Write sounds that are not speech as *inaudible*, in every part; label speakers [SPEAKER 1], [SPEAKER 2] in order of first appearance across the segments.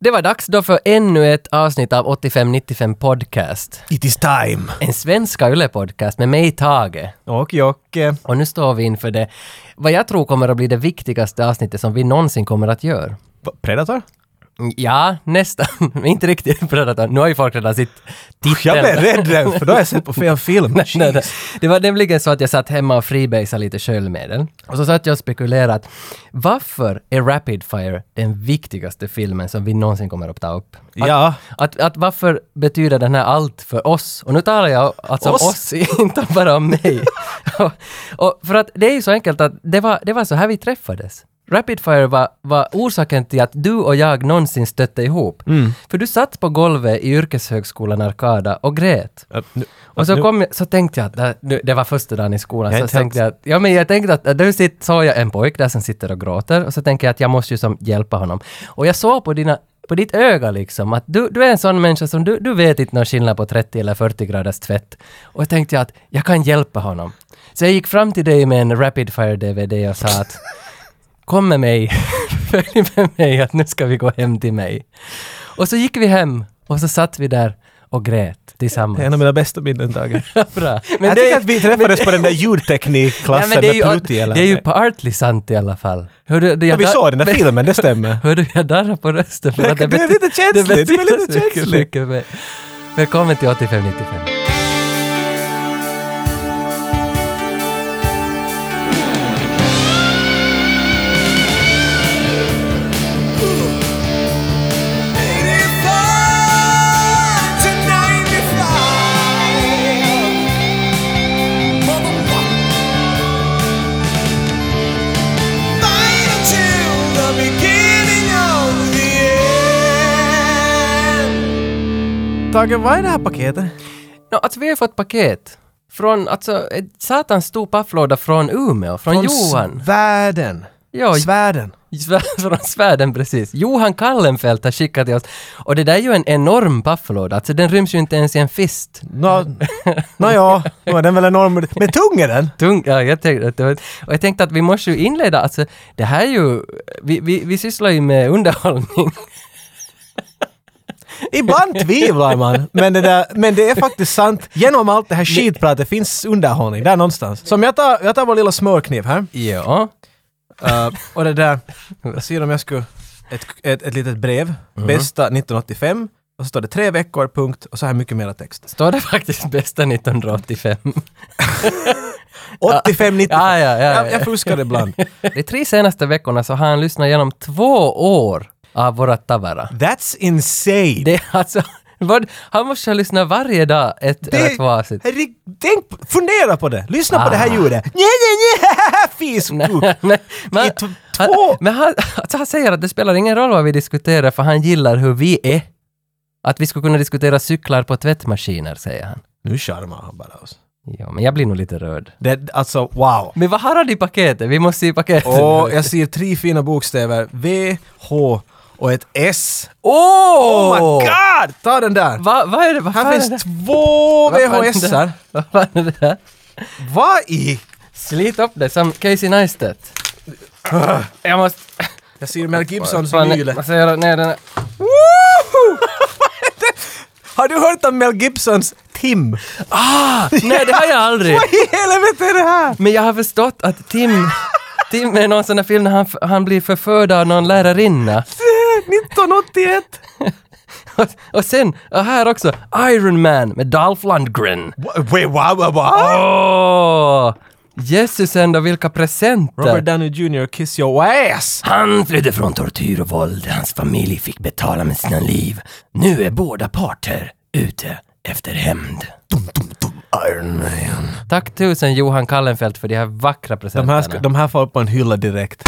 [SPEAKER 1] Det var dags då för ännu ett avsnitt av 8595 Podcast.
[SPEAKER 2] It is time!
[SPEAKER 1] En svenska Yle-podcast med mig, Tage.
[SPEAKER 2] Och eh, Jocke.
[SPEAKER 1] Och nu står vi inför det, vad jag tror kommer att bli det viktigaste avsnittet som vi någonsin kommer att göra.
[SPEAKER 2] Va- Predator?
[SPEAKER 1] Ja, nästan. *laughs* Men inte riktigt Predator. Nu har ju folk redan sitt *laughs* titeln.
[SPEAKER 2] Jag blev rädd nu, för då har jag sett på fel *laughs* film.
[SPEAKER 1] Nej, nej, nej.
[SPEAKER 2] Jeez.
[SPEAKER 1] Det var nämligen så att jag satt hemma och freebasade lite sköljmedel. Och så satt jag och spekulerade att varför är Rapid Fire den viktigaste filmen som vi någonsin kommer att ta upp? Att,
[SPEAKER 2] Ja.
[SPEAKER 1] att, att varför betyder den här allt för oss? Och nu talar jag alltså oss,
[SPEAKER 2] Oss?
[SPEAKER 1] oss *laughs* inte bara om mig. och, och för att det är ju så enkelt att det var, det var så här vi träffades. Rapid Fire var, var orsaken till att du och jag någonsin stötte ihop. För du satt på golvet i yrkeshögskolan Arkada och grät.
[SPEAKER 2] Att nu-
[SPEAKER 1] Och så,
[SPEAKER 2] nu-
[SPEAKER 1] kom jag, så tänkte jag att det, nu, det var första dagen i skolan,
[SPEAKER 2] Jag har
[SPEAKER 1] så
[SPEAKER 2] inte
[SPEAKER 1] tänkte jag att, ja men jag tänkte att, att du sitter, såg jag en pojk där som sitter och gråter och så tänker jag att jag måste ju som hjälpa honom. Och jag såg på dina på ditt öga liksom, att du, du är en sån människa som du, du vet inte någon skillnad på 30 eller 40 graders tvätt. Och jag tänkte jag att jag kan hjälpa honom. Så jag gick fram till dig med en Rapid Fire DVD och sa att *laughs* kom med mig, *laughs* följ med mig, att nu ska vi gå hem till mig. Och så gick vi hem och så satt vi där och grät tillsammans.
[SPEAKER 2] Det är en av mina bästa minnen, *laughs* Tage.
[SPEAKER 1] Bra. Men
[SPEAKER 2] Jag
[SPEAKER 1] det,
[SPEAKER 2] tycker
[SPEAKER 1] är-
[SPEAKER 2] att vi träffades på den där
[SPEAKER 1] nej, men
[SPEAKER 2] ljudteknikklassen med
[SPEAKER 1] det är ju,
[SPEAKER 2] Plutti eller
[SPEAKER 1] det är ju partly sant i alla fall. Hör du, det
[SPEAKER 2] Ja,
[SPEAKER 1] jag
[SPEAKER 2] Vi
[SPEAKER 1] dar-
[SPEAKER 2] såg den *laughs*
[SPEAKER 1] *laughs*
[SPEAKER 2] där filmen, det stämmer.
[SPEAKER 1] Hör du, jag darrar på rösten. för
[SPEAKER 2] Det-
[SPEAKER 1] att
[SPEAKER 2] det är
[SPEAKER 1] bety-
[SPEAKER 2] lite känsligt, det är
[SPEAKER 1] betyder
[SPEAKER 2] lite
[SPEAKER 1] så mycket-
[SPEAKER 2] känsligt.
[SPEAKER 1] mycket mer. Välkommen till 8595.
[SPEAKER 3] Beginning of the end.
[SPEAKER 2] Tage, vad är det här paketet?
[SPEAKER 1] No, alltså, vi har ju fått paket. Från, alltså, ett satans stor pafflåda från Umeå, från, Johan.
[SPEAKER 2] Svärden.
[SPEAKER 1] Ja,
[SPEAKER 2] Svärden.
[SPEAKER 1] *laughs* Svär- från svärden precis. Johan Kallenfelt har skickat till oss. Och det där är ju en enorm pafflåda, alltså den ryms ju inte ens i en fist.
[SPEAKER 2] Nå, nå ja, nå är den väl enorm. Men tung är den!
[SPEAKER 1] Tung, ja, jag tänkte, att det var- och jag tänkte att vi måste ju inleda, alltså det här är ju, vi, vi, vi sysslar ju med
[SPEAKER 2] *laughs*
[SPEAKER 1] underhållning.
[SPEAKER 2] Ibland tvivlar man, men det, där, men det är faktiskt sant. Genom allt det här skitpratet finns underhållning där någonstans. Som jag tar, jag tar vår lilla smörkniv här.
[SPEAKER 1] Ja.
[SPEAKER 2] Eh, och det där, jag ser om jag skulle... Ett, ett, ett litet brev, bästa 1985, och så står det tre veckor, punkt, och så här mycket mera *laughs* text.
[SPEAKER 1] Står det faktiskt bästa 1985?
[SPEAKER 2] 85, 90.
[SPEAKER 1] Ja, ja, ja, ja.
[SPEAKER 2] Jag, jag fuskar ibland.
[SPEAKER 1] De tre senaste veckorna så har han lyssnat igenom två år av våra Tavara.
[SPEAKER 2] That's insane!
[SPEAKER 1] Det är alltså, vad, han måste ha lyssnat varje dag ett eller två avsnitt.
[SPEAKER 2] Herregud, tänk, på- fundera på det! Lyssna på det här
[SPEAKER 1] Ah.
[SPEAKER 2] ljudet! Nja, nja, *laughs* nja, haha, fiskuk!
[SPEAKER 1] Men, men,
[SPEAKER 2] I t-
[SPEAKER 1] han,
[SPEAKER 2] två-
[SPEAKER 1] men han, alltså han säger att det spelar ingen roll vad vi diskuterar för han gillar hur vi är. Att vi skulle kunna diskutera cyklar på tvättmaskiner, säger han.
[SPEAKER 2] Nu charmar han bara oss.
[SPEAKER 1] Ja, men jag blir nog lite rörd.
[SPEAKER 2] Det, alltså, wow!
[SPEAKER 1] Men vad har han i paketet? Vi måste se paketet.
[SPEAKER 2] Och jag ser tre fina bokstäver, V, H och ett S.
[SPEAKER 1] Åh!
[SPEAKER 2] Oh my god! Ta den där!
[SPEAKER 1] Vad va är det? Vad fan
[SPEAKER 2] Här
[SPEAKER 1] är det?
[SPEAKER 2] finns två
[SPEAKER 1] Vad fan är det?
[SPEAKER 2] VHS-ar.
[SPEAKER 1] Vad fan är det där?
[SPEAKER 2] Vad i...
[SPEAKER 1] Slit upp det som Casey Neistat. Jag måste...
[SPEAKER 2] Jag ser Mel Gibsons
[SPEAKER 1] Fan,
[SPEAKER 2] vinyle.
[SPEAKER 1] Man ska göra ner den här.
[SPEAKER 2] Har du hört om Mel Gibsons Tim?
[SPEAKER 1] Nej, det har jag aldrig.
[SPEAKER 2] Vad i helvete är det här?
[SPEAKER 1] Men jag har förstått att Tim... Tim är någon sån där film när han, han blir förförd av någon lärarinna. *laughs*
[SPEAKER 2] 1981!
[SPEAKER 1] Och, och sen, och här också, Iron Man med Dolph Lundgren.
[SPEAKER 2] Wait, wow, wow, wow!
[SPEAKER 1] Åh! Jesus ändå, vilka presenter!
[SPEAKER 2] Robert Downey Jr. Kiss your ass!
[SPEAKER 1] Han flydde från tortyr och våld. Hans familj fick betala med sina liv. Nu är båda parter ute efter hämnd.
[SPEAKER 2] Iron Man.
[SPEAKER 1] Tack tusen Johan Kallenfelt för de här vackra
[SPEAKER 2] De
[SPEAKER 1] presenterna.
[SPEAKER 2] här, ska, de här får upp på en hylla direkt.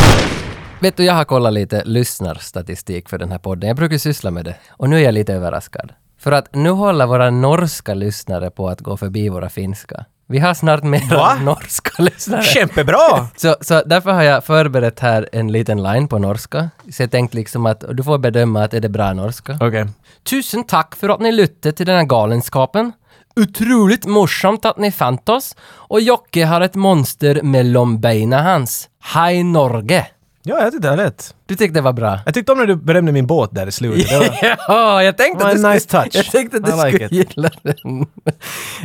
[SPEAKER 1] Vet du, jag har kollat lite lyssnarstatistik för den här podden. Jag brukar ju syssla med det. Och nu är jag lite överraskad. För att nu håller våra norska lyssnare på att gå förbi våra finska. Vi har snart
[SPEAKER 2] Va?
[SPEAKER 1] mer norska lyssnare.
[SPEAKER 2] Kämpebra!
[SPEAKER 1] Så, så därför har jag förberett här en liten line på norska. Så jag tänkte liksom att du får bedöma att är det bra norska.
[SPEAKER 2] *laughs* Okej.
[SPEAKER 1] Tusen tack för att ni lyssnade till den här galenskapen. Otroligt morsamt att ni fann oss. Och Jocke har ett monster mellan benen hans. Hej Norge!
[SPEAKER 2] Ja, jag tyckte det här lät.
[SPEAKER 1] Du tyckte det var bra?
[SPEAKER 2] Jag tyckte om när du berömde min båt där i
[SPEAKER 1] *laughs*
[SPEAKER 2] slutet. Det var-
[SPEAKER 1] Ja, jag tänkte
[SPEAKER 2] var
[SPEAKER 1] att
[SPEAKER 2] en
[SPEAKER 1] du skulle,
[SPEAKER 2] nice
[SPEAKER 1] *laughs*
[SPEAKER 2] touch.
[SPEAKER 1] Jag tänkte att du
[SPEAKER 2] I like
[SPEAKER 1] skulle
[SPEAKER 2] it.
[SPEAKER 1] gilla den.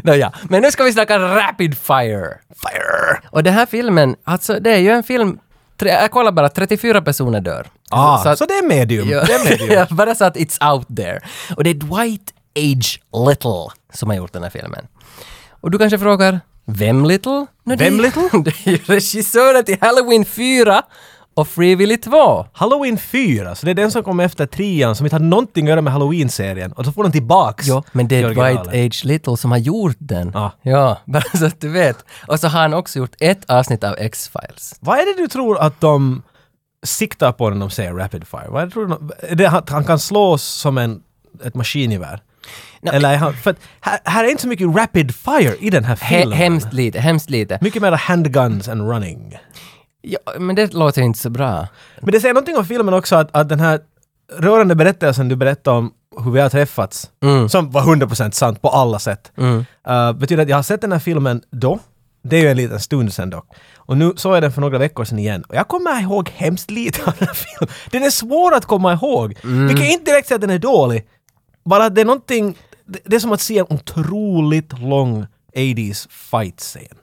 [SPEAKER 1] Nåja, men nu ska vi snacka Rapid Fire.
[SPEAKER 2] Fire!
[SPEAKER 1] Och den här filmen, alltså det är ju en film, tre, jag kollar bara, 34 personer dör.
[SPEAKER 2] Ah, så,
[SPEAKER 1] att-
[SPEAKER 2] det är medium.
[SPEAKER 1] Ja.
[SPEAKER 2] Det är
[SPEAKER 1] *laughs*
[SPEAKER 2] medium.
[SPEAKER 1] Ja, bara så att it's out there. Och det är Dwight H. Little som har gjort den här filmen. Och du kanske frågar, vem Little? No,
[SPEAKER 2] Vem
[SPEAKER 1] Little? *laughs* Det är ju regissören till Halloween 4 och Free Willy 2.
[SPEAKER 2] Halloween 4, så det är den som kom efter trean som inte hade någonting att göra med Halloween-serien. Och så får den tillbaks.
[SPEAKER 1] Ja, men det
[SPEAKER 2] i
[SPEAKER 1] är
[SPEAKER 2] originalet.
[SPEAKER 1] Dwight H. Little som har gjort den.
[SPEAKER 2] Ja.
[SPEAKER 1] Ja, *laughs* bara så att du vet. Och så har han också gjort ett avsnitt av X-Files.
[SPEAKER 2] Vad är det du tror att de siktar på när de säger rapid fire? Vad är det, tror du, de- är det, han, han kan slås som en, ett maskingevär? Eller är han, för att här, här är inte så mycket rapid fire i den här
[SPEAKER 1] He-
[SPEAKER 2] filmen.
[SPEAKER 1] hemskt lite, hemskt lite.
[SPEAKER 2] mycket mer handguns and running.
[SPEAKER 1] Ja, men det låter ju inte så bra.
[SPEAKER 2] Men det säger någonting om filmen också att, att den här rörande berättelsen du berättade om hur vi har träffats, som var 100% sant på alla sätt, eh, betyder att jag har sett den här filmen då, det är ju en liten stund sedan dock. Och nu såg jag den för några veckor sedan igen och jag kommer ihåg hemskt lite av den här filmen. Den är svår att komma ihåg, vilket inte direkt säger att den är dålig. Bara att det är någonting, det, det är som att se en otroligt lång 80s fight-scen.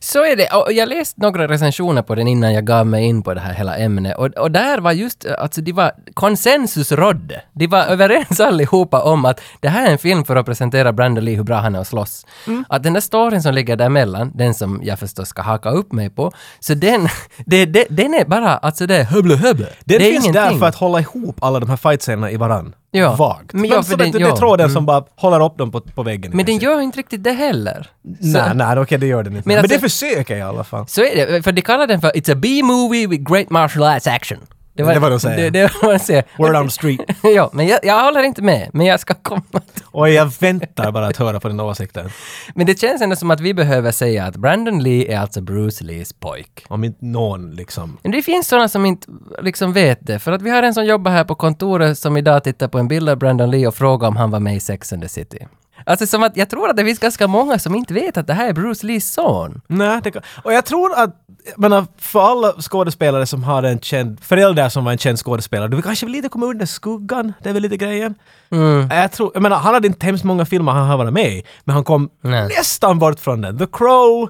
[SPEAKER 1] Så är det. Och jag läste några recensioner på den innan jag gav mig in på det här hela ämnet. Och, och där var just, alltså det var konsensus rådde. De var *laughs* överens allihopa om att det här är en film för att presentera Brandon Lee hur bra han är att slåss.
[SPEAKER 2] Mm.
[SPEAKER 1] Att den där storyn som ligger däremellan, den som jag förstås ska haka upp mig på, så den, *laughs* det, det, den är bara, alltså det är höble höble.
[SPEAKER 2] Den
[SPEAKER 1] det är
[SPEAKER 2] finns där för att hålla ihop alla de här fightscenerna i varann.
[SPEAKER 1] Ja.
[SPEAKER 2] Vagt.
[SPEAKER 1] Men
[SPEAKER 2] Men,
[SPEAKER 1] ja, för
[SPEAKER 2] så
[SPEAKER 1] den-
[SPEAKER 2] att det, det
[SPEAKER 1] ja. Mm.
[SPEAKER 2] är tråden som bara håller upp dem på, på väggen.
[SPEAKER 1] Men den gör inte riktigt det heller.
[SPEAKER 2] Nej, nej, okej det gör den inte.
[SPEAKER 1] Men
[SPEAKER 2] Men,
[SPEAKER 1] alltså-
[SPEAKER 2] det försöker jag i alla fall.
[SPEAKER 1] Så är det, för de kallar den för “It's a B-movie with great martial arts action”.
[SPEAKER 2] Det var vad de
[SPEAKER 1] Det,
[SPEAKER 2] säger.
[SPEAKER 1] det var vad de säger.
[SPEAKER 2] Word on the
[SPEAKER 1] *laughs*
[SPEAKER 2] street.
[SPEAKER 1] ja, men jag, jag håller inte med, men jag ska komma till.
[SPEAKER 2] Och jag väntar bara att höra på den åsikten.
[SPEAKER 1] Men det känns ändå som att vi behöver säga att Brandon Lee är alltså Bruce Lees pojk.
[SPEAKER 2] Om inte någon liksom...
[SPEAKER 1] Men det finns sådana som inte liksom vet det, för att vi har en som jobbar här på kontoret som idag tittar på en bild av Brandon Lee och frågar om han var med i Sex and the City. Alltså som att jag tror att det finns ganska många som inte vet att det här är Bruce Lees son.
[SPEAKER 2] Nej, det kan... Och jag tror att, jag menar, för alla skådespelare som har en känd, förälder som var en känd skådespelare, du vill kanske lite komma under skuggan, det är väl lite grejen.
[SPEAKER 1] Mm.
[SPEAKER 2] Jag tror, jag menar, han hade inte hemskt många filmer han har varit med i, men han kom
[SPEAKER 1] Nej.
[SPEAKER 2] nästan bort från den. The Crow,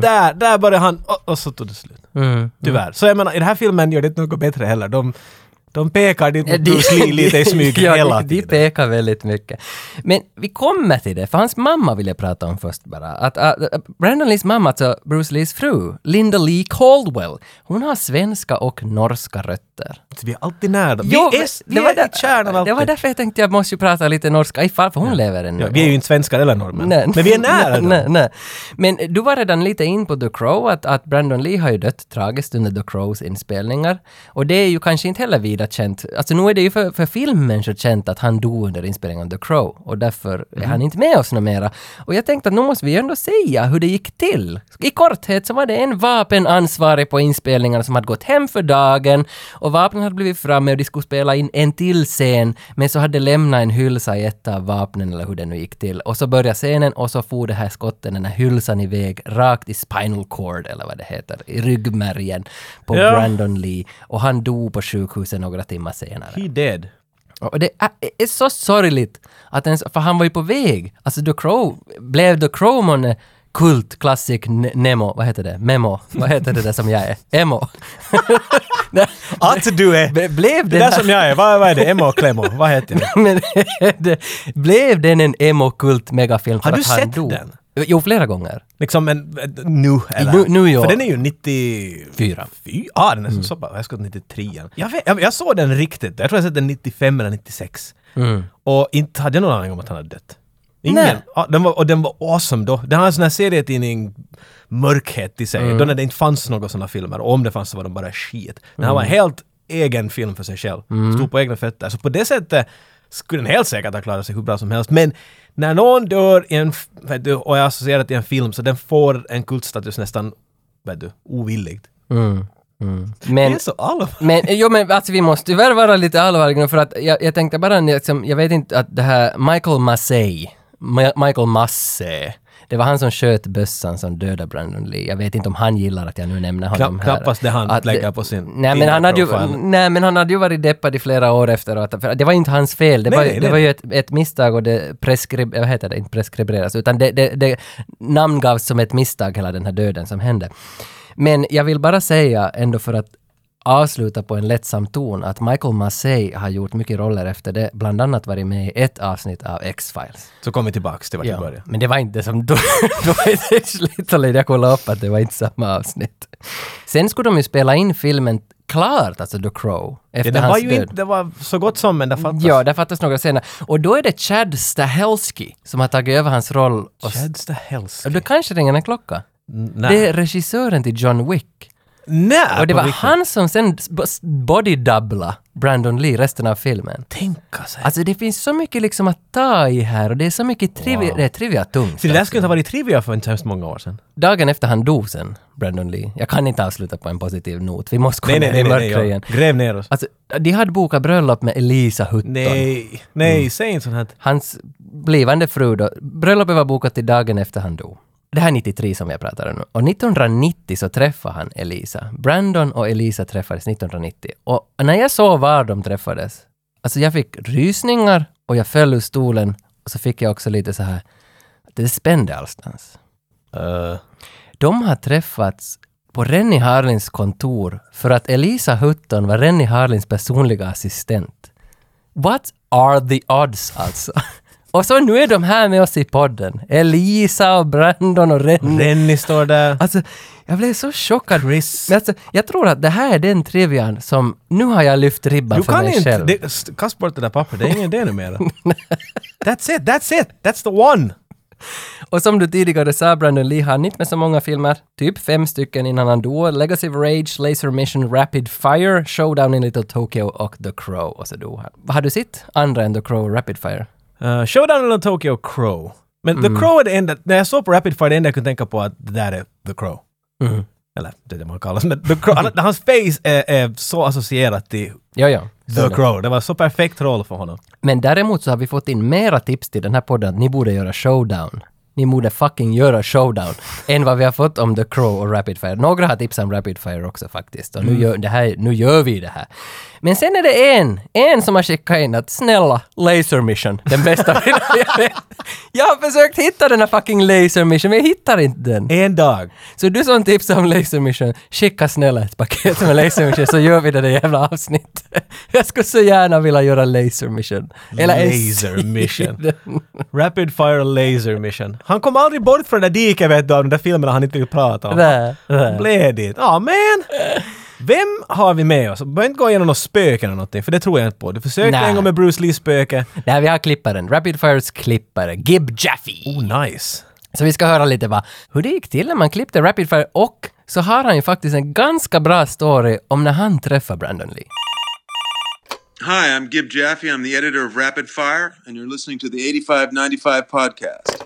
[SPEAKER 2] där, där började han, och, och så tog det slut.
[SPEAKER 1] Mm.
[SPEAKER 2] Tyvärr. Så jag menar, i den här filmen gör det inte något bättre heller. De, de pekar dit
[SPEAKER 1] *laughs*
[SPEAKER 2] mot
[SPEAKER 1] De-
[SPEAKER 2] Bruce Lee lite i
[SPEAKER 1] *laughs*
[SPEAKER 2] smyg
[SPEAKER 1] Ja,
[SPEAKER 2] hela
[SPEAKER 1] de- De
[SPEAKER 2] tiden.
[SPEAKER 1] pekar väldigt mycket. Men vi kommer till det, för hans mamma vill jag prata om först bara. Att, äh, Brandon Lees mamma, alltså Bruce Lees fru, Linda Lee Caldwell, hon har svenska och norska rötter.
[SPEAKER 2] Vi är alltid nära dem. Vi
[SPEAKER 1] Jo,
[SPEAKER 2] är,
[SPEAKER 1] men
[SPEAKER 2] vi är i kärnan
[SPEAKER 1] Det
[SPEAKER 2] alltid.
[SPEAKER 1] var därför jag tänkte jag måste ju prata lite norska, ifall, för hon lever ännu.
[SPEAKER 2] Ja, vi är ju inte svenskar eller norrmän.
[SPEAKER 1] Nej.
[SPEAKER 2] Men vi är nära
[SPEAKER 1] *laughs* nej,
[SPEAKER 2] dem.
[SPEAKER 1] nej, nej. Men du var redan lite in på The Crow, att, att Brandon Lee har ju dött tragiskt under The Crows inspelningar. Och det är ju kanske inte heller vida känt. Alltså nu är det ju för, för filmen så känt att han dog under inspelningen av The Crow och därför är
[SPEAKER 2] Mm.
[SPEAKER 1] han inte med oss något mera. Och jag tänkte att nu måste vi ju ändå säga hur det gick till. I korthet så var det en vapenansvarig på inspelningarna som hade gått hem för dagen och vapnen hade blivit framme och de skulle spela in en till scen men så hade lämnat en hylsa i ett av vapnen eller hur det nu gick till och så började scenen och så for det här skotten, den här hylsan iväg rakt i spinal cord eller vad det heter, i ryggmärgen på
[SPEAKER 2] Ja.
[SPEAKER 1] Brandon Lee och han dog på sjukhuset några timmar senare.
[SPEAKER 2] He dead.
[SPEAKER 1] Och det är, är så sorgligt att ens, för han var ju på väg. Alltså The Crow, blev The Crow månne kult, classic, ne- Nemo, vad heter det? Memo, vad heter det där som jag är? Emo. *laughs*
[SPEAKER 2] Att du är...
[SPEAKER 1] Ble- blev
[SPEAKER 2] Det
[SPEAKER 1] den
[SPEAKER 2] där som jag är, vad, vad är det? Emma och Clemo, vad heter
[SPEAKER 1] *laughs*
[SPEAKER 2] jag?
[SPEAKER 1] men, det, blev den en emo-kult megafilm för
[SPEAKER 2] Har du
[SPEAKER 1] att han
[SPEAKER 2] sett
[SPEAKER 1] dog?
[SPEAKER 2] den?
[SPEAKER 1] Jo, flera gånger.
[SPEAKER 2] Liksom en... eh, Nu, eller?
[SPEAKER 1] Nu- nu, ja.
[SPEAKER 2] För den är ju 94.
[SPEAKER 1] Fyra.
[SPEAKER 2] Fy, ah, den är så, så bra. Jag ska till 93. Jag, vet, jag, jag såg den riktigt. Jag tror jag sett den 95 eller 96. Och inte hade jag någon aning om att han hade dött. Ingen.
[SPEAKER 1] Nej.
[SPEAKER 2] Ah, den var, och den var awesome då. Den har en sån här serietidning mörkhet i sig.
[SPEAKER 1] Mm.
[SPEAKER 2] Då när det inte fanns några såna filmer. Och om det fanns så var de bara skit. Den här var
[SPEAKER 1] Mm.
[SPEAKER 2] en helt egen film för sig själv. Stod på egna fötter. Så på det sättet skulle den helt säkert ha klarat sig hur bra som helst. Men när någon dör i en, f- vet du, och är associerad till en film så den får en kultstatus nästan, vet du, ovilligt. Det
[SPEAKER 1] Men,
[SPEAKER 2] är så allvarligt.
[SPEAKER 1] men, jo, men alltså, vi måste tyvärr vara lite allvarliga nu för att jag, jag tänkte bara, liksom, jag vet inte att det här Michael Massey, Ma- Michael Massey, Det var han som sköt bössan som dödade Brandon Lee. Jag vet inte om han gillar att jag nu nämner honom
[SPEAKER 2] Knapp,
[SPEAKER 1] här.
[SPEAKER 2] knappast det han
[SPEAKER 1] Att det-
[SPEAKER 2] lägger på sin
[SPEAKER 1] Nej men, han hade ju,
[SPEAKER 2] Tinder-profile.
[SPEAKER 1] nej men han hade ju varit deppad i flera år efteråt. För det var ju inte hans fel. Det
[SPEAKER 2] Nej,
[SPEAKER 1] var,
[SPEAKER 2] nej,
[SPEAKER 1] det
[SPEAKER 2] nej.
[SPEAKER 1] var ju ett, ett misstag och det preskrib... Vad heter det? Inte preskriberas. Utan det, det, det namngavs som ett misstag hela den här döden som hände. Men jag vill bara säga ändå för att avsluta på en lättsam ton att Michael Massey har gjort mycket roller efter det. Bland annat varit med i ett avsnitt av X-Files.
[SPEAKER 2] Så kommer vi tillbaks till vart vi
[SPEAKER 1] Ja,
[SPEAKER 2] började.
[SPEAKER 1] Men det var inte som *laughs* då. då är det Schlitterlid. Jag kollade upp att det var inte samma avsnitt. Sen skulle de ju spela in filmen klart, alltså The Crow,
[SPEAKER 2] Ja,
[SPEAKER 1] efter
[SPEAKER 2] det
[SPEAKER 1] hans
[SPEAKER 2] var ju
[SPEAKER 1] död.
[SPEAKER 2] inte, det var så gott som men det fattas.
[SPEAKER 1] Ja, där fattas några scener. Och då är det Chad Stahelski som har tagit över hans roll. Och s-
[SPEAKER 2] Chadsta Helski.
[SPEAKER 1] och då kanske ringer en klocka. Det
[SPEAKER 2] Nej.
[SPEAKER 1] är regissören till John Wick.
[SPEAKER 2] Nej!
[SPEAKER 1] Och det
[SPEAKER 2] på
[SPEAKER 1] var
[SPEAKER 2] riktigt.
[SPEAKER 1] han som sen b- s- bodydubbla Brandon Lee resten av filmen.
[SPEAKER 2] Tänka sig.
[SPEAKER 1] Alltså det finns så mycket liksom att ta i här och det är så mycket trivia, det är trivia tungt.
[SPEAKER 2] Så det där skulle inte ha varit trivia för inte så hemskt många år sedan.
[SPEAKER 1] dagen efter han dog sen, Brandon Lee. Jag kan inte avsluta på en positiv not. Vi måste komma
[SPEAKER 2] Nej, nej,
[SPEAKER 1] ner
[SPEAKER 2] nej,
[SPEAKER 1] i
[SPEAKER 2] nej,
[SPEAKER 1] mörkret
[SPEAKER 2] nej.
[SPEAKER 1] igen.
[SPEAKER 2] jag- Gräv ner oss.
[SPEAKER 1] Alltså, de hade bokat bröllop med Elisa Hutton.
[SPEAKER 2] Nej, nej, säg inte sånt här.
[SPEAKER 1] Hans blivande fru då. Bröllopet var bokat till dagen efter han dog. Det här är 93 som jag pratar om nu. Och 1990 så träffade han Elisa. Brandon och Elisa träffades 1990. Och när jag såg var de träffades, alltså jag fick rysningar och jag föll ur stolen. Och så fick jag också lite så här, det spände allstans.
[SPEAKER 2] Eh,
[SPEAKER 1] De har träffats på Rennie Harlins kontor för att Elisa Hutton var Rennie Harlins personliga assistent. What are the odds alltså? *laughs* Och så nu är de här med oss i podden. Elisa och Brandon och Rennie.
[SPEAKER 2] Rennie står där.
[SPEAKER 1] Alltså, jag blev så chockad.
[SPEAKER 2] Chris.
[SPEAKER 1] Men alltså, jag tror att det här är den trivian som... Nu har jag lyft ribban
[SPEAKER 2] Du
[SPEAKER 1] för
[SPEAKER 2] kan
[SPEAKER 1] mig
[SPEAKER 2] inte.
[SPEAKER 1] själv.
[SPEAKER 2] Det, st- kast bort det där pappret, det är ingen idé numera. *laughs* That's it, that's it, that's the one!
[SPEAKER 1] Och som du tidigare sa, Brandon Lee hann inte med så många filmer. Typ fem stycken innan han dog. Legacy of Rage, Laser Mission, Rapid Fire, Showdown in Little Tokyo och The Crow. Och så dog han. Vad Har du sett andra än The Crow och Rapid Fire?
[SPEAKER 2] Uh, Showdown in Tokyo Crow. Men The Crow är det enda, när jag såg på Rapid Fire, det enda jag kunde tänka på att det där är The Crow.
[SPEAKER 1] Mm.
[SPEAKER 2] Eller det är det man kallas, men The Crow, *laughs* han- hans face är, är så associerat till
[SPEAKER 1] Jo, jo. Så
[SPEAKER 2] The
[SPEAKER 1] det.
[SPEAKER 2] Crow. Det var så perfekt roll för honom.
[SPEAKER 1] Men däremot så har vi fått in mera tips till den här podden att ni borde göra Showdown. Ni borde fucking göra Showdown. än vad vi har fått om The Crow och Rapid Fire. Några har tips om Rapid Fire också faktiskt. Och nu gör, det här, nu gör vi det här. Men sen är det en, en som har skickat in att snälla, Laser Mission, den bästa *laughs* filmen jag vet. Jag har försökt hitta den här fucking Laser Mission, men jag hittar inte den.
[SPEAKER 2] En dag.
[SPEAKER 1] Så du som tipsar om Laser Mission, skicka snälla ett paket med Laser Mission så gör vi det där jävla avsnittet. Jag skulle så gärna vilja göra Laser Mission. en *laughs*
[SPEAKER 2] laser mission. *laughs* Rapid Fire Laser Mission. Han kom aldrig bort från det där diket vet du, av de där filmerna han inte vill prata om.
[SPEAKER 1] Där,
[SPEAKER 2] Han
[SPEAKER 1] där.
[SPEAKER 2] Blev dit. Ja, men! Vem har vi med oss? Behöver inte gå igenom något spöke eller någonting, för det tror jag inte på. Du försökte
[SPEAKER 1] Nej.
[SPEAKER 2] en gång med Bruce Lees spöke.
[SPEAKER 1] Där vi har klipparen, Rapid Fires klippare, Gib Jaffe.
[SPEAKER 2] Oh, nice.
[SPEAKER 1] Så vi ska höra lite vad, hur det gick till när man klippte Rapid Fire och så har han ju faktiskt en ganska bra story om när han träffar Brandon Lee.
[SPEAKER 3] Hi, I'm Gib Jaffe. I'm the editor of Rapid Fire, and you're listening to the 8595 podcast.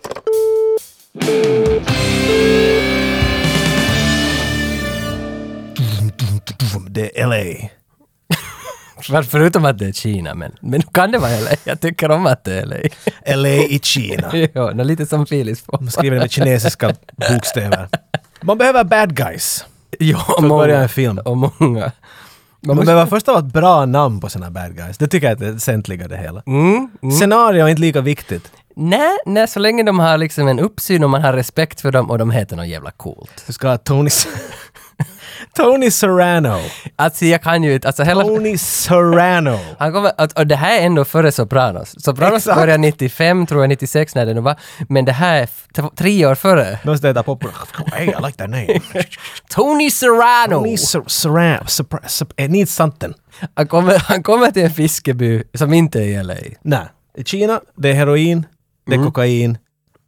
[SPEAKER 2] Det är LA.
[SPEAKER 1] För- Förutom att det är Kina, men, men kan det vara LA? Jag tycker om att det är LA.
[SPEAKER 2] LA i Kina.
[SPEAKER 1] *laughs* ja, nå, lite som Felix får.
[SPEAKER 2] Man skriver det med kinesiska bokstäver. Man behöver bad guys.
[SPEAKER 1] Ja,
[SPEAKER 2] att börja en film.
[SPEAKER 1] Och många. Man
[SPEAKER 2] Man
[SPEAKER 1] måste,
[SPEAKER 2] behöver först av allt bra namn på sina bad guys. Det tycker jag är det väsentliga det hela. mm. Scenario är inte lika viktigt.
[SPEAKER 1] nej, nej, så länge de har liksom en uppsyn och man har respekt för dem och de heter något jävla coolt.
[SPEAKER 2] Du ska ha Tony... *laughs* Tony Serrano.
[SPEAKER 1] Alltså jag kan ju inte, alltså hela...
[SPEAKER 2] Tony Serrano.
[SPEAKER 1] Han kommer, att- och det här är ändå före Sopranos. Sopranos
[SPEAKER 2] Exakt.
[SPEAKER 1] började 95, tror jag, 96 när det nu var. Men det här är f- t- tre år före.
[SPEAKER 2] De måste äta popcorn. Hey, I like that name.
[SPEAKER 1] Tony Serrano!
[SPEAKER 2] Tony Ser- Serrano. eh, Serra- Ser- It needs something.
[SPEAKER 1] Han, kommer, han kommer till en fiskeby som inte är i LA.
[SPEAKER 2] Nej. I Kina, det är heroin, det är kokain.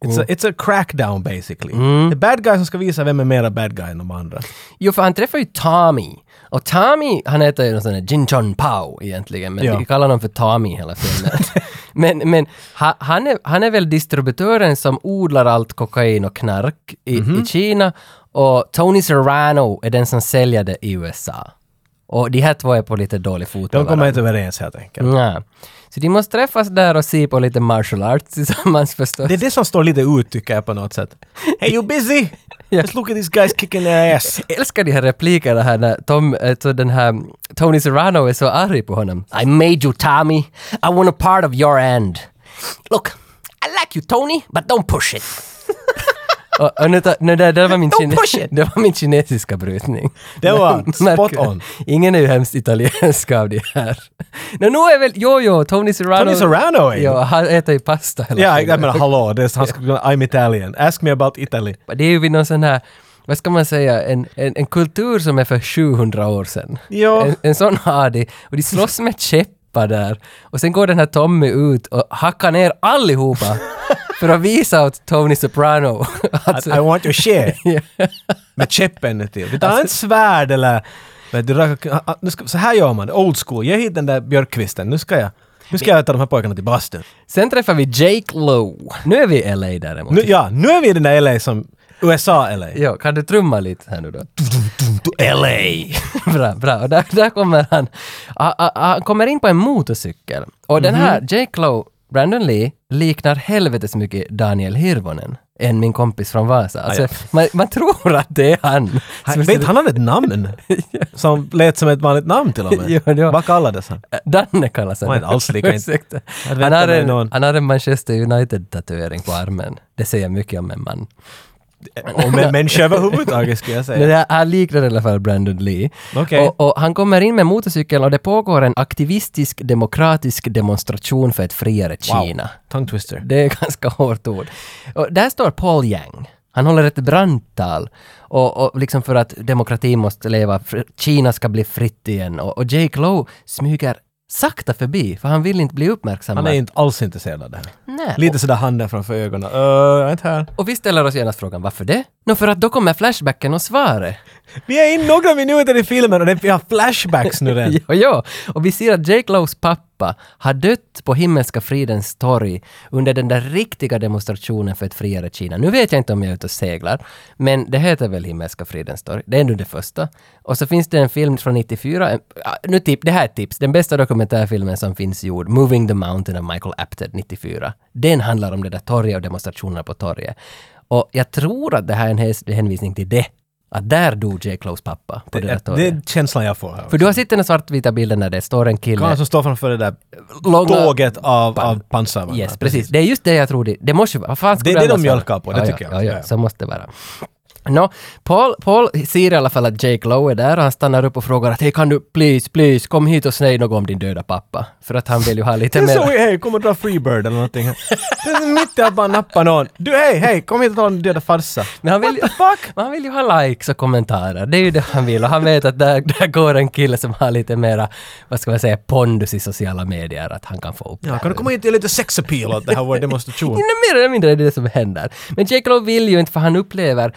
[SPEAKER 2] It's, a, it's a crackdown basically. Det är bad guys som ska visa vem är mera bad guy än de andra.
[SPEAKER 1] Jo, för han träffar ju Tommy. Och Tommy, han heter ju någon sån där Jin Chon Pao egentligen, men
[SPEAKER 2] Ja.
[SPEAKER 1] vi kallar honom för Tommy hela filmen. *laughs* men men ha, han, är, han är väl distributören som odlar allt kokain och knark i,
[SPEAKER 2] Mhm.
[SPEAKER 1] i Kina och Tony Serrano är den som säljer det i USA. Och de här två är på lite dålig fot med
[SPEAKER 2] De kommer
[SPEAKER 1] varandra. Mm.
[SPEAKER 2] inte överens helt enkelt.
[SPEAKER 1] Nej. Så de måste träffas där och se på lite martial arts tillsammans *laughs* förstås.
[SPEAKER 2] Det är det som står lite ut tycker jag på något sätt. Hey you busy? Just look at these guys kicking their ass.
[SPEAKER 1] Jag älskar de här replikerna här när Tom, alltså den här Tony Serrano är så arg på honom. I made you Tommy. I want a part of your end. Look, I like you Tony, but don't
[SPEAKER 2] *laughs*
[SPEAKER 1] push it. och, och nu, ta- nu, det, det, var min
[SPEAKER 2] Don't
[SPEAKER 1] kine- *laughs*
[SPEAKER 2] push it.
[SPEAKER 1] det var min kinesiska brytning.
[SPEAKER 2] *laughs* Det var
[SPEAKER 1] Men- *laughs*
[SPEAKER 2] spot
[SPEAKER 1] märker-
[SPEAKER 2] on.
[SPEAKER 1] Ingen är ju hemskt italiensk av det här. *laughs* Men nu är väl, jo jo, Tony Serrano.
[SPEAKER 2] Tony Serrano är ju-
[SPEAKER 1] Ja, han äter ju pasta hela
[SPEAKER 2] Ja,
[SPEAKER 1] tiden.
[SPEAKER 2] jag menar hallå, det är, han skulle kunna, I'm Italian. Ask me about Italy.
[SPEAKER 1] Det är ju vid någon sån här, vad ska man säga, en, en, en kultur som är för 700 år sedan.
[SPEAKER 2] Ja.
[SPEAKER 1] En, en sån har de. Och de slåss med käppar där. Och sen går den här Tommy ut och hackar ner *laughs* allihopa för att visa åt Tony Soprano att...
[SPEAKER 2] I want your share.
[SPEAKER 1] *laughs* Ja.
[SPEAKER 2] Med käppen till. Vi tar en
[SPEAKER 1] Alltså-
[SPEAKER 2] svärd eller... Vet du, raka- ah, nu ska, så här gör man det, old school. Ge hit den där björkkvisten, nu ska jag... Nu ska jag ta de här pojkarna till bastun.
[SPEAKER 1] Sen träffar vi Jake Lowe. Nu är vi i LA däremot.
[SPEAKER 2] Nu, ja, nu är vi i den där LA som... USA-LA.
[SPEAKER 1] Ja, kan du trumma lite här nu då?
[SPEAKER 2] LA!
[SPEAKER 1] *laughs* bra, bra. Och där, där kommer han. Ah, ah, ah, Han kommer in på en motorcykel. Och den här
[SPEAKER 2] Mhm.
[SPEAKER 1] Jake Lowe, Brandon Lee, liknar helvetes mycket Daniel Hirvonen. Än min kompis från Vasa. Alltså, man, man tror att det är han.
[SPEAKER 2] Han,
[SPEAKER 1] Så-
[SPEAKER 2] vet, han hade
[SPEAKER 1] *laughs*
[SPEAKER 2] ett namn som lät som ett vanligt namn till och med.
[SPEAKER 1] Ja, ja.
[SPEAKER 2] Vad kallades han?
[SPEAKER 1] Äh, Danne kallas han.
[SPEAKER 2] Man är inte alls lika in-
[SPEAKER 1] Ursäkta.
[SPEAKER 2] Jag
[SPEAKER 1] han,
[SPEAKER 2] vet
[SPEAKER 1] har
[SPEAKER 2] inte om det är
[SPEAKER 1] en,
[SPEAKER 2] någon.
[SPEAKER 1] han har en Manchester United-tatuering på armen. Det säger mycket om en man.
[SPEAKER 2] Om en människa överhuvudtaget skulle jag
[SPEAKER 1] Men
[SPEAKER 2] säga.
[SPEAKER 1] det här- han liknar i alla fall Brandon Lee.
[SPEAKER 2] Okej.
[SPEAKER 1] Och, och han kommer in med motorcykeln och det pågår en aktivistisk demokratisk demonstration för ett friare Kina.
[SPEAKER 2] Tongue twister.
[SPEAKER 1] Det är *laughs* ett ganska hårt ord. Och där står Paul Yang. Han håller ett brandtal. Och, och liksom för att demokratin måste leva, för Kina ska bli fritt igen. Och, och Jake Lowe smyger sakta förbi, för han vill inte bli uppmärksammad.
[SPEAKER 2] Han är inte alls intresserad av det här.
[SPEAKER 1] Nej.
[SPEAKER 2] Lite sådär handen framför ögonen. Uh, jag är inte här.
[SPEAKER 1] Och vi ställer oss genast frågan varför det? Nå, för att då kommer flashbacken och svaret.
[SPEAKER 2] Vi är in några minuter i filmen och det, vi har flashbacks nu redan.
[SPEAKER 1] *laughs* Ja, ja. Och vi ser att Jake Lowes pappa har dött på Himmelska fridens torg under den där riktiga demonstrationen för ett friare Kina. Nu vet jag inte om jag är ute och seglar, men det heter väl Himmelska fridens torg. Det är nu det första. Och så finns det en film från 94, en- ah, nu tip, det här är ett tips, den bästa dokumentärfilmen som finns gjord, Moving the Mountain av Michael Apted 94. Den handlar om det där torget och demonstrationerna på torget. Och jag tror att det här är en hes- hänvisning till det. Att där dog Jake Lowes pappa. På det, där
[SPEAKER 2] Det,
[SPEAKER 1] torget.
[SPEAKER 2] det är känslan jag får här.
[SPEAKER 1] För du har sett den här svartvita bilden där det står en kille...
[SPEAKER 2] Han som står framför det där
[SPEAKER 1] Långa-
[SPEAKER 2] tåget av, av pansarvagnar.
[SPEAKER 1] Yes, precis. Det är just det jag tror det... Det måste ju vara... Vad fan skulle
[SPEAKER 2] Det är det
[SPEAKER 1] annars
[SPEAKER 2] de
[SPEAKER 1] vara?
[SPEAKER 2] mjölkar på, det
[SPEAKER 1] ja,
[SPEAKER 2] tycker
[SPEAKER 1] ja,
[SPEAKER 2] jag.
[SPEAKER 1] Ja,
[SPEAKER 2] Ja,
[SPEAKER 1] ja,
[SPEAKER 2] ja.
[SPEAKER 1] så måste det vara. Nå, Paul, Paul ser i alla fall att Jake Lowe är där och han stannar upp och frågar att hej kan du please, please kom hit och säg något om din döda pappa. För att han vill ju
[SPEAKER 2] *laughs*
[SPEAKER 1] ha lite
[SPEAKER 2] Det är så,
[SPEAKER 1] mer...
[SPEAKER 2] hej, kom och dra Freebird eller någonting. här. Det är mitt i att bara nappa någon. Du, hej, hej, kom hit och ta en döda farsa.
[SPEAKER 1] Men han, vill, ju-
[SPEAKER 2] What the fuck?
[SPEAKER 1] men *laughs* han vill ju ha likes och kommentarer. Det är ju det han vill. Och han vet att där, där går en kille som har lite mera, vad ska man säga, pondus i sociala medier. Att han kan få upp det
[SPEAKER 2] Ja,
[SPEAKER 1] här.
[SPEAKER 2] kan du komma hit och ge lite sex appeal åt det här vår *laughs* demonstration?
[SPEAKER 1] Nej, mer eller mindre är det det som händer. Men Jake Lowe vill ju inte för han upplever,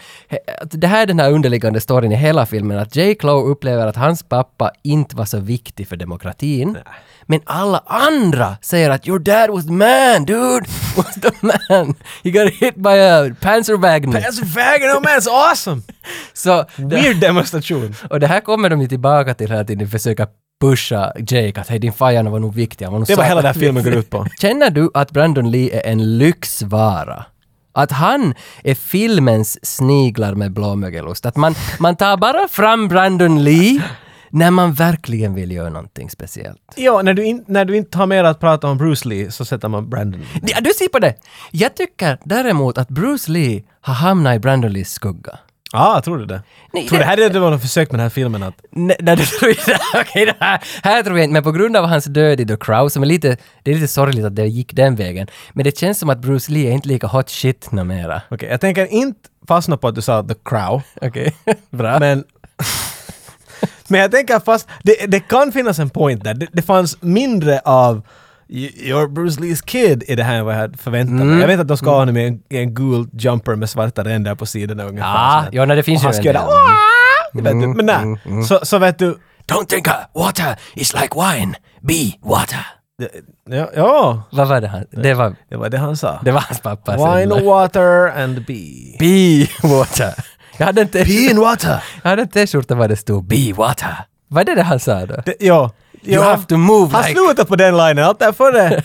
[SPEAKER 1] att det här är den här underliggande storyn i hela filmen, att Jake Lowe upplever att hans pappa inte var så viktig för demokratin. Men alla andra säger att “Your dad was the man, dude! *laughs* Was the man! He got hit by a panzerwagner!”
[SPEAKER 2] That's vegan, oh man, it's awesome!
[SPEAKER 1] Så,
[SPEAKER 2] Weird demonstration.
[SPEAKER 1] och det här kommer de ju tillbaka till hela tiden, försöka pusha Jake att “Hej, din fajan var nog viktig, han var nog Liksom."
[SPEAKER 2] Det var
[SPEAKER 1] satan
[SPEAKER 2] hela den här
[SPEAKER 1] *laughs*
[SPEAKER 2] filmen går ut på.
[SPEAKER 1] Känner du att Brandon Lee är en lyxvara? Att han är filmens sniglar med blåmögelost. Att man, man tar bara fram Brandon Lee när man verkligen vill göra någonting speciellt.
[SPEAKER 2] *laughs* Ja, när du, in, när du inte har mer att prata om Bruce Lee så sätter man Brandon.
[SPEAKER 1] Ja, du ser på det! Jag tycker däremot att Bruce Lee har hamnat i Brandon Lees skugga.
[SPEAKER 2] Ah, tror du det?
[SPEAKER 1] Nej,
[SPEAKER 2] tror
[SPEAKER 1] det-
[SPEAKER 2] det här är det var något försök med den här filmen att...
[SPEAKER 1] Nej, nej, det tror jag *laughs* Okej, det här, här tror jag inte, men på grund av hans död i The Crow, som är lite, det är lite sorgligt att det gick den vägen, men det känns som att Bruce Lee är inte lika hot shit numera.
[SPEAKER 2] Okej, jag tänker inte fastna på att du sa The Crow,
[SPEAKER 1] Okej, *laughs* bra.
[SPEAKER 2] men... *laughs* men jag tänker fast, det, det kan finnas en point där. Det, det fanns mindre av "You- You're Bruce Lees kid i det här än vad jag hade förväntat mig.
[SPEAKER 1] Mm.
[SPEAKER 2] Jag vet att de ska ha honom i en, i en gul jumper med svarta ränder på sidorna ungefär.
[SPEAKER 1] Ja,
[SPEAKER 2] så här.
[SPEAKER 1] ja nej, det finns
[SPEAKER 2] Och han
[SPEAKER 1] ju Mm,
[SPEAKER 2] ska göra "Åh!" Vet du, Men nej, så, så vet du...
[SPEAKER 1] Don't think uh, water is like wine, be water.
[SPEAKER 2] Ja, ja,
[SPEAKER 1] Vad var det han? Det var,
[SPEAKER 2] det var det han sa.
[SPEAKER 1] det var hans pappa.
[SPEAKER 2] Wine, water and bee.
[SPEAKER 1] *laughs* Be water. Jag hade en t- *laughs*
[SPEAKER 2] Bee and water!
[SPEAKER 1] jag hade en t-skjorta där det stod Be water. Var det det han sa då?
[SPEAKER 2] Det, ja,
[SPEAKER 1] You have to move
[SPEAKER 2] Han
[SPEAKER 1] like...
[SPEAKER 2] slutar på den linjen, allt
[SPEAKER 1] *laughs*
[SPEAKER 2] därför det...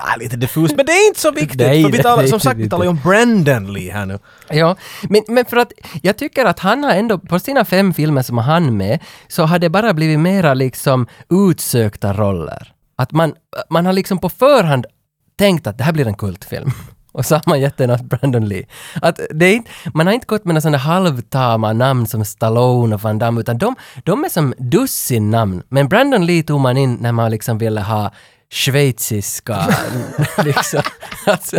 [SPEAKER 2] Ah, lite diffust, men det är inte så viktigt.
[SPEAKER 1] Nej,
[SPEAKER 2] för vi
[SPEAKER 1] det
[SPEAKER 2] talar,
[SPEAKER 1] är
[SPEAKER 2] som
[SPEAKER 1] inte
[SPEAKER 2] sagt, vi talar ju om Brandon Lee här nu.
[SPEAKER 1] Ja, men, men för att jag tycker att han har ändå, på sina fem filmer som han med, så har det bara blivit mera liksom utsökta roller. Att man, man har liksom på förhand tänkt att det här blir en kultfilm. *laughs* Och så har man gett den åt Brandon Lee. Att det är, inte- man har inte gått med några sådana halvtama namn som Stallone och Van Damme, utan de, de är som dussin namn. Men Brandon Lee tog man in när man liksom ville ha schweiziska, *laughs* liksom. Alltså,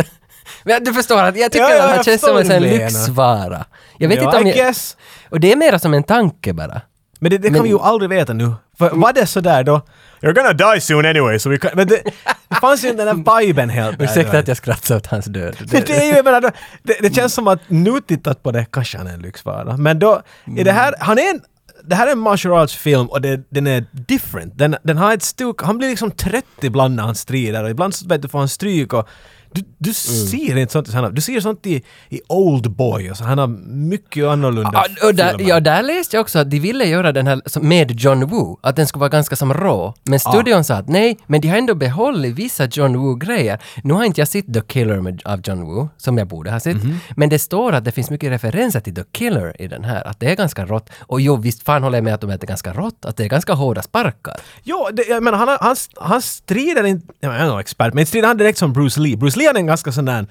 [SPEAKER 1] men du förstår att jag tycker
[SPEAKER 2] Ja, ja,
[SPEAKER 1] att han
[SPEAKER 2] jag
[SPEAKER 1] känns som
[SPEAKER 2] förstår
[SPEAKER 1] en sån
[SPEAKER 2] vad du menar.
[SPEAKER 1] lyxvara. Jag vet
[SPEAKER 2] Ja,
[SPEAKER 1] inte om
[SPEAKER 2] I
[SPEAKER 1] jag,
[SPEAKER 2] guess.
[SPEAKER 1] Och det är mera som en tanke bara.
[SPEAKER 2] Men det, det kan
[SPEAKER 1] Men- Mm.
[SPEAKER 2] vi ju aldrig veta nu. För var det sådär då? You're gonna die soon anyway, so we can... Men det, det fanns ju inte den där viben helt. där,
[SPEAKER 1] Ursäkta
[SPEAKER 2] då.
[SPEAKER 1] att jag skrattar åt hans död.
[SPEAKER 2] *laughs* Men det är ju, jag menar, då- det, det känns som att nu tittat på det, kanske han är en lyxvara. Men då, är det
[SPEAKER 1] Mm.
[SPEAKER 2] här, han är en, det här är en martial arts-film och det, den är different. Den, den har ett stuk, han blir liksom 30 ibland när han strider och ibland så vet du, får han stryk och du, du
[SPEAKER 1] Mm.
[SPEAKER 2] ser inte sånt i såna- du ser sånt i, i Oldboy och så, han har mycket annorlunda
[SPEAKER 1] Ja, Ah, och där,
[SPEAKER 2] filmer.
[SPEAKER 1] ja, där läste jag också att de ville göra den här som- med John Woo, att den skulle vara ganska som rå. Men studion sa att nej, men de har ändå behållit vissa John Woo-grejer. Nu har inte jag sett The Killer med, av John Woo, som jag borde ha sett.
[SPEAKER 2] Mhm.
[SPEAKER 1] Men det står att det finns mycket referenser till The Killer i den här, att det är ganska rått. Och jo, visst fan håller jag med att de är ganska rått, att det är ganska hårda sparkar.
[SPEAKER 2] Ja, det, jag menar, han, har- han, han strider inte... Jag menar, jag är nog expert, men strider han direkt som Bruce Lee. Bruce Lee hade en ganska sån där...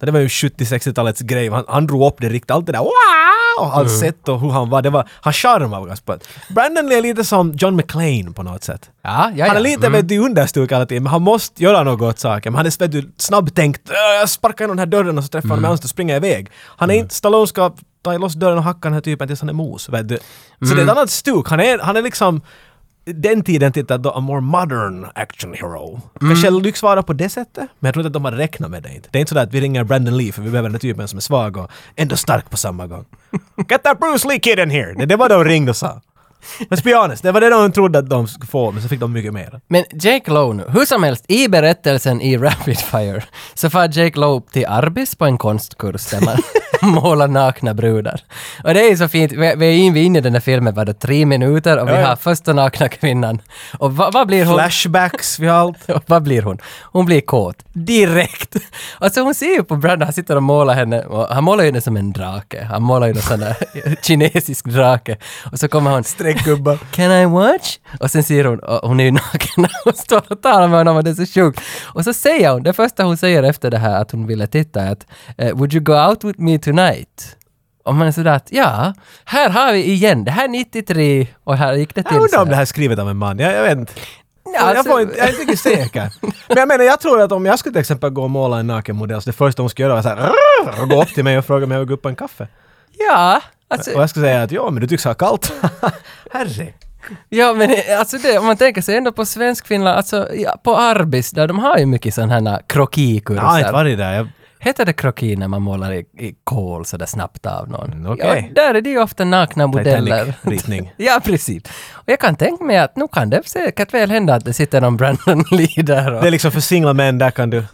[SPEAKER 2] Det var ju 70-60-talets grej. Han, han drog upp det riktigt. Allt det där wow! Och
[SPEAKER 1] Mm.
[SPEAKER 2] hans sätt och hur han var. Det var... Hans charm var ganska... på- Brandon Lee är lite som John McClane på något sätt.
[SPEAKER 1] Ja, ja,
[SPEAKER 2] Han
[SPEAKER 1] ja.
[SPEAKER 2] är lite vet du, understuk hela tiden, men han måste göra något åt saken. Men Han är vet du, snabbtänkt. "Äh, Jag sparkar in den här dörren och så träffar han mig och så springer jag iväg. Han är inte... Stallone ska ta loss dörren och hacka den här typen tills han är mos. Vet du. Så det är ett annat stuk. Han är, han är liksom den tiden tittade då a more modern action hero. Kanske lyxvara på det sättet, men jag tror inte att de har räknat med det. inte. Det är inte sådär att vi ringer Brandon Lee för vi behöver den här typen som är svag och ändå stark på samma gång. Get that Bruce Lee kid in here! Det, det var de ringde och sa. Men be honest, det var det de trodde att de skulle få, men så fick de mycket mer.
[SPEAKER 1] Men Jake Lowe nu, hur som helst, i berättelsen i Rapid Fire så far Jake Lowe till Arbis på en konstkurs där man *laughs* målar nakna brudar. Och det är så fint, vi vi är in- vi är inne i den här filmen bara tre minuter och vi
[SPEAKER 2] Ja, ja.
[SPEAKER 1] har första nakna kvinnan. Och vad, vad blir hon?
[SPEAKER 2] Flashbacks, vi har
[SPEAKER 1] *laughs*
[SPEAKER 2] allt.
[SPEAKER 1] Och vad blir hon? Hon blir kåt. Direkt! Alltså hon ser ju på Brandon, han sitter och målar henne. Och han målar ju henne som en drake. Han målar ju en sån där *laughs* kinesisk drake. Och så kommer hon... *laughs*
[SPEAKER 2] Streckgubbar.
[SPEAKER 1] Can I watch? Och sen ser hon, och hon är ju *laughs* naken när hon står och talar med honom och det är så sjukt. Och så säger hon, det första hon säger efter det här att hon ville titta är att eh, Would you go out with me tonight? Och man är sådär att ja, här har vi igen, det här är 93 och här gick det till
[SPEAKER 2] Jag undrar
[SPEAKER 1] så
[SPEAKER 2] om det här är skrivet av en man, jag, jag vet inte.
[SPEAKER 1] Ja,
[SPEAKER 2] jag,
[SPEAKER 1] alltså-
[SPEAKER 2] får inte, jag är inte riktigt säker. Men jag menar, jag tror att om jag skulle till exempel gå och måla en naken modell, så det första hon skulle göra var såhär och gå upp till mig och fråga om jag vill gå upp på en kaffe.
[SPEAKER 1] *laughs* Ja, alltså,
[SPEAKER 2] Och jag skulle säga att ja, men du tycks
[SPEAKER 1] *laughs*
[SPEAKER 2] ha kallt. Herre.
[SPEAKER 1] ja men eh, alltså det, om man tänker sig ändå på Svenskfinland, alltså ja, på Arbis där de har ju mycket sådana här
[SPEAKER 2] Jag har inte
[SPEAKER 1] krokikurser.
[SPEAKER 2] varit där. Jag,
[SPEAKER 1] Heter det kroki när man målar i, i kol sådär snabbt av någon?
[SPEAKER 2] Mm, okej.
[SPEAKER 1] Ja, där är det ju ofta nakna modeller.
[SPEAKER 2] Titanic-ritning.
[SPEAKER 1] *laughs* ja, precis. Och jag kan tänka mig att nu kan det säkert väl hända att det sitter någon Brandon Lee där och...
[SPEAKER 2] det är liksom för singla män,
[SPEAKER 1] *laughs*
[SPEAKER 2] där kan du.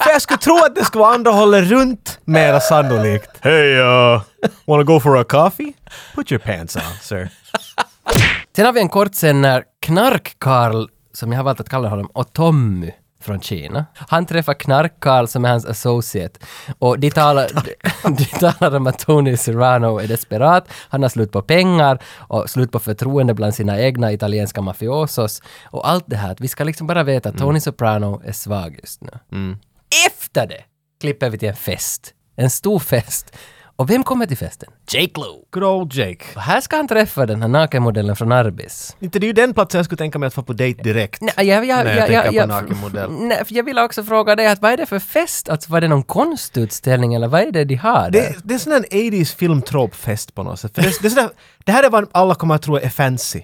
[SPEAKER 2] För jag skulle tro att det skulle vara andra hållet runt mera sannolikt. Hej, uh, wanna go for a coffee? Put your pants on, sir.
[SPEAKER 1] Sen har vi en kort sen när Knark-Karl, som jag har valt att kalla honom, och Tommy från Kina. Han träffar Knark-Karl som är hans associate och de talar, *laughs* de talar om att Tony Serrano är desperat, han har slut på pengar och slut på förtroende bland sina egna italienska mafiosos och allt det här. Att Vi ska liksom bara veta att Tony Soprano är svag just nu. Efter det klipper vi till en fest, en stor fest. Och vem kommer till festen? Jake Lowe.
[SPEAKER 2] Good old Jake.
[SPEAKER 1] Och här ska han träffa den här nakenmodellen från Arbis.
[SPEAKER 2] Inte det är ju den platsen jag skulle tänka mig att få på dejt direkt.
[SPEAKER 1] Nej, jag, jag,
[SPEAKER 2] När jag
[SPEAKER 1] jag,
[SPEAKER 2] tänker
[SPEAKER 1] jag,
[SPEAKER 2] på
[SPEAKER 1] jag, *laughs*
[SPEAKER 2] nakenmodell.
[SPEAKER 1] Nej, för jag vill också fråga dig att vad är det för fest? Alltså var det någon konstutställning eller vad är det de har där?
[SPEAKER 2] Det, det är sån där 80s filmtropfest på något sätt. För det, det, är sån där, det här är vad alla kommer att tro är fancy.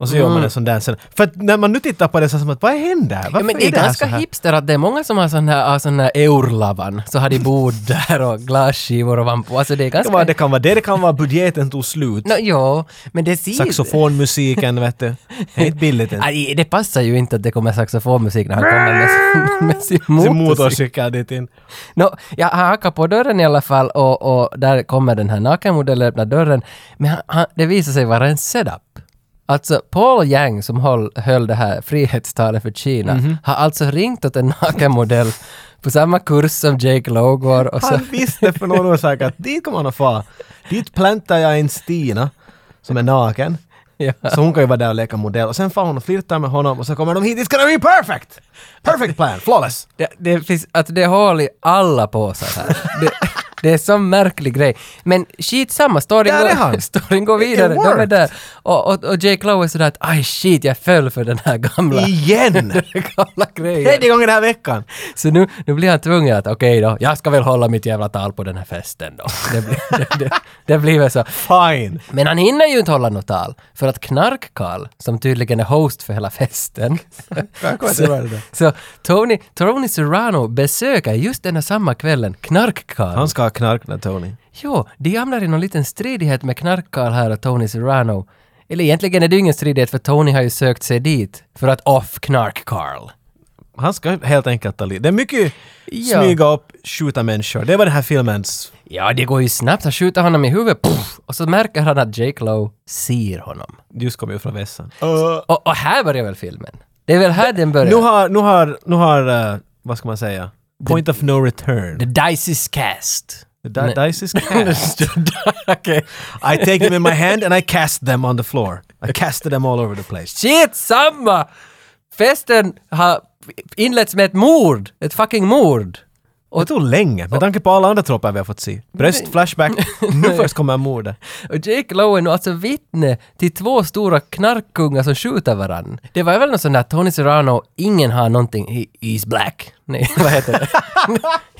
[SPEAKER 2] Och så gör man en sån där sen. För att när man nu tittar på det så är det som att vad händer? Varför
[SPEAKER 1] Mm. Ja, men det är,
[SPEAKER 2] här
[SPEAKER 1] ganska
[SPEAKER 2] så här?
[SPEAKER 1] hipster att det är många som har sån här, har sån här eurlavan, så har de bord *laughs* där och glasskivor och vampo. Alltså det är
[SPEAKER 2] Det,
[SPEAKER 1] ganska...
[SPEAKER 2] var, det kan vara det, det kan vara budgeten tog slut.
[SPEAKER 1] Nå, jo, men det ser...
[SPEAKER 2] Saxofonmusiken, vet du. Det är inte billigt ens.
[SPEAKER 1] Aj, det passar ju inte att det kommer saxofonmusik när han kommer med, sin- *laughs* med sin
[SPEAKER 2] Sin
[SPEAKER 1] motorcykel.
[SPEAKER 2] motorcykel dit in.
[SPEAKER 1] No, jag har hackat på dörren i alla fall och, och där kommer den här nakenmodellen öppna dörren. Men han, han, det visar sig vara en setup. Alltså Paul Yang som höll, höll det här frihetstalet för Kina
[SPEAKER 2] Mhm.
[SPEAKER 1] har alltså ringt åt en nakenmodell på samma kurs som Jake Lowe går och så...
[SPEAKER 2] Han visste för någon orsak att dit kommer han att fara. Dit plantar jag en Stina som är naken.
[SPEAKER 1] *laughs* Ja.
[SPEAKER 2] Så hon kan ju vara där och leka modell. Och sen får hon och flirtar med honom och så kommer de hit. It's gonna be perfect! Perfect plan! Flawless!
[SPEAKER 1] Det, det finns, alltså det är hål i alla påsar här. Det, det är en sån märklig grej. Men skitsamma, storyn,
[SPEAKER 2] Där är
[SPEAKER 1] går, *laughs*
[SPEAKER 2] han.
[SPEAKER 1] storyn går
[SPEAKER 2] It- it
[SPEAKER 1] vidare. De är
[SPEAKER 2] worked.
[SPEAKER 1] där. Och, och, och Jake Lowe är sådär att aj shit, jag föll för den här gamla,
[SPEAKER 2] Igen!
[SPEAKER 1] den *laughs* gamla grejen.
[SPEAKER 2] *laughs* Tredje gången den här veckan!
[SPEAKER 1] Så nu, nu blir han tvungen att okej då, jag ska väl hålla mitt jävla tal på den här festen då. Det blir, *laughs* det, det, det blir väl så.
[SPEAKER 2] Fine!
[SPEAKER 1] Men han hinner ju inte hålla något tal, för att Knark-Karl, som tydligen är host för hela
[SPEAKER 2] *laughs*
[SPEAKER 1] festen,
[SPEAKER 2] kommer inte ihåg det
[SPEAKER 1] så,
[SPEAKER 2] där.
[SPEAKER 1] *laughs* så Tony, Tony Serrano besöker just den här samma kvällen Knark-Karl.
[SPEAKER 2] Han ska ha knark när Tony.
[SPEAKER 1] Jo, de hamnar i någon liten stridighet med Knark-Karl här och Tony Serrano. Eller egentligen är det ju ingen stridighet, för Tony har ju sökt sig dit för att off Knark-Karl.
[SPEAKER 2] Han ska helt enkelt ta livet. Det är mycket
[SPEAKER 1] Ja.
[SPEAKER 2] smyga upp, skjuta människor. Det var den här filmens...
[SPEAKER 1] Ja, det går ju snabbt. Han skjuter honom i huvudet. Puff, och så märker han att Jake Lowe ser honom.
[SPEAKER 2] Ljus kommer ju från vässan.
[SPEAKER 1] Och, och här börjar väl filmen? Det är väl här den börjar?
[SPEAKER 2] Nu har, nu har, nu har, eh, vad ska man säga? Point of no return.
[SPEAKER 1] The dice is
[SPEAKER 2] *laughs*
[SPEAKER 1] cast.
[SPEAKER 2] The di- dice is cast.
[SPEAKER 1] Okej.
[SPEAKER 2] I take them in my hand and I cast them on the floor. I casted them all over the place.
[SPEAKER 1] Shit, samma! Festen har inletts med ett mord. Ett fucking mord.
[SPEAKER 2] Det tog länge, med tanke på alla andra troppar vi har fått se. Bröst,
[SPEAKER 1] *laughs*
[SPEAKER 2] flashback, nu först kommer mordet.
[SPEAKER 1] Och Jake Lowe är nu alltså vittne till två stora knarkkungar som skjuter varann. Det var väl något sånt där Tony Serrano, ingen har någonting, he, he's black. Nej, *laughs* vad heter det?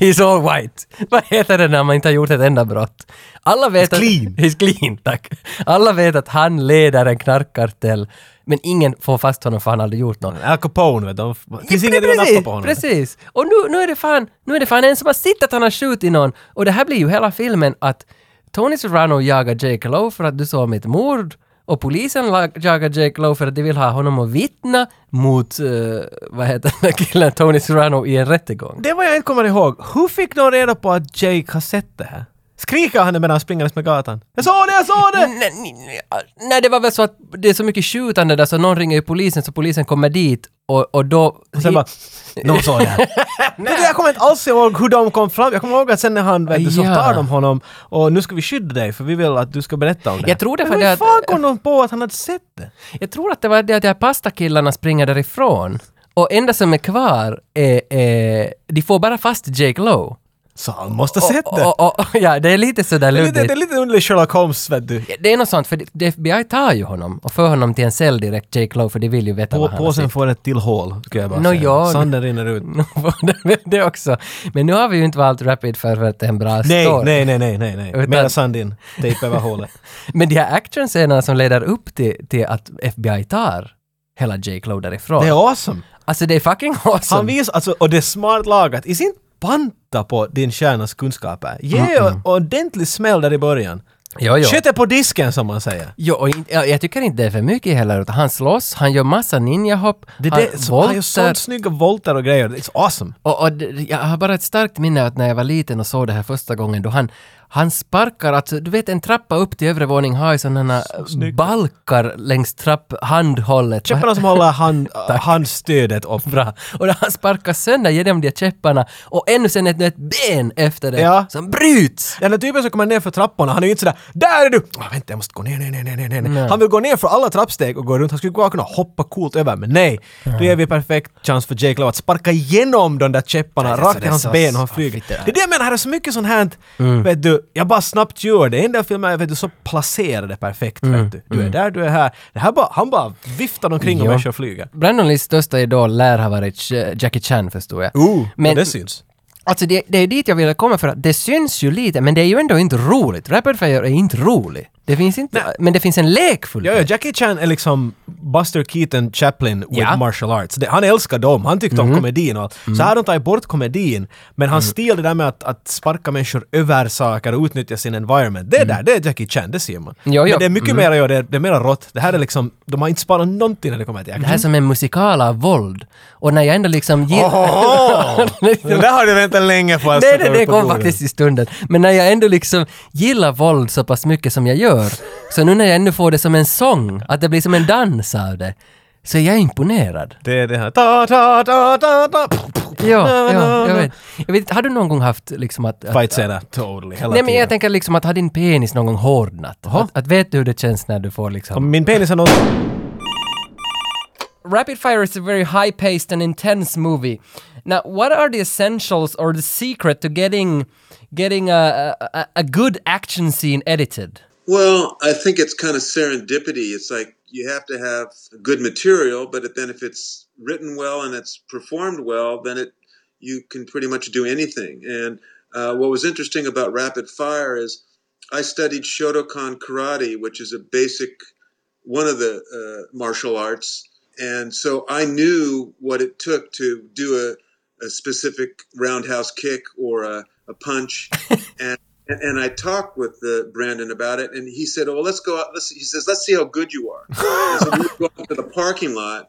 [SPEAKER 1] he's all white. Vad heter det när man inte har gjort ett enda brott? Alla vet att...
[SPEAKER 2] clean.
[SPEAKER 1] *laughs* He's clean, tack. Alla vet att han leder en knarkkartell, men ingen får fast honom för han har aldrig gjort något.
[SPEAKER 2] Al Capone vet du, de- finns ingen att nappa
[SPEAKER 1] precis,
[SPEAKER 2] på honom.
[SPEAKER 1] precis! Och nu, nu, är det fan, nu är det fan en som har sett att han har skjutit någon. Och det här blir ju hela filmen att Tony Serrano jagar Jake Lowe för att du såg mitt mord. Och polisen la- jagar Jake Lowe för att de vill ha honom att vittna mot, eh, vad heter den där killen, Tony Serrano i en rättegång.
[SPEAKER 2] Det var jag inte kommer ihåg. Hur fick någon reda på att Jake har sett det här? Skriker han medan han springer med gatan? Jag såg det, jag såg det!
[SPEAKER 1] Nej, nej, nej, Nej, det var väl så att det är så mycket skjutande där så någon ringer ju polisen så polisen kommer dit och, och då...
[SPEAKER 2] Och sen bara, någon såg det
[SPEAKER 1] *laughs*
[SPEAKER 2] här. Men jag kommer inte alls ihåg hur de kom fram. Jag kommer ihåg att sen när han, vet du, så
[SPEAKER 1] Ja.
[SPEAKER 2] tar de honom och nu ska vi skydda dig för vi vill att du ska berätta om det. här."
[SPEAKER 1] Jag tror det var
[SPEAKER 2] Men
[SPEAKER 1] det
[SPEAKER 2] hur
[SPEAKER 1] att-
[SPEAKER 2] fan kom de på att han hade sett det?
[SPEAKER 1] Jag tror att det var det att de här pastakillarna springer därifrån. Och enda som är kvar är, är de får bara fast Jake Lowe.
[SPEAKER 2] Så han måste ha sett
[SPEAKER 1] Och,
[SPEAKER 2] det.
[SPEAKER 1] och, och, ja, det är lite sådär
[SPEAKER 2] Det är lite,
[SPEAKER 1] luddigt.
[SPEAKER 2] det är lite underlig Sherlock Holmes vet du.
[SPEAKER 1] Det är något sånt, för det- FBI tar ju honom och för honom till en cell direkt, Jake Lowe, för de vill ju veta
[SPEAKER 2] På,
[SPEAKER 1] vad han har
[SPEAKER 2] påsen
[SPEAKER 1] sett. *laughs*
[SPEAKER 2] får ett till hål, skulle jag bara
[SPEAKER 1] Nå,
[SPEAKER 2] säga.
[SPEAKER 1] ja.
[SPEAKER 2] Sanden rinner ut.
[SPEAKER 1] Det- det också. Men nu har vi ju inte valt Rapid Fire för att det är en bra
[SPEAKER 2] Nej,
[SPEAKER 1] story.
[SPEAKER 2] nej, nej, nej, nej, nej.
[SPEAKER 1] Utan-
[SPEAKER 2] Mera sand in. Tejp över hålet.
[SPEAKER 1] Men de här actionscenerna som leder upp till, till att FBI tar hela Jake Lowe därifrån.
[SPEAKER 2] *laughs* Det är awesome.
[SPEAKER 1] alltså det är fucking awesome.
[SPEAKER 2] Han visar, alltså, och det är smart lagat. I sin panta på din kärnas kunskaper. Ge
[SPEAKER 1] Mm,
[SPEAKER 2] en ordentlig smäll där i början.
[SPEAKER 1] jo, jo.
[SPEAKER 2] Köttet på disken som man säger.
[SPEAKER 1] Jo, och in, ja, jag tycker inte det är för mycket heller. utan Han slåss, han gör massa ninjahopp,
[SPEAKER 2] Det,
[SPEAKER 1] han
[SPEAKER 2] det, så, han gör
[SPEAKER 1] voltar.
[SPEAKER 2] sånt snygga volter och grejer. It's awesome.
[SPEAKER 1] Och, och det- jag har bara ett starkt minne att när jag var liten och såg det här första gången då han, han sparkar, alltså du vet en trappa upp till övre våning har ju sådana balkar längs trapphandhållet.
[SPEAKER 2] Käpparna som håller
[SPEAKER 1] *laughs*
[SPEAKER 2] hand, handstödet upp.
[SPEAKER 1] Bra. Och när han sparkar sönder genom de käpparna och ännu sen ett, ett ben efter det
[SPEAKER 2] Ja.
[SPEAKER 1] som bryts.
[SPEAKER 2] Den där typen som kommer ner för trapporna, han är ju inte sådär ”Där är du!” Ah, ”Vänta, jag måste gå ner, ner, ner, ner, ner, ner. Han vill gå ner för alla trappsteg och gå runt. Han skulle bara kunna hoppa coolt över, men nej. Då ger vi perfekt chans för Jake Lowe att sparka igenom de där käpparna
[SPEAKER 1] Nej,
[SPEAKER 2] rakt
[SPEAKER 1] så
[SPEAKER 2] i
[SPEAKER 1] det är
[SPEAKER 2] hans
[SPEAKER 1] så- ah,
[SPEAKER 2] ben och han
[SPEAKER 1] så
[SPEAKER 2] flyger.
[SPEAKER 1] fitta.
[SPEAKER 2] Det är det jag menar, här är så mycket sånt här,
[SPEAKER 1] Mm.
[SPEAKER 2] vet du, jag bara snabbt gör det. I den där filmen är vet du, så placerade perfekt,
[SPEAKER 1] Mm.
[SPEAKER 2] vet du. Du är där, du är här. Det här bara, han bara viftar omkring och
[SPEAKER 1] Ja.
[SPEAKER 2] människor flyger.
[SPEAKER 1] Brandon Lees största idol lär ha varit eh, Jackie Chan förstår jag.
[SPEAKER 2] Ooh, men,
[SPEAKER 1] Uh. Men-
[SPEAKER 2] det syns.
[SPEAKER 1] Alltså det, det är dit jag ville komma för att det syns ju lite men det är ju ändå inte roligt. Rapid Fire är inte rolig. Det finns inte, men det finns en lekfull
[SPEAKER 2] Ja, ja, Jackie Chan är liksom Buster Keaton Chaplin with
[SPEAKER 1] Ja. Mhm. Mm.
[SPEAKER 2] martial arts. Det, han älskar dem, han tyckte om komedin och allt. Så här har de tagit bort komedin, men hans stil, det där med att, att sparka människor över saker och utnyttja sin environment, det där, det är Jackie Chan, det ser man.
[SPEAKER 1] Mm. Ja, Mm. ja.
[SPEAKER 2] Men det är mycket mer, ja, det, är, det är mer rått. Det här är liksom, de har inte sparat någonting när det kommer till
[SPEAKER 1] Det
[SPEAKER 2] action.
[SPEAKER 1] här är som en musikal av våld. Och när jag ändå liksom gillar... *laughs*
[SPEAKER 2] Det där har du väntat länge på. alltså,
[SPEAKER 1] Nej,
[SPEAKER 2] att sätta
[SPEAKER 1] nej, det
[SPEAKER 2] upp på
[SPEAKER 1] kom
[SPEAKER 2] bordet.
[SPEAKER 1] faktiskt i stunden. Men när jag ändå liksom gillar våld så pass mycket som jag gör Så nu när jag ännu får det som en sång, att det blir som en dans av det, så är jag imponerad.
[SPEAKER 2] Det är det här... Ta, ta, ta, ta, ta.
[SPEAKER 1] Ja, ja, jag vet. Jag vet inte, har du någon gång haft liksom att... att
[SPEAKER 2] Fightscener, totally. Hela
[SPEAKER 1] nej men
[SPEAKER 2] tiden.
[SPEAKER 1] jag tänker liksom att har din penis någon gång hårdnat? Att, att vet du hur det känns när du får liksom...
[SPEAKER 2] Om min penis har något...
[SPEAKER 1] Rapid Fire is a very high paced and intense movie. Now, what are the essentials or the secret to getting getting a, a, a good action scene edited?
[SPEAKER 3] Well, I think it's kind of serendipity. It's like you have to have good material, but it- then if it's written well and it's performed well, then it you can pretty much do anything. And uh, what was interesting about Rapid Fire is I studied Shotokan karate, which is a basic one of the uh, martial arts, and so I knew what it took to do a, a specific roundhouse kick or a, a punch, and and, and I talked with uh, Brandon about it, and he said, "Oh, well, let's go out." Let's, he says, "Let's see how good you are." And so we go out to the parking lot,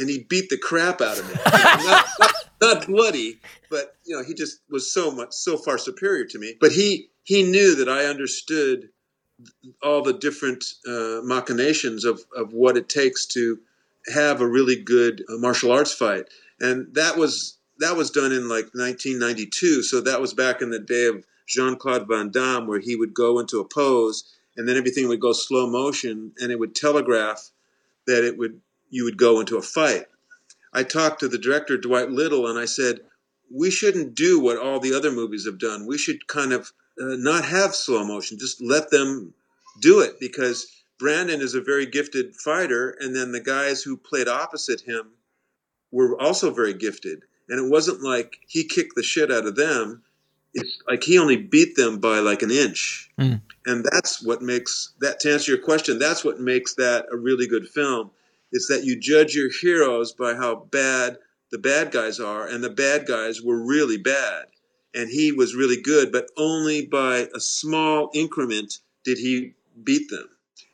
[SPEAKER 3] and he beat the crap out of me. not, not- not bloody, but you know, he just was so much, so far superior to me. But he he knew that I understood all the different uh, machinations of of what it takes to have a really good uh, martial arts fight, and that was that was done in like 1992. So that was back in the day of Jean Claude Van Damme, where he would go into a pose and then everything would go slow motion, and it would telegraph that it would you would go into a fight. I talked to the director Dwight Little, and I said we shouldn't do what all the other movies have done. We should kind of uh, not have slow motion. Just let them do it because Brandon is a very gifted fighter, and then the guys who played opposite him were also very gifted. And it wasn't like he kicked the shit out of them. It's like he only beat them by like an inch.
[SPEAKER 2] Mm.
[SPEAKER 3] And that's what makes that, to answer your question, that's what makes that a really good film. It's that you judge your heroes by how bad the bad guys are, and the bad guys were really bad. And he was really good, but only by a small increment did he beat them.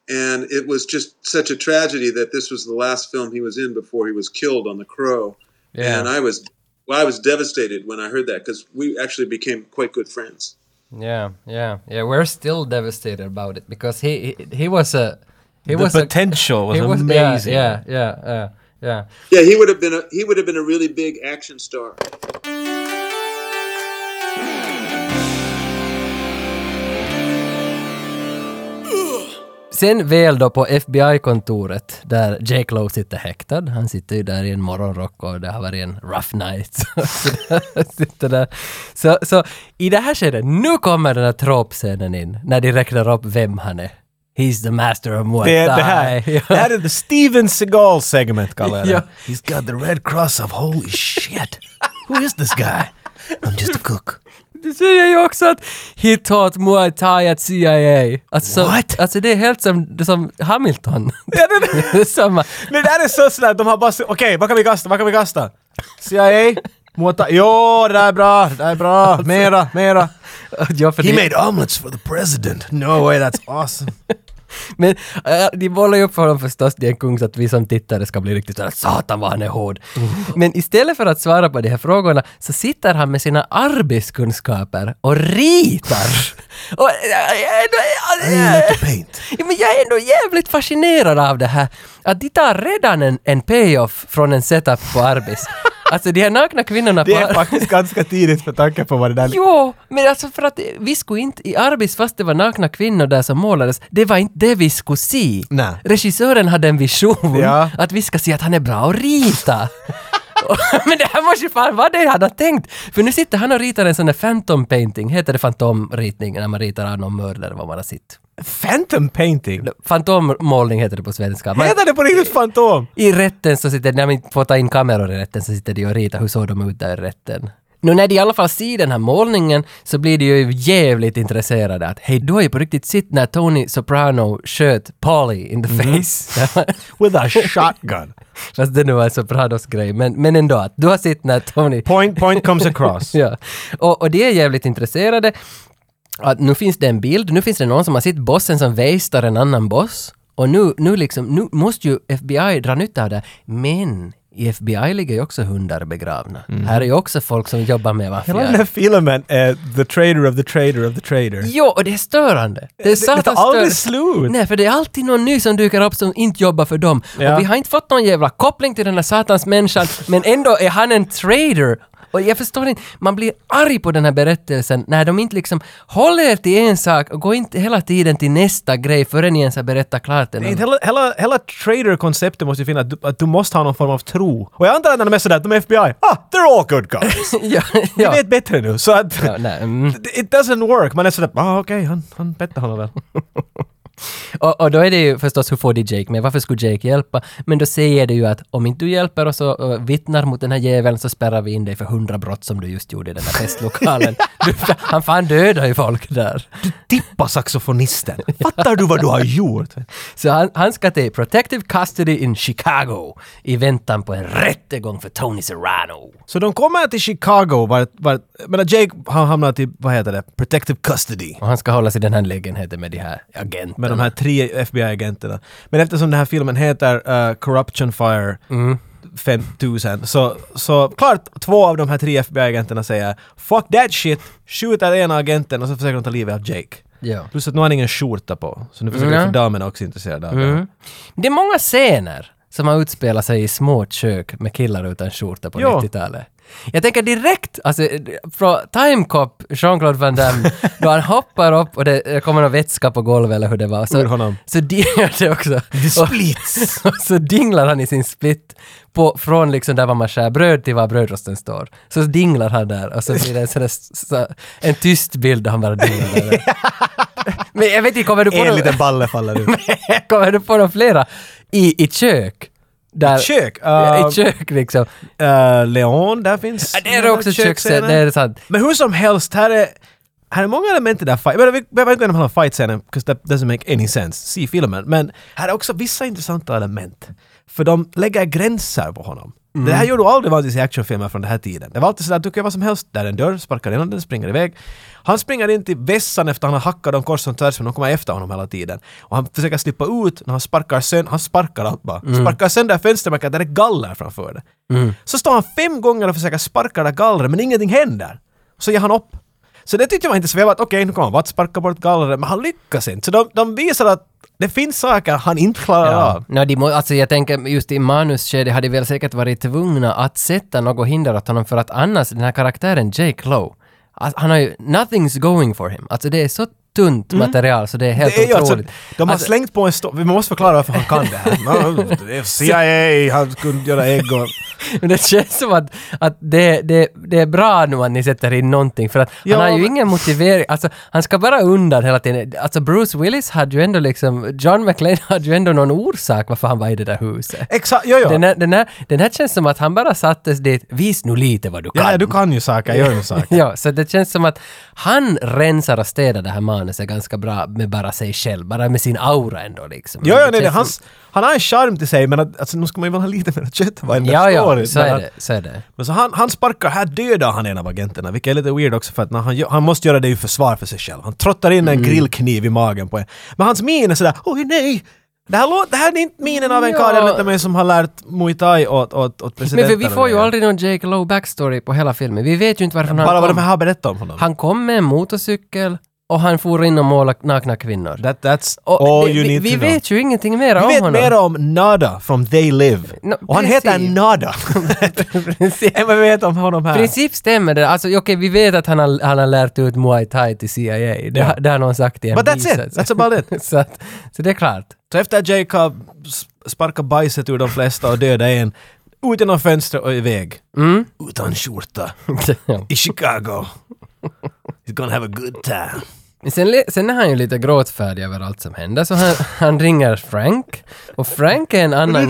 [SPEAKER 3] And it was just such a tragedy that this was the last film he was in before he was killed on The Crow. And I was, well, I was devastated when I heard that because we actually became quite good friends.
[SPEAKER 1] Yeah, yeah, yeah. We're still devastated about it because he he, he was a he
[SPEAKER 2] The
[SPEAKER 1] was
[SPEAKER 2] potential
[SPEAKER 1] a,
[SPEAKER 2] was,
[SPEAKER 1] he was
[SPEAKER 2] amazing.
[SPEAKER 1] Yeah, yeah, yeah, yeah. yeah.
[SPEAKER 3] Yeah, he would have been a he would have been a really big action star.
[SPEAKER 1] Sen väl då på FBI-kontoret där Jake Lowe sitter häktad. Han sitter ju där i en morgonrock och det har varit en rough night. *laughs* Så där sitter där. Så, så i det här skedet, nu kommer den här tropscenen in när de räknar upp vem han är. He's the master of muay
[SPEAKER 2] Det,
[SPEAKER 1] thai.
[SPEAKER 2] är-
[SPEAKER 1] *laughs*
[SPEAKER 2] det, här, det här är the Steven Seagal segment kallar jag det. He's got the red cross of holy shit. Who is this guy? I'm just a cook.
[SPEAKER 1] Det säger ju också att he taught muay thai at CIA. Alltså,
[SPEAKER 2] What?
[SPEAKER 1] alltså det är helt som, som Hamilton. det är *laughs* samma.
[SPEAKER 2] Men det här är så sådär, de har bara så- okej, vad kan vi kasta, vad kan vi kasta? CIA? Mota, jo, det där är bra, det där är bra, mera, mera.
[SPEAKER 1] Ja, för
[SPEAKER 2] He
[SPEAKER 1] det-
[SPEAKER 2] made omelets for the president. No way, that's awesome.
[SPEAKER 1] Men äh, de bollar ju upp honom förstås, det är en kung så att vi som tittare ska bli riktigt såhär ”Satan vad han är hård”. Men istället för att svara på de här frågorna så sitter han med sina arbetskunskaper och *laughs* ritar. och, äh, jag är ändå-
[SPEAKER 2] paint.
[SPEAKER 1] Ja, men jag är ändå jävligt fascinerad av det här. Att de tar redan en, en payoff från en setup på *laughs* Arbis. Alltså de här nakna kvinnorna
[SPEAKER 2] Det er
[SPEAKER 1] på
[SPEAKER 2] är faktiskt ganska tidigt med tanke på vad det där
[SPEAKER 1] Jo, men alltså för att vi skulle inte, i Arbis, fast det var nakna kvinnor där som målades, det var inte det vi skulle se.
[SPEAKER 2] Nej.
[SPEAKER 1] Regissören hade en vision
[SPEAKER 2] Ja.
[SPEAKER 1] att vi ska se att han är bra att rita. *laughs* Och- men det här måste ju fan vara det han har tänkt. För nu sitter han och ritar en sån där phantom painting, heter det fantomritning när man ritar av någon mördare vad man har sett?
[SPEAKER 2] Phantom painting?
[SPEAKER 1] Fantommålning heter det på svenska. Man,
[SPEAKER 2] Heter det på riktigt fantom?
[SPEAKER 1] I rätten så sitter, när man inte får ta in kameror i rätten så sitter de och ritar, hur såg de ut där i rätten? Nu när de i alla fall ser den här målningen så blir de ju jävligt intresserade att hej, du har ju på riktigt sett när Tony Soprano sköt Polly in the face.
[SPEAKER 2] Mhm. *laughs*
[SPEAKER 1] *laughs*
[SPEAKER 2] With a shotgun.
[SPEAKER 1] Fast det nu var Sopranos grej, men, men ändå att du har sett när Tony...
[SPEAKER 2] Point, point comes
[SPEAKER 1] *laughs*
[SPEAKER 2] across.
[SPEAKER 1] Ja. Och, och de är jävligt intresserade. Att nu finns det en bild, nu finns det någon som har sett bossen som västar en annan boss. Och nu, nu, liksom, nu måste ju FBI dra nytta av det. Men I FBI ligger ju också hundar begravna. Här är ju också folk som jobbar med
[SPEAKER 2] Mm. Hela den här
[SPEAKER 1] maffian.
[SPEAKER 2] filmen är the trader of the trader of the trader.
[SPEAKER 1] Jo, och det är störande. Det är
[SPEAKER 2] det tar
[SPEAKER 1] satans
[SPEAKER 2] aldrig
[SPEAKER 1] störande.
[SPEAKER 2] slut!
[SPEAKER 1] Nej, för det är alltid någon ny som dyker upp som inte jobbar för dem.
[SPEAKER 2] Ja.
[SPEAKER 1] Och vi har inte fått någon jävla koppling till den här satans människan, men ändå är han en trader. Och jag förstår inte, man blir arg på den här berättelsen när de inte liksom håller er till en sak och går inte hela tiden till nästa grej förrän ni ens har berättat klart den.
[SPEAKER 2] Inte Hela, hela, hela trader-konceptet måste ju finnas, att du, att du måste ha någon form av tro. Och jag antar att när de är sådär, de är FBI, ah, they're all good *laughs* guys!
[SPEAKER 1] *laughs* ja,
[SPEAKER 2] Vi
[SPEAKER 1] ja.
[SPEAKER 2] vet bättre nu, så att...
[SPEAKER 1] Ja, nej, mm.
[SPEAKER 2] *laughs* It doesn't work! Man är sådär, ah okej, han, han bättre honom väl.
[SPEAKER 1] och, och då är det ju förstås, hur får de Jake med? Varför skulle Jake hjälpa? Men då säger det ju att om inte du hjälper oss och eh, vittnar mot den här jäveln så spärrar vi in dig för hundra brott som du just gjorde i den här
[SPEAKER 2] *laughs*
[SPEAKER 1] festlokalen. du, han fan dödar ju folk där.
[SPEAKER 2] Tippa saxofonisten! Fattar du vad du har gjort?
[SPEAKER 1] Så han, han ska till Protective Custody in Chicago i väntan på en rättegång för Tony Serrano.
[SPEAKER 2] Så de kommer till Chicago, vart, vart, men Jake har hamnat i, vad heter det, protective custody.
[SPEAKER 1] Och han ska hålla sig i den här lägenheten med de här agenterna.
[SPEAKER 2] Med de här tre FBI-agenterna. Men eftersom den här filmen heter eh, Corruption Fire
[SPEAKER 1] Mm.
[SPEAKER 2] 5000 så, så klart två av de här tre FBI-agenterna säger “Fuck that shit!” skjuter ena agenten och så försöker de ta livet av Jake.
[SPEAKER 1] Ja.
[SPEAKER 2] Plus att nu har han ingen skjorta på, så nu försöker
[SPEAKER 1] Mm.
[SPEAKER 2] de för damerna är också intresserade av det.
[SPEAKER 1] Det är många scener som har utspelat sig i små kök med killar utan skjorta på
[SPEAKER 2] Ja.
[SPEAKER 1] 90-talet. Jag tänker direkt, alltså från Time Cop, Jean-Claude Van
[SPEAKER 2] *laughs*
[SPEAKER 1] Damme, då han hoppar upp och det kommer någon vätska på golvet eller hur det var. Så,
[SPEAKER 2] Ur honom.
[SPEAKER 1] Så *laughs* di- ja, det också.
[SPEAKER 2] splits!
[SPEAKER 1] *laughs* Och så dinglar han i sin split på, från liksom där var man skär bröd till var brödrosten står. Så dinglar han där och så blir det en, sån där, s- så, en tyst bild där han bara dinglar
[SPEAKER 2] *laughs*
[SPEAKER 1] där. Men jag vet inte, kommer du på
[SPEAKER 2] En
[SPEAKER 1] någon-
[SPEAKER 2] liten balle faller *laughs* ut.
[SPEAKER 1] *laughs* Kommer du på några flera? I, i kök? Där,
[SPEAKER 2] Ett Kök! Uh,
[SPEAKER 1] Ja, I kök liksom.
[SPEAKER 2] eh, Leon, där finns...
[SPEAKER 1] Ja, det är också köksscenen. Det är sant.
[SPEAKER 2] Men hur som helst, här är, här är många element i den här fight. Men vi behöver inte gå igenom hela fight-scenen, because that doesn't make any sense. Se filmen. Men här är också vissa intressanta element. För de lägger gränser på honom. Det här gjorde du aldrig vanligtvis i actionfilmer från den här tiden. Det var alltid sådär, du kan göra vad som helst. Där är en dörr, sparkar in den, springer iväg. Han springer in till vässan efter han har hackat dem kors och tvärs, men de kommer efter honom hela tiden. Och han försöker slippa ut, när han sparkar sönder, han sparkar allt bara.
[SPEAKER 1] Mm.
[SPEAKER 2] Sparkar sönder fönstermärket, där det är galler framför det. Så står han fem gånger och försöker sparka det där gallret, men ingenting händer. Så ger han upp. Så det tyckte man inte så jag var att okej, nu kommer han bara att sparka bort gallret, men han lyckas inte. Så de, de visar att det finns saker han inte klarar
[SPEAKER 1] Ja.
[SPEAKER 2] av.
[SPEAKER 1] No, de må, alltså jag tänker just i manusskedet hade de väl säkert varit tvungna att sätta något hinder åt honom för att annars den här karaktären Jake Lowe, alltså, han har ju nothing's going for him. Alltså det är så tunt material så det är helt
[SPEAKER 2] Mm. Det är ju alltså,
[SPEAKER 1] otroligt.
[SPEAKER 2] de har
[SPEAKER 1] Alltså,
[SPEAKER 2] slängt på en stor... Vi måste förklara varför han kan
[SPEAKER 1] *laughs*
[SPEAKER 2] det här. No, det är CIA, han kunde göra ägg och...
[SPEAKER 1] *laughs* Men det känns som att, att det, det, det är bra nu att ni sätter in någonting för att
[SPEAKER 2] Ja,
[SPEAKER 1] han har ju
[SPEAKER 2] men-
[SPEAKER 1] ingen motivering. Alltså, han ska bara undan hela tiden. Alltså Bruce Willis hade ju ändå liksom, John McClane *laughs* hade ju ändå någon orsak varför han var i det där huset.
[SPEAKER 2] Exakt, jo, jo.
[SPEAKER 1] Den, här, den, här, den här känns som att han bara sattes dit, vis nu lite vad du kan.
[SPEAKER 2] Ja,
[SPEAKER 1] *laughs*
[SPEAKER 2] ja, du kan ju saker, jag gör ju saker.
[SPEAKER 1] Ja, så det känns som att han rensar och städar det här manuset ganska bra med bara sig själv, bara med sin aura ändå liksom.
[SPEAKER 2] Jo, jo,
[SPEAKER 1] Det
[SPEAKER 2] nej, nej,
[SPEAKER 1] känns
[SPEAKER 2] hans, han har en charm till sig, men att, alltså, nu ska man ju väl ha *laughs* lite mer kött vad
[SPEAKER 1] som-
[SPEAKER 2] än
[SPEAKER 1] Ja,
[SPEAKER 2] den
[SPEAKER 1] ja,
[SPEAKER 2] storyn,
[SPEAKER 1] så
[SPEAKER 2] men
[SPEAKER 1] är
[SPEAKER 2] att-
[SPEAKER 1] det. Så är det.
[SPEAKER 2] Men så han, han sparkar, här dödar han en av agenterna, vilket är lite weird också för att när han, gör- han måste göra det i försvar för sig själv. Han trottar in
[SPEAKER 1] Mm.
[SPEAKER 2] en grillkniv i magen på en. Men hans min är sådär, oj nej! Det här, lå- det här är inte minen av en
[SPEAKER 1] Ja.
[SPEAKER 2] karl jag mötte mig som har lärt muay thai åt, åt, åt
[SPEAKER 1] Men
[SPEAKER 2] presidenten.
[SPEAKER 1] för vi får ju aldrig någon Jake Lowe backstory på hela filmen. Vi vet ju inte varför
[SPEAKER 2] Bara vad
[SPEAKER 1] han
[SPEAKER 2] de
[SPEAKER 1] kom.
[SPEAKER 2] här berättar om honom.
[SPEAKER 1] Han kom med en motorcykel och han for in och målade nakna kvinnor.
[SPEAKER 2] That, that's
[SPEAKER 1] Och
[SPEAKER 2] all
[SPEAKER 1] det-
[SPEAKER 2] you
[SPEAKER 1] vi
[SPEAKER 2] need
[SPEAKER 1] vi
[SPEAKER 2] to know.
[SPEAKER 1] vet ju ingenting mer om
[SPEAKER 2] Vi vet
[SPEAKER 1] honom.
[SPEAKER 2] mer om Nada från They Live.
[SPEAKER 1] No,
[SPEAKER 2] och han heter
[SPEAKER 1] precis.
[SPEAKER 2] Nada.
[SPEAKER 1] *laughs*
[SPEAKER 2] *laughs* Än vad vi vet om honom här.
[SPEAKER 1] I princip stämmer det. Alltså, okej, vi vet att han har, han har lärt ut muay thai till CIA. Det,
[SPEAKER 2] Ja.
[SPEAKER 1] det har någon sagt i en
[SPEAKER 2] But that's it.
[SPEAKER 1] bisats.
[SPEAKER 2] That's about
[SPEAKER 1] *laughs*
[SPEAKER 2] it.
[SPEAKER 1] så, att, så det är klart.
[SPEAKER 2] *laughs* Så efter att Jacob s- sparkar bajset ur de flesta och dödar en, ut genom fönstret och iväg. Utan *laughs* skjorta. I Chicago. He's gonna have a good time.
[SPEAKER 1] Men Sen, le- sen är han ju lite gråtfärdig över allt som händer, så han, *laughs* han ringer Frank. Och Frank är en annan...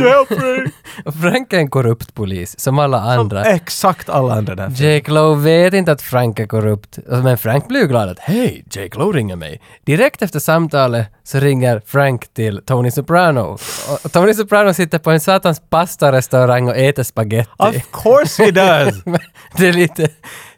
[SPEAKER 1] och Frank är en korrupt polis, som alla andra.
[SPEAKER 2] Exakt alla andra där.
[SPEAKER 1] Jake Lowe vet inte att Frank är korrupt, Alltså, men Frank blir ju glad att hej, Jake Lowe ringer mig. Direkt efter samtalet så ringer Frank till Tony Soprano. Och- Och Tony Soprano sitter på en satans pastarestaurang och äter spaghetti.
[SPEAKER 2] Of course he *laughs* does!
[SPEAKER 1] *laughs* det är lite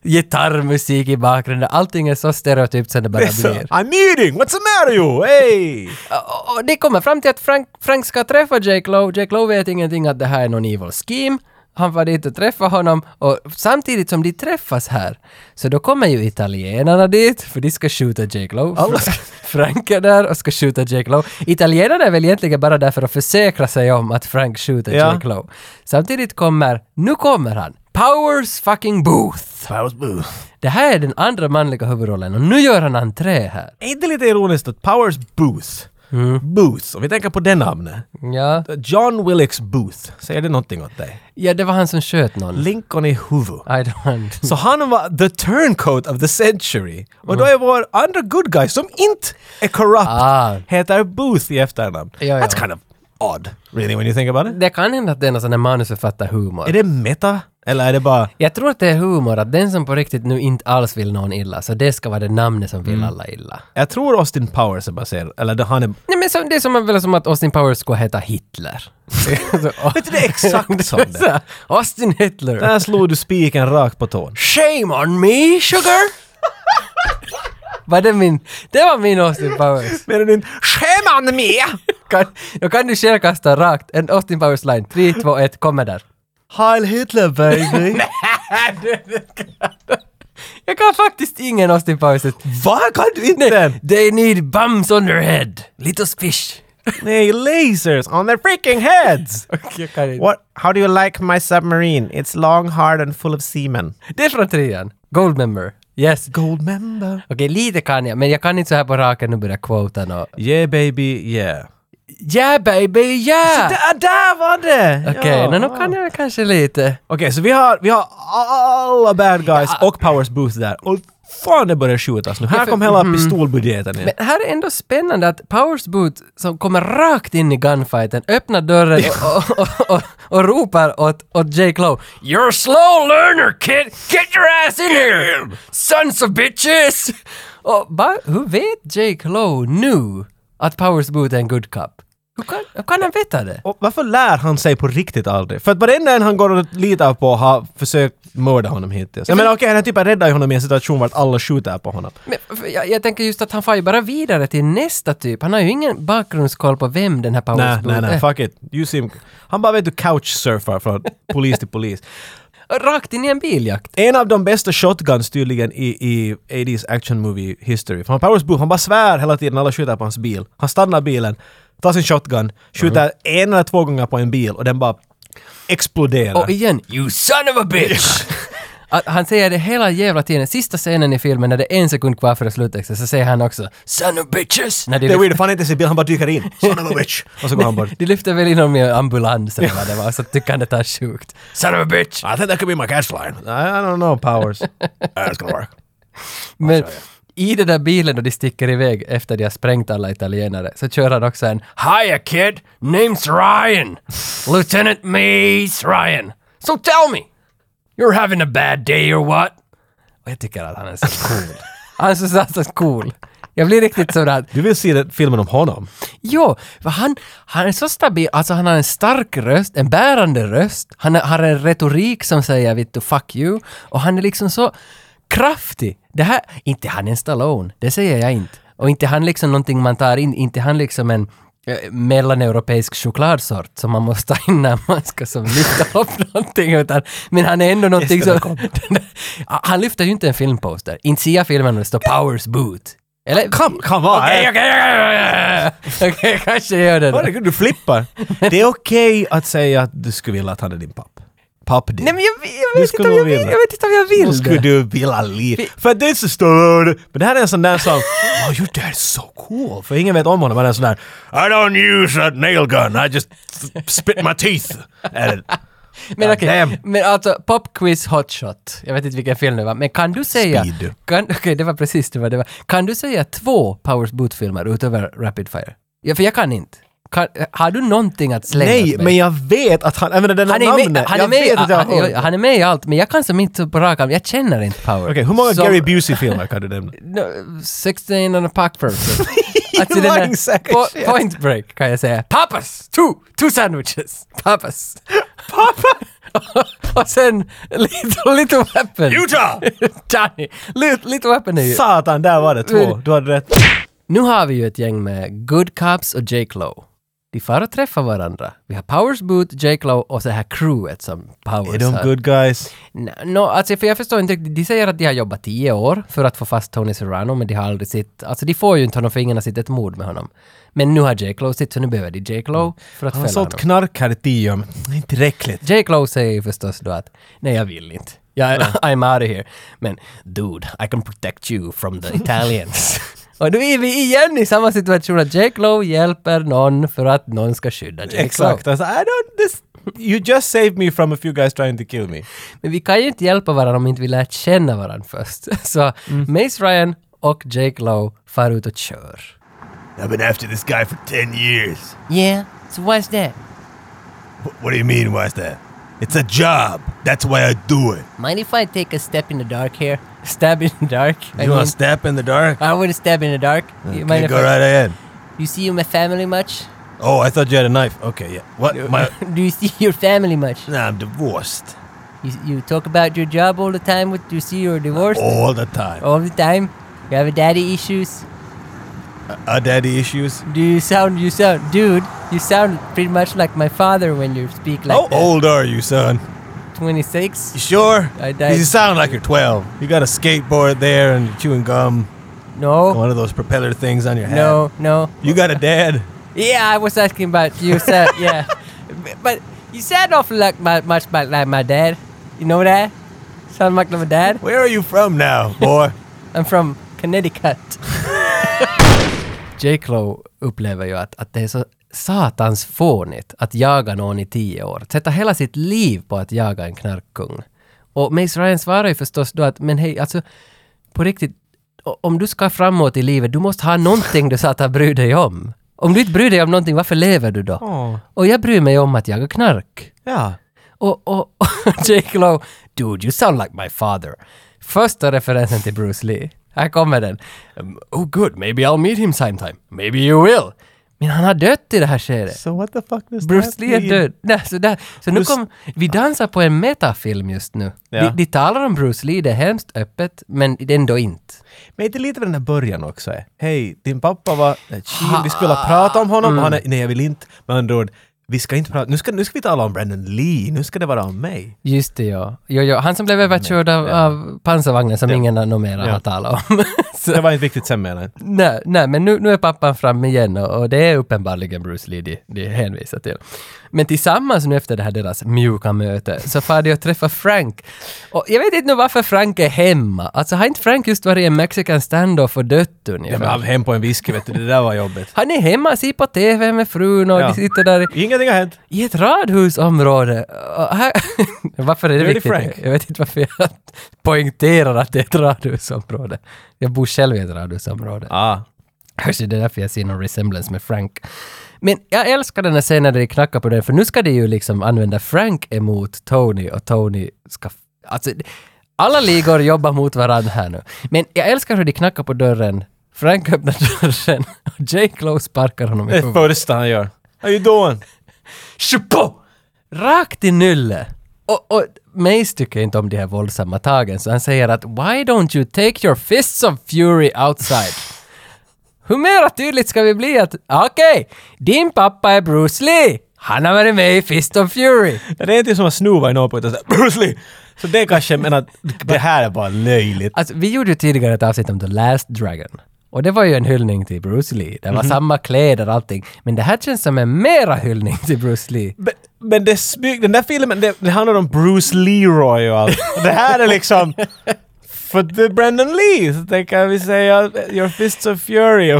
[SPEAKER 1] gitarrmusik i bakgrunden, allting är så stereotypt som det bara
[SPEAKER 2] Det är så,
[SPEAKER 1] blir.
[SPEAKER 2] I'm eating! What's the matter you? Hey!
[SPEAKER 1] Och- Och det kommer fram till att Frank, Frank ska träffa Jake Lowe. Jake Lowe vet ingenting att det här är någon evil scheme. han var dit och träffade honom och samtidigt som de träffas här så då kommer ju italienarna dit för de ska skjuta Jake Lowe.
[SPEAKER 2] Alla
[SPEAKER 1] Fra- Frank är där och ska skjuta Jake Lowe. Italienarna är väl egentligen bara där för att försäkra sig om att Frank skjuter
[SPEAKER 2] Ja.
[SPEAKER 1] Jake Lowe. Samtidigt kommer, nu kommer han, Powers fucking Booth.
[SPEAKER 2] Powers Booth.
[SPEAKER 1] Det här är den andra manliga huvudrollen och nu gör han entré här.
[SPEAKER 2] Är inte lite ironiskt att Powers Booth, Booth, om vi tänker på det namnet.
[SPEAKER 1] Ja.
[SPEAKER 2] John Wilkes Booth, säger det någonting åt dig?
[SPEAKER 1] ja, det var han som sköt någon.
[SPEAKER 2] Lincoln i huvud.
[SPEAKER 1] I don't...
[SPEAKER 2] Så han var the turncoat of the century. Och då är vår andra good guy som inte är corrupt,
[SPEAKER 1] Ah.
[SPEAKER 2] heter Booth i efternamn.
[SPEAKER 1] Ja, ja.
[SPEAKER 2] That's kind of odd, really, when you think about it.
[SPEAKER 1] Det kan hända att det är någon sån där manusförfattarhumor.
[SPEAKER 2] Är det meta? Eller är det bara...
[SPEAKER 1] Jag tror att det är humor, att den som på riktigt nu inte alls vill någon illa, så det ska vara det namnet som vill
[SPEAKER 2] Mm.
[SPEAKER 1] alla illa.
[SPEAKER 2] Jag tror Austin Powers är baserad, eller det- han är...
[SPEAKER 1] Nej men som, det är som, väl som att Austin Powers skulle heta Hitler. *laughs* Så,
[SPEAKER 2] Vet du, *laughs* det är exakt som *laughs*
[SPEAKER 1] så
[SPEAKER 2] det.
[SPEAKER 1] här, Austin Hitler.
[SPEAKER 2] Där slog du spiken rakt på tån.
[SPEAKER 1] Shame on me, sugar!
[SPEAKER 2] *laughs*
[SPEAKER 1] var det min... Det var min Austin
[SPEAKER 2] *laughs*
[SPEAKER 1] Powers.
[SPEAKER 2] Menar du inte “Skämman med?”
[SPEAKER 1] Kan, då kan du själv kasta rakt en Austin Powers line. 3, 2, 1, kommer där.
[SPEAKER 2] Heil Hitler *laughs* baby!
[SPEAKER 1] Jag kan faktiskt ingen Austin Powers.
[SPEAKER 2] Va? Kan du inte den?
[SPEAKER 1] They need bums on their head. Little fish.
[SPEAKER 2] Nej, lasers on their freaking *laughs* heads!
[SPEAKER 1] *laughs* Jag kan inte.
[SPEAKER 2] What? How do you like my submarine? It's long, hard and full of semen.
[SPEAKER 1] Det är från trean. Goldmember. Yes.
[SPEAKER 2] Gold member.
[SPEAKER 1] Okej, lite kan jag, men jag kan inte så här på raken och börja quota nå.
[SPEAKER 2] Yeah baby, yeah.
[SPEAKER 1] Yeah baby, yeah!
[SPEAKER 2] Där, där var det!
[SPEAKER 1] Ah. Okej,
[SPEAKER 2] Ja,
[SPEAKER 1] men nu
[SPEAKER 2] wow.
[SPEAKER 1] kan jag kanske lite.
[SPEAKER 2] Okej, så vi har, vi har alla bad guys och Powers Booth där. Och fan det börjar skjutas nu. Här kom hela pistolbudgeten igen.
[SPEAKER 1] Mm. Men här är ändå spännande att Powers Boot som kommer rakt in i gunfighten öppnar dörren och, och, och, och, och ropar åt, åt Jake Lowe “You're a slow learner kid! Get your ass in here! Sons of bitches!” Och bara, hur vet Jake Lowe nu att Powers Boot är en good cop? Hur kan, hur kan han veta det?
[SPEAKER 2] Och varför lär han sig på riktigt aldrig? För att varenda en han går och litar på har försökt mörda honom hittills. Jag menar okej, den här typen räddar ju honom i en situation vart alla skjuter på honom.
[SPEAKER 1] Men, för jag, jag tänker just att han far ju bara vidare till nästa typ. Han har ju ingen bakgrundskoll på vem den här Powers
[SPEAKER 2] Nej,
[SPEAKER 1] Booth
[SPEAKER 2] nej, nej,
[SPEAKER 1] är.
[SPEAKER 2] fuck it. You seem... Han bara vet du couchsurfar från polis till polis.
[SPEAKER 1] Rakt in i en biljakt.
[SPEAKER 2] En av de bästa shotguns tydligen i, i 80s action movie history. För han Powers Booth, han bara svär hela tiden, alla skjuter på hans bil. Han stannar bilen, tar sin shotgun, skjuter en eller två gånger på en bil och den bara exploderar.
[SPEAKER 1] Och igen, “You son of a bitch!” *laughs* Att han säger det hela jävla tiden. Sista scenen i filmen när det är en sekund kvar före sluttexten så säger han också “Son of bitches!” när de,
[SPEAKER 2] det är
[SPEAKER 1] lyfter,
[SPEAKER 2] weird, för han är inte i sin bil, han bara dyker in. *laughs* Son of a bitch! Och så går han *laughs* bort.
[SPEAKER 1] de lyfter väl in honom i en ambulans eller vad det var, så tycker han det är sjukt. “Son of a bitch!”
[SPEAKER 2] I think that could be my catch line. I, I don't know, Powers. uh, it's gonna work.
[SPEAKER 1] Men i den där bilen då de sticker iväg efter de har sprängt alla italienare så kör han också en “Hiya kid! Name's Ryan! Lieutenant Mace Ryan! So tell me! You're having a bad day or what?” Och jag tycker att han är så cool. Han är så satans cool. Jag blir riktigt sådär
[SPEAKER 2] Du vill se den filmen om honom?
[SPEAKER 1] Jo, för han, han är så stabil, alltså han har en stark röst, en bärande röst, han har- har en retorik som säger vittu fuck you och han är liksom så kraftig. Det här, inte han är en Stallone, det säger jag inte. Och inte han liksom någonting man tar in, inte han liksom en eh, mellaneuropeisk chokladsort som man måste ta in när man ska som lyfta *laughs* upp någonting utan, men han är ändå någonting
[SPEAKER 2] Just det,
[SPEAKER 1] som... *laughs* han lyfter ju inte en filmposter. Inte ser jag filmen och det står Powers Boot. Eller?
[SPEAKER 2] Come, come on!
[SPEAKER 1] Okej, okej, okej, okej, okej, kanske jag gör det då.
[SPEAKER 2] Herregud, du flippar! Det är okej att säga att du skulle vilja att han är din papp. Papp din.
[SPEAKER 1] Nej men jag, jag,
[SPEAKER 2] Du
[SPEAKER 1] vet
[SPEAKER 2] skulle
[SPEAKER 1] inte om jag
[SPEAKER 2] nog
[SPEAKER 1] vill,
[SPEAKER 2] vilja.
[SPEAKER 1] jag vet inte om jag
[SPEAKER 2] Då
[SPEAKER 1] vill
[SPEAKER 2] skulle
[SPEAKER 1] det.
[SPEAKER 2] du vilja lite. För det är så stor. Men det här är en sån där som... Oh, your dad's so cool. För ingen vet om honom. Han är en sån där... I don't use a nail gun. I just spit my teeth. Eller,
[SPEAKER 1] Men okej,
[SPEAKER 2] Damn.
[SPEAKER 1] men alltså Pop Quiz Hot Shot. Jag vet inte vilken film det var, men kan du säga...
[SPEAKER 2] Speed.
[SPEAKER 1] kan- *laughs* Okej, det var precis det var, det var. Kan du säga två Powers Boot-filmer utöver Rapid Fire? Ja, för jag kan inte. Kan, har du någonting att slänga åt
[SPEAKER 2] Nej,
[SPEAKER 1] mig?
[SPEAKER 2] men jag vet att han... Jag menar, den här
[SPEAKER 1] han är, med,
[SPEAKER 2] namnet.
[SPEAKER 1] han, är
[SPEAKER 2] jag
[SPEAKER 1] med,
[SPEAKER 2] vet att jag har
[SPEAKER 1] han,
[SPEAKER 2] hört.
[SPEAKER 1] jag- han är med i allt, men jag kan som inte på rak arm, jag känner inte Power.
[SPEAKER 2] Okej, hur många
[SPEAKER 1] Som-
[SPEAKER 2] Gary Busey-filmer kan du nämna?
[SPEAKER 1] No, 16 and a pack
[SPEAKER 2] *laughs*
[SPEAKER 1] person.
[SPEAKER 2] You
[SPEAKER 1] den där-
[SPEAKER 2] lying sack of shit.
[SPEAKER 1] uh, Point break kan jag säga. uh, Papas! Two! Two sandwiches! Papas!
[SPEAKER 2] *laughs*
[SPEAKER 1] *laughs* Papa! och sen Little, little Weapon.
[SPEAKER 2] Utah!
[SPEAKER 1] *laughs* Johnny! Little, little Weapon är ju...
[SPEAKER 2] Satan, där var det två. Du hade rätt.
[SPEAKER 1] Nu har vi ju ett gäng med Good Cops och Jake Lowe. de far och träffar varandra. Vi har Powers Boot, Jake Lowe och så här crewet som Powers
[SPEAKER 2] Är Er de
[SPEAKER 1] har.
[SPEAKER 2] good guys?
[SPEAKER 1] No, no, alltså för jag förstår inte riktigt. De säger att de har jobbat tio år för att få fast Tony Serrano, men de har aldrig sett... Alltså de får ju inte honom för ingen har sett ett mord med honom. Men nu har Jake Lowe sitt, så nu behöver de Jake Lowe för att
[SPEAKER 2] Mm. Han
[SPEAKER 1] fälla
[SPEAKER 2] har sålt
[SPEAKER 1] honom.
[SPEAKER 2] knark här i tio år, men inte tillräckligt.
[SPEAKER 1] Jake Lowe säger ju förstås då att nej, jag vill inte. Jag, *laughs* I'm out of here. Men dude, I can protect you from the
[SPEAKER 2] *laughs*
[SPEAKER 1] Italians. Och då är vi igen i samma situation att Jake Lowe hjälper någon för att någon ska skydda Jake Lowe.
[SPEAKER 2] Exakt. Alltså, I don't... This, you just saved me from a few guys trying to kill me.
[SPEAKER 1] Men vi kan ju inte hjälpa varandra om inte vi lär känna varandra först. *laughs* Så
[SPEAKER 4] Mm.
[SPEAKER 1] Mace Ryan och Jake Lowe far ut och kör.
[SPEAKER 4] I've been after this guy for 10 years.
[SPEAKER 1] Yeah, so what's that?
[SPEAKER 4] Wh- What do you mean, why's that? It's a job. That's why I do it.
[SPEAKER 1] Mind if I take a step in the dark here? Stab in the dark? I
[SPEAKER 4] You want
[SPEAKER 1] mean,
[SPEAKER 4] to step in the dark?
[SPEAKER 1] I would stab in the dark. You, mind
[SPEAKER 4] Okay,
[SPEAKER 1] if
[SPEAKER 4] go
[SPEAKER 1] I-
[SPEAKER 4] right ahead.
[SPEAKER 1] you see my family much? *laughs*
[SPEAKER 4] Oh, I thought you had a knife. Okay, yeah. What? My,
[SPEAKER 1] Do you see your family
[SPEAKER 4] *laughs*
[SPEAKER 1] much?
[SPEAKER 4] nah, I'm divorced
[SPEAKER 1] You, you talk about your job all the time. With, you see you're divorced Oh.
[SPEAKER 4] all the time.
[SPEAKER 1] all the time. You have daddy issues.
[SPEAKER 4] Our daddy issues.
[SPEAKER 1] Do you sound you sound dude? You sound pretty much like my father when you speak like
[SPEAKER 4] How
[SPEAKER 1] that.
[SPEAKER 4] old are you, son?
[SPEAKER 1] 26.
[SPEAKER 4] You sure?
[SPEAKER 1] I died.
[SPEAKER 4] You sound like you're 12. You got a skateboard there and you're chewing gum.
[SPEAKER 1] No,
[SPEAKER 4] One of those propeller things on your head.
[SPEAKER 1] Oh. no, no.
[SPEAKER 4] You got a dad.
[SPEAKER 1] Yeah, I was asking about you, sir. yeah, But- but you sound awful like my, much about like my dad. You know that? Sound like my dad.
[SPEAKER 4] Where are you from now, *laughs* boy?
[SPEAKER 1] I'm from Connecticut. Jake Lowe upplever ju att, att det är så satans fånigt att jaga någon i tio år. Att Sätta hela sitt liv på att jaga en knarkkung. Och Mace Ryan svarar ju förstås då att men hej, alltså på riktigt, o- om du ska framåt i livet, du måste ha någonting du satan bryr dig om. Om du inte bryr dig om någonting, varför lever du då?
[SPEAKER 2] Åh.
[SPEAKER 1] Och jag bryr mig om att jaga knark.
[SPEAKER 2] Ja.
[SPEAKER 1] Och, och *laughs* Jake Lowe, dude you sound like my father. Första referensen till Bruce Lee. Här kommer den. Um, oh good, maybe I'll meet him sometime. Maybe you will. Men han har dött i det här skedet.
[SPEAKER 2] So what the fuck does
[SPEAKER 1] Bruce
[SPEAKER 2] that
[SPEAKER 1] Lee är
[SPEAKER 2] mean?
[SPEAKER 1] död. Nej, så där. så nu
[SPEAKER 2] Bruce-
[SPEAKER 1] kom, vi dansar på en metafilm just nu.
[SPEAKER 2] Ja.
[SPEAKER 1] De, de talar om Bruce Lee, det är hemskt öppet, men det är ändå inte.
[SPEAKER 2] Men inte lite med den här början också? eh? Hej, din pappa var eh, chill, vi skulle prata om honom, han är, nej jag vill inte. Med andra ord, vi ska inte prata, nu ska, nu ska vi tala om Brandon Lee, nu ska det vara om mig.
[SPEAKER 1] Just det, ja. Jo, jo. Han som blev överkörd av, av pansarvagnen som ingen annan numera
[SPEAKER 2] Ja.
[SPEAKER 1] har talat om. *laughs* Så-
[SPEAKER 2] Det var inte viktigt sen menar jag.
[SPEAKER 1] Nej, nej men nu, nu är pappan fram igen och, och det är uppenbarligen Bruce Lee de, de hänvisar till. Men tillsammans nu efter det här deras mjuka möte så far de och träffar Frank. Och jag vet inte nu varför Frank är hemma. Alltså har inte Frank just varit i en mexican standoff och dött
[SPEAKER 2] Ja, men
[SPEAKER 1] ungefär?
[SPEAKER 2] han hem på en whisky vet du, det där var jobbigt.
[SPEAKER 1] Han är hemma, ser på TV med frun och
[SPEAKER 2] Ja.
[SPEAKER 1] de sitter där i,
[SPEAKER 2] *laughs* Ingenting har hänt.
[SPEAKER 1] i ett radhusområde. Och här, *laughs* varför är det
[SPEAKER 2] är det
[SPEAKER 1] viktigt?
[SPEAKER 2] Frank.
[SPEAKER 1] Jag vet inte varför jag *laughs* poängterar att det är ett radhusområde. Jag bor själv i ett radhusområde.
[SPEAKER 2] Ah.
[SPEAKER 1] Kanske det är därför jag ser någon resemblance med Frank. Men jag älskar den här scenen där de knackar på den, för nu ska de ju liksom använda Frank emot Tony och Tony ska... Alltså, alla ligor jobbar mot varandra här nu. Men jag älskar hur de knackar på dörren. Frank öppnar dörren *laughs* och Jake Lowe sparkar honom i
[SPEAKER 2] *laughs* Det är det
[SPEAKER 1] huvudet.
[SPEAKER 2] första han gör. How you doing?
[SPEAKER 1] Tjopo! Rakt i nylle! Och, och Mace tycker inte om de här våldsamma tagen, så han säger att “Why don't you take your fists of fury outside?” Hur mera tydligt ska vi bli att okej, din pappa är Bruce Lee! Han har varit med i Fist of Fury!
[SPEAKER 2] Det är inte som att snova i något på utan så här, *laughs* Bruce Lee! Så det kanske, men att det här är bara löjligt.
[SPEAKER 1] Alltså, vi gjorde ju tidigare ett avsnitt om The Last Dragon. Och det var ju en hyllning till Bruce Lee. Det var samma kläder och allting. Men det här känns som en mera hyllning till Bruce Lee.
[SPEAKER 2] Men, men det smyg, den där filmen, det, det handlar om Bruce Leroy och allt. Det här är liksom... För det är Brandon Lee, så det kan vi säga Your Fists of Fury.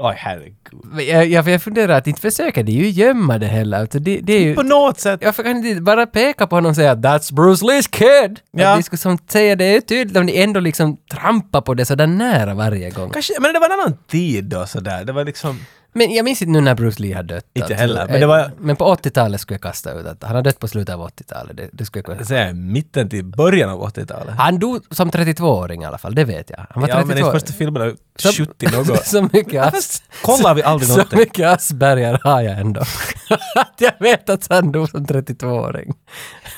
[SPEAKER 2] Oj, herregud.
[SPEAKER 1] Men Jag, jag, jag funderar att inte försöker de ju gömma det heller. Alltså, det, det är ju...
[SPEAKER 2] På något sätt.
[SPEAKER 1] Jag kan inte bara peka på honom och säga “That's Bruce Lees kid”.
[SPEAKER 2] Ja.
[SPEAKER 1] Ja. De skulle som säga det är tydligt om de ändå liksom trampar på det sådär nära varje gång.
[SPEAKER 2] Kanske, men det var en annan tid då sådär. Det var liksom...
[SPEAKER 1] Men jag minns inte nu när Bruce Lee har dött.
[SPEAKER 2] Inte heller, men det
[SPEAKER 1] Eh,
[SPEAKER 2] var-
[SPEAKER 1] men på 80-talet skulle jag kasta ut att han har dött på slutet av 80-talet. Det, det skulle jag kunna...
[SPEAKER 2] Säga, mitten till början av 80-talet.
[SPEAKER 1] Han dog som 32-åring i alla fall, det vet jag. Han var
[SPEAKER 2] Ja, men
[SPEAKER 1] 32 *laughs*
[SPEAKER 2] i första filmen, 70 något.
[SPEAKER 1] så mycket as-
[SPEAKER 2] Fast *laughs* kollar vi aldrig
[SPEAKER 1] så
[SPEAKER 2] *laughs* någonting.
[SPEAKER 1] mycket asperger har jag ändå. *laughs* Att jag vet att han dog som *laughs* 32-åring.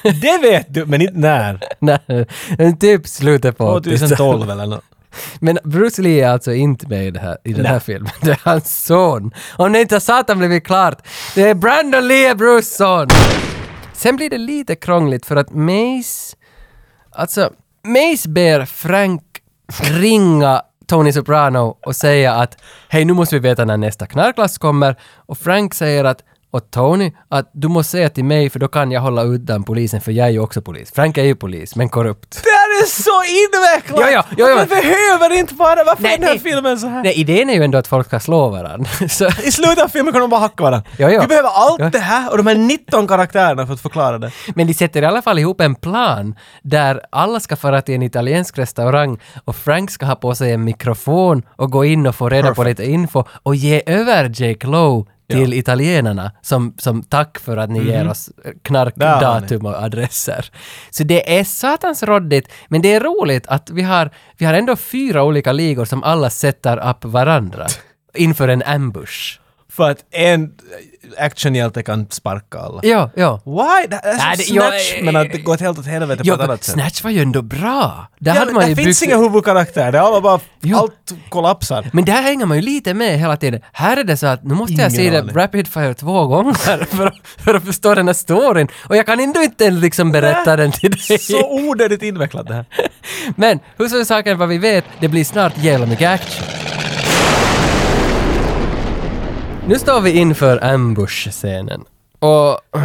[SPEAKER 2] Det vet du, men inte när.
[SPEAKER 1] Nej, typ slutet på 80-talet.
[SPEAKER 2] 2012 eller något.
[SPEAKER 1] Men Bruce Lee är alltså inte med i, det här, i den här filmen. *laughs* Det är hans son. Om det inte har satan blivit klart. Det är Brandon Lee är Bruce son! Sen blir det lite krångligt för att Mace... Alltså, Mace ber Frank ringa Tony Soprano och säga att hej nu måste vi veta när nästa knarklass kommer och Frank säger att och Tony, att du måste säga till mig för då kan jag hålla undan polisen för jag är ju också polis. Frank är ju polis, men korrupt.
[SPEAKER 2] Det här är så invecklat!
[SPEAKER 1] Ja, ja, ja, ja.
[SPEAKER 2] Man behöver inte vara... Varför
[SPEAKER 1] Nej,
[SPEAKER 2] är den här
[SPEAKER 1] nej.
[SPEAKER 2] filmen så här?
[SPEAKER 1] Nej, idén är ju ändå att folk ska slå varandra. *laughs* Så,
[SPEAKER 2] I slutet av filmen kan de bara hacka varandra.
[SPEAKER 1] Ja, ja.
[SPEAKER 2] Vi behöver allt
[SPEAKER 1] Ja.
[SPEAKER 2] det här och de här 19 karaktärerna för att förklara det.
[SPEAKER 1] men de sätter i alla fall ihop en plan där alla ska fara till en italiensk restaurang och Frank ska ha på sig en mikrofon och gå in och få reda på lite info och ge över Jake Lowe till italienarna som, som tack för att ni
[SPEAKER 2] Mhm.
[SPEAKER 1] ger oss
[SPEAKER 2] Där har ni.
[SPEAKER 1] knarkdatum. datum och adresser. Så det är satans råddigt, men det är roligt att vi har, vi har ändå fyra olika ligor som alla sätter upp
[SPEAKER 2] *laughs*
[SPEAKER 1] varandra inför en ambush.
[SPEAKER 2] För att en actionhjälte kan sparka alla.
[SPEAKER 1] Ja, ja.
[SPEAKER 2] Why? Det här
[SPEAKER 1] Nej,
[SPEAKER 2] är
[SPEAKER 1] det-
[SPEAKER 2] som
[SPEAKER 1] jag-
[SPEAKER 2] Snatch, men att det går helt åt helvete på
[SPEAKER 1] Ja,
[SPEAKER 2] ett annat sätt.
[SPEAKER 1] Snatch var ju ändå bra. Där
[SPEAKER 2] Ja,
[SPEAKER 1] hade
[SPEAKER 2] men
[SPEAKER 1] man ju
[SPEAKER 2] det
[SPEAKER 1] byggt-
[SPEAKER 2] finns inga huvudkaraktärer, det är alla bara...
[SPEAKER 1] Jo.
[SPEAKER 2] Allt kollapsar.
[SPEAKER 1] Men där hänger man ju lite med hela tiden. Här är det så att nu måste jag se
[SPEAKER 2] Ingen
[SPEAKER 1] det
[SPEAKER 2] aning.
[SPEAKER 1] Rapid Fire två gånger *laughs* för, att- för att förstå den här storyn. Och jag kan ändå inte liksom berätta den till dig. *laughs*
[SPEAKER 2] Så onödigt invecklat det här.
[SPEAKER 1] Men hur som saken vad vi vet, det blir snart jävla mycket action. Nu står vi inför ambush-scenen. Och